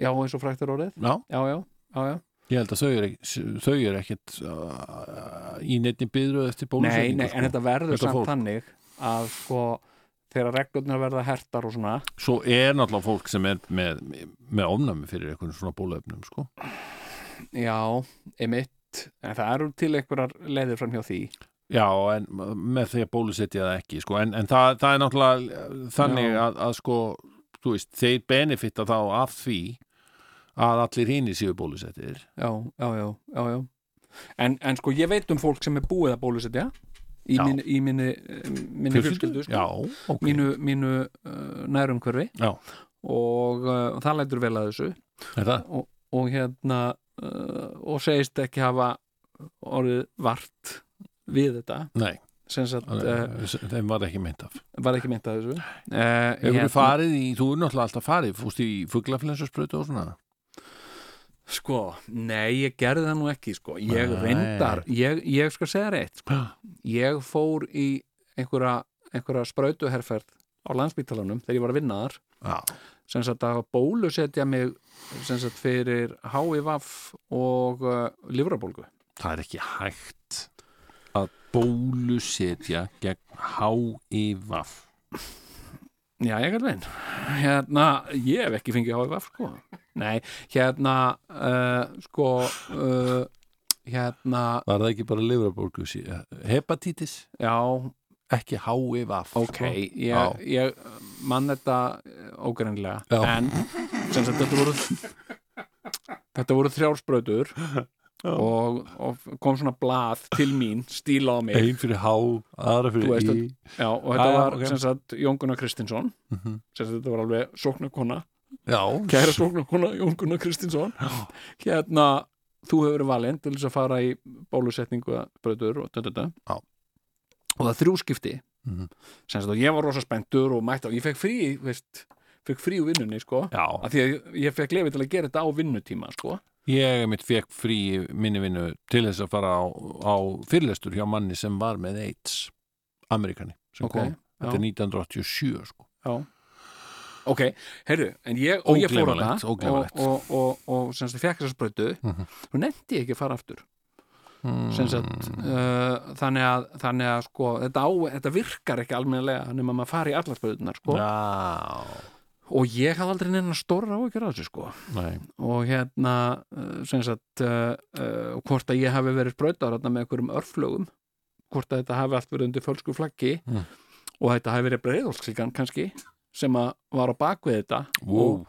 S3: Já, eins og fræktur orðið
S2: já,
S3: Já, já, já, já
S2: ég held að þau eru ekki- þau eru ekkit uh, í neittni byðru eftir
S3: Nei, nei,
S2: bónusendingu
S3: en þetta verður
S2: sko. Þetta
S3: samt
S2: fólk.
S3: þannig að sko þegar reglurnar verða hertar og svona
S2: svo er náttúrulega fólk sem er með, með ofnæmi fyrir einhvern svona bóluefnum sko.
S3: Já, emitt en það eru til einhverjar leiðir fram hjá því
S2: já, en með því að bólusetja það ekki sko. en, en það, það er náttúrulega þannig
S3: Já.
S2: að, að sko, þú veist, þeir benefita þá af því að allir hini séu bólusettir
S3: Já, já, já, já, já. En, en sko ég veit um fólk sem er búið að bólusetja í,
S2: Já.
S3: mín, í minni, eh, minni fjölskyldu sko.
S2: já, ok
S3: mínu, mínu uh, nærumhverfi
S2: Já.
S3: og uh, það lætur vel að þessu
S2: Er það?
S3: og, og hérna uh, og segist ekki hafa orðið vart við þetta
S2: Nei,
S3: sem sagt uh,
S2: þeim var ekki meint af
S3: var ekki mynd að þessu uh,
S2: Hefur þú farið í, þú er náttúrulega alltaf farið fúst í fuglaflensusprötu og svona
S3: Sko, nei, ég gerði það nú ekki sko. ég
S2: Nei.
S3: reyndar, ég, ég skal segja reitt sko. ég fór í einhverja, einhverja sprautuherferð á landsbítalanum þegar ég var að vinna þar
S2: Já,
S3: sem sagt að bólusetja mig sem sagt fyrir HIV og uh, livrabólgu
S2: það er ekki hægt að bólusetja gegn HIV
S3: Já, ég er veginn hérna, ég hef ekki fengið HIV sko. nei, hérna uh, sko uh, hérna,
S2: Var það ekki bara livrabólgu Hepatitis,
S3: já
S2: ekki HIV
S3: ok,
S2: sko. Já.
S3: ég, ég mann þetta ógreinlega
S2: Já.
S3: en sem sagt þetta voru þetta voru þrjársbrautur og, og kom svona blað til mín, stílað á mig
S2: Einn fyrir H, aðra
S3: Þú
S2: fyrir
S3: veist
S2: I
S3: að- já, og þetta
S2: Já, já,
S3: var
S2: ok.
S3: sem sagt Jón Gunnar Kristinsson
S2: Mhm.
S3: sem sagt þetta var alveg sóknarkona
S2: Já,
S3: kæra sóknarkona Jón Gunnar Kristinsson hérna, þú hefur verið valinn til þess að fara í bólusetningu brautur og þetta
S2: Já.
S3: og það er þrjú skipti
S2: Mhm.
S3: sem sagt og ég var rosa spenntur og mætt á, ég fekk frí, veist fekk frí úr vinnunni sko
S2: já
S3: að því að ég- ég fekk lefið til að gera þetta á vinnutíma sko
S2: Ég mitt fekk frí minni vinnu til þess að fara á, á fyrirlestur hjá manni sem var með AIDS Amerikani sem
S3: Ok,
S2: kom Þetta er
S3: já.
S2: 1987 sko
S3: ok, heyrðu, en ég og ég fór að
S2: Ógleymanlegt,
S3: það og,
S2: ógleymanlegt.
S3: og, og, og sem sagt ég fekk þess að sprautu
S2: Mhm.
S3: og nefndi ég ekki að fara aftur
S2: mm.
S3: sem sagt, uh, þannig að þannig að sko, þetta, á, þetta virkar ekki almennilega nema maður fari í allar sprautunar sko
S2: Já,
S3: og ég hafði aldrei neina stóra áhyggjur á þessu sko
S2: nei
S3: og hérna eh, sem sagt uh, uh, hvort að ég hafi verið sprautar þarna með einhverjum örflögum hvort að þetta hafi allt verið undir fölsku flaggi
S2: Mm.
S3: og þetta hafi verið breiðolksíkan kannski sem að var á bakvið þetta
S2: Wow.
S3: og,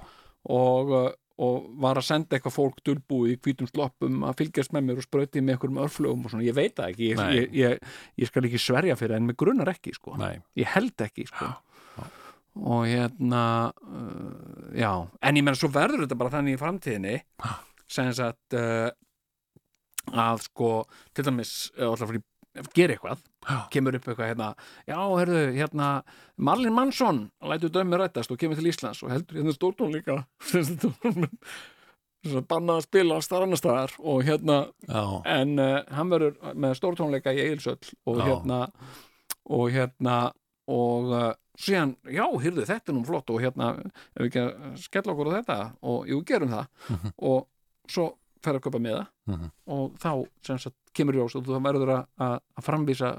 S3: og, eh, og var að senda eitthvað fólk dulbúið í hvítum sloppum að fylgjast með mér og sprautið með einhverjum örflögum og svona, ég veit það ekki ég,
S2: Nei.
S3: ég, ég, ég skal ekki sverja fyrir það en mig grunar ekki sko
S2: Nei,
S3: ég held ekki sko. og hérna uh, já, en ég menn svo verður þetta bara þannig í framtíðinni sem sagt uh, að sko, til dæmis uh, alltaf fyrir gera eitthvað, kemur upp eitthvað hérna, já, herðu, hérna Marlin Mansson, lætur dömi rættast og kemur til Íslands og heldur hérna stórtón líka sem sagt, sem sagt, bannað að spila á starf annar staðar og hérna
S2: já,
S3: en uh, hann verður með stórtónleika í Egilsöll og
S2: Já.
S3: hérna og hérna og uh, síðan, já, hyrðu, þetta er nú flott og hérna, ef við ekki að skella okkur á þetta og jú, gerum það og svo fer að köpa með það
S2: Mhm.
S3: og þá, sem sagt, kemur í ljós og þú verður að, að að framvísa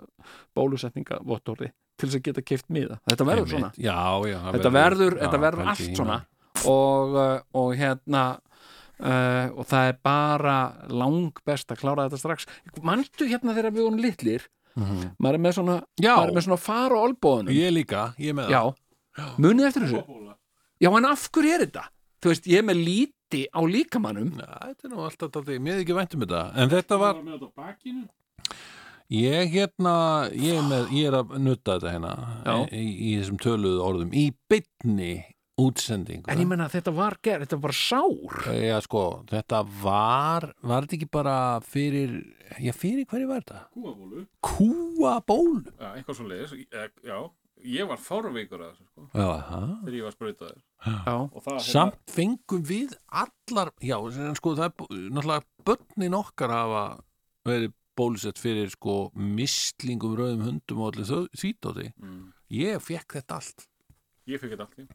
S3: bólusetninga vottorði til þess að geta keift miða, þetta verður svona
S2: einmitt. Já, já, það
S3: þetta verður,
S2: já,
S3: þetta verður
S2: pældi
S3: allt
S2: í
S3: svona
S2: maður.
S3: og, uh, og hérna uh, og það er bara lang best að klára þetta strax manstu hérna þegar við vorum litlir
S2: Mhm.
S3: maður er með svona,
S2: Já.
S3: maður er með svona fara á olbóðunum
S2: Ég líka, ég er með
S3: já, munið eftir þessu já, en af hverju er þetta? þú veist, ég er með líti á líkamannum
S2: það Næ, Þetta er nú alltaf dálítið, mér er ekki vænt um þetta En þetta var
S4: með þetta á bakinu
S2: Ég hérna, ég er, með, ég er að nutta þetta hérna
S3: Já.
S2: í, í þessum töluðu orðum Í beinni útsendingu
S3: en ég menna að þetta var gerð, þetta var bara sár
S2: Já, sko, þetta var, var þetta ekki bara fyrir, já, fyrir hverju var þetta?
S4: kúabólu
S2: Kúabólu?
S4: eh, já, eitthvað svo leiðis já, ég var fárveikur að þessu sko,
S2: Já, aha.
S4: þegar ég var sprautaður
S3: Já.
S4: og það hérna,
S2: Samt fengum við allar, já, en sko það er bú- náttúrulega börnin okkar hafa verið bólusett fyrir sko mislingum, rauðum hundum og allir þau- því tóti.
S4: mm,
S2: Ég fekk þetta allt.
S4: ég fikk þetta allt í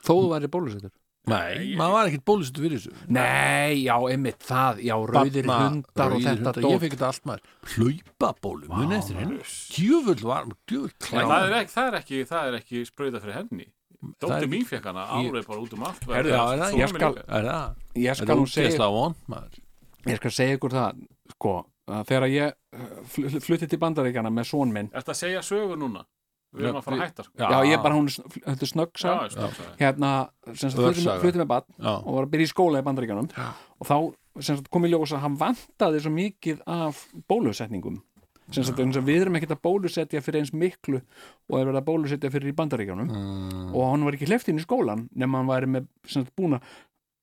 S3: þó þú væri bólusettur
S2: Nei,
S4: ég-
S2: maður var ekkert bólusett fyrir þessu.
S3: Nei, já, einmitt það, já, rauðir
S2: Barna-
S3: hundar og
S2: rauðir
S3: þetta
S2: hundar, Ég
S3: dót
S2: fekk þetta allt maður. Hlaupabólu, muni eftir hennu. Djöfull var, djöfull
S4: En
S2: klæð.
S4: það er ekki, það er ekki, það er ekki sprauta fyrir henni
S2: Það er-
S4: Dóttir mín fekk hana
S2: Ég-
S4: árið bara út um allt
S3: Herðu,
S2: Já, er það,
S4: Svona
S3: ég skal-
S4: minningar.
S2: Er það?
S3: Ég
S2: Er
S3: skal
S2: það
S3: nú segja
S2: útgeðslega vond maður?
S3: ég skal segja ykkur það sko, að þegar ég uh, fl- flutti til bandaríkjana með són minn
S4: Ertu að segja sögu núna? Við erum að fara að hætta sko.
S3: já, ég bara hún, sn- fl- þetta er snöggsa
S4: Já, ég stóð að segja.
S3: hérna, sem sagt, flutti,
S2: Örsaga.
S3: flutti með bann
S2: Já,
S3: og var að byrja í skóla í bandaríkjunum
S2: Já.
S3: og þá sem sagt, kom í ljós að hann vantaði svo mikið af bólusetningum sem sagt, eins og við erum ekkert að bólusetja fyrir eins miklu og er verið að bólusetja fyrir í bandaríkjunum
S2: Mm,
S3: og hann var ekki hleyft inn í skólan nema hann væri með sem sagt, búna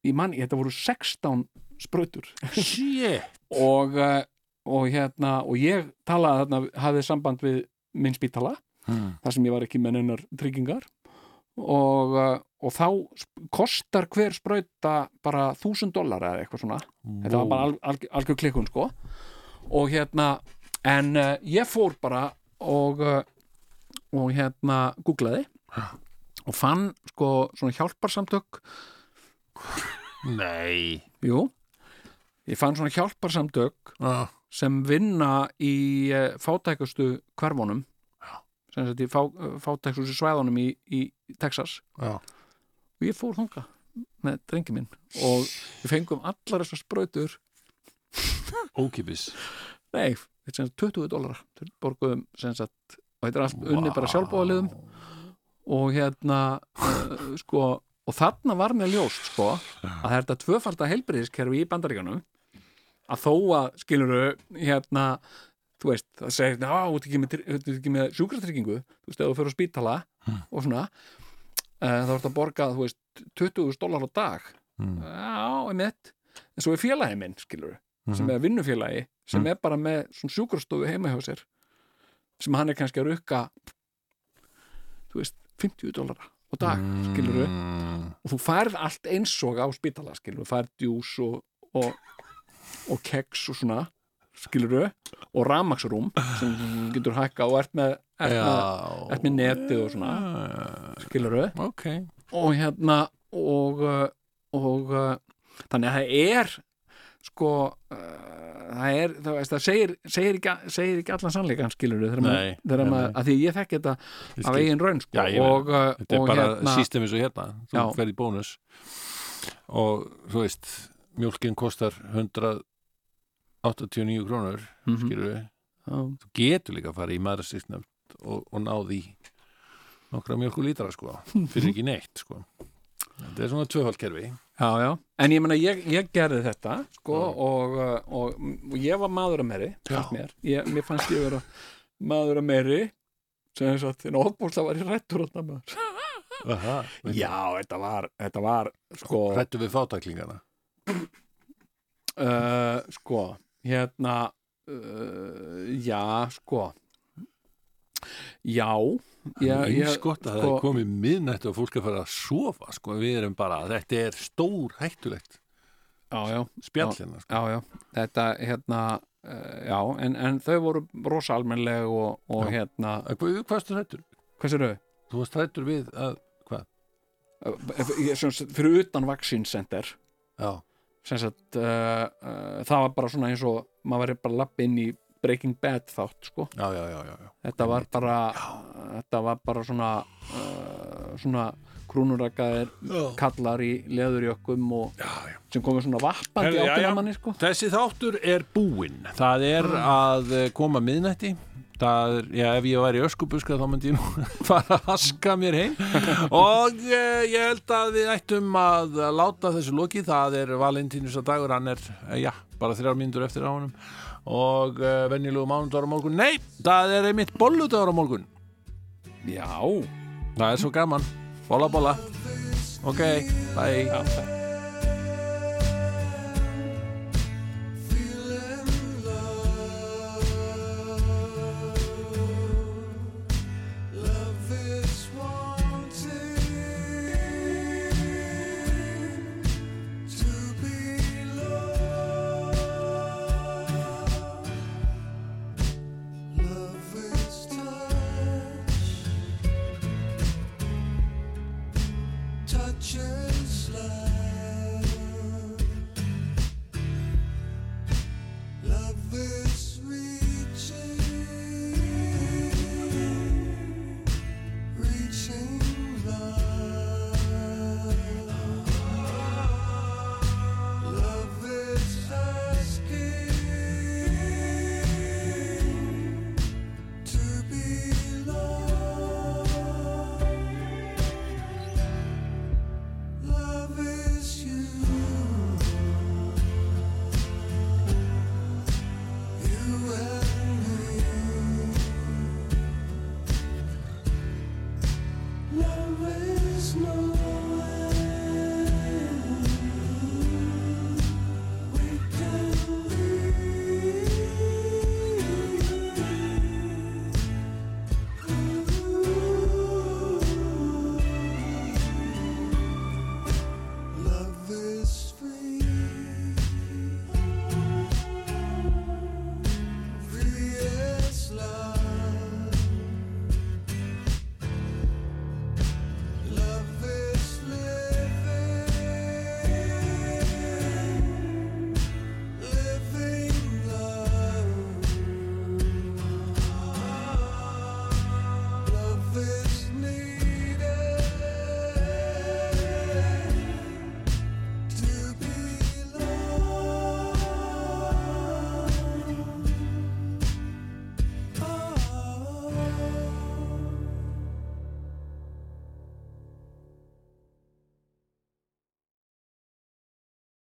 S3: í manni, þetta voru 16 sprautur
S2: shit.
S3: og, eh, og hérna og ég talaði þarna, hafði samband við minn spítala
S2: Mm.
S3: þar sem ég var ekki með neinar tryggingar og, uh, og þá sp- kostar hver sprauta bara þúsund dólar eða eitthvað svona þetta var bara alg, alg, algjör klikkun sko og hérna en uh, ég fór bara og, uh, og hérna googlaði og fann sko svona hjálparsamtök
S2: Nei.
S3: jú, ég fann svona hjálparsamtök
S2: Ah.
S3: sem vinna í eh, fátækustu hverfunum sem sagt í fá, eh, fátækustu svæðunum í, í Texas
S2: Já.
S3: og ég fór þunga með drengi minn og við fengum allar þessar sprautur
S2: Ókipis.
S3: nei, þetta er sem sagt 20 dólarar Þeir borguðum sem sagt og þetta er allt unni bara sjálfbóðaliðum
S2: Um,
S3: og hérna uh, sko, og þarna var mér ljóst sko, að það er þetta tvöfalda helbriðiskerfi í bandaríkanum að þó að skiluru hérna þú veist, það segir, ná, þú ert ekki með, þú ert ekki með sjúkratryggingu, þú veist, ef þú fyrir á spítala og svona uh, þá ertu að borga, þú veist, 20.000 dólar á dag
S2: Mm.
S3: já, einmitt en svo er félagi minn, skiluru sem er vinnufélagi, sem er bara með svona sjúkrastofu heima hjá sér sem hann er kannski að rukka þú veist, 50 dólar á dag, mm.
S2: Mm.
S3: og þú færð allt eins og á spítala skilur, þú færð djús og, og, og keks og svona skilur og ramaksrúm sem þú getur hækka og ert með, ert með,
S2: Já. Mm,
S3: ert með netið og svona skilur
S2: Ok.
S3: og hérna og, uh, og uh, þannig að það er sko uh, það er, það, veist, það segir, segir, ekki, segir ekki allan sannleikan skilur þegar maður,
S2: Nei,
S3: þegar
S2: nei,
S3: maður,
S2: nei.
S3: að því ég þekki þetta
S2: Ég
S3: af
S2: skil.
S3: eigin raun sko
S2: Já, ég
S3: og, uh,
S2: Þetta er
S3: og
S2: bara
S3: hérna,
S2: sístemið svo hérna. Þú
S3: Já.
S2: ferð í bónus og þú veist, mjólkin kostar 189 krónur, mm
S3: Mhm.
S2: við.
S3: já,
S2: Þú getur líka að fara í maður sístnefnd og, og náði í nokkra mjólkulítra, sko.
S3: Mhm.
S2: Fyrir ekki neitt, sko. Þetta er svona tvöfaldkerfi.
S3: Já, já, en ég meina ég, ég gerði þetta sko, og, uh, og, og ég var maður að meiri fannst mér, ég, mér fannst ég vera maður að meiri sem þess að þinn ofbólta var í rættur þarna maður.
S2: Aha.
S3: Já, þetta var, þetta var sko,
S2: Rættu við fátaklingana.
S3: uh, sko hérna uh, já, sko Já,
S2: Já,
S3: ég, ég
S2: eins gott að það
S3: sko-
S2: er komið miðnættu og fólk er farið að sofa sko, við erum bara, þetta er stór hættulegt
S3: já, já,
S2: spjall hérna sko.
S3: já, já, þetta hérna uh, já, en, en þau voru rosa almennleg og, og hérna,
S2: Að Hvað, hvað varstu hættur?
S3: hvað sér þau?
S2: Þú varst hættur við að,
S3: Ef- ég- sem sagt, fyrir utan vaksinsenter
S2: já,
S3: sem sagt uh, uh, það var bara svona eins og maður verið bara lapp inn í Breaking Bad þátt sko
S2: já, já, já, já, já.
S3: þetta var bara þetta var bara svona uh, svona krúnurakkaðir kallar í leðurjökkum og sem komið svona vappandi
S2: Herðu,
S3: áttina
S2: jæja.
S3: manni sko
S2: Þessi þáttur er búinn það er að eh, koma miðnætti það er, já, ef ég væri öskubuska þá myndi ég nú fara að haska mér heim og eh, ég held að við ættum að láta þessu lokið, það er Valentínus að dagur, hann er, eh, já, bara þrjár mínútur eftir á honum og uh, venjulegu mánudagur á morgun, nei, það er einmitt bolludagur á morgun
S3: já
S2: það er svo gaman, bolla bolla ok, bye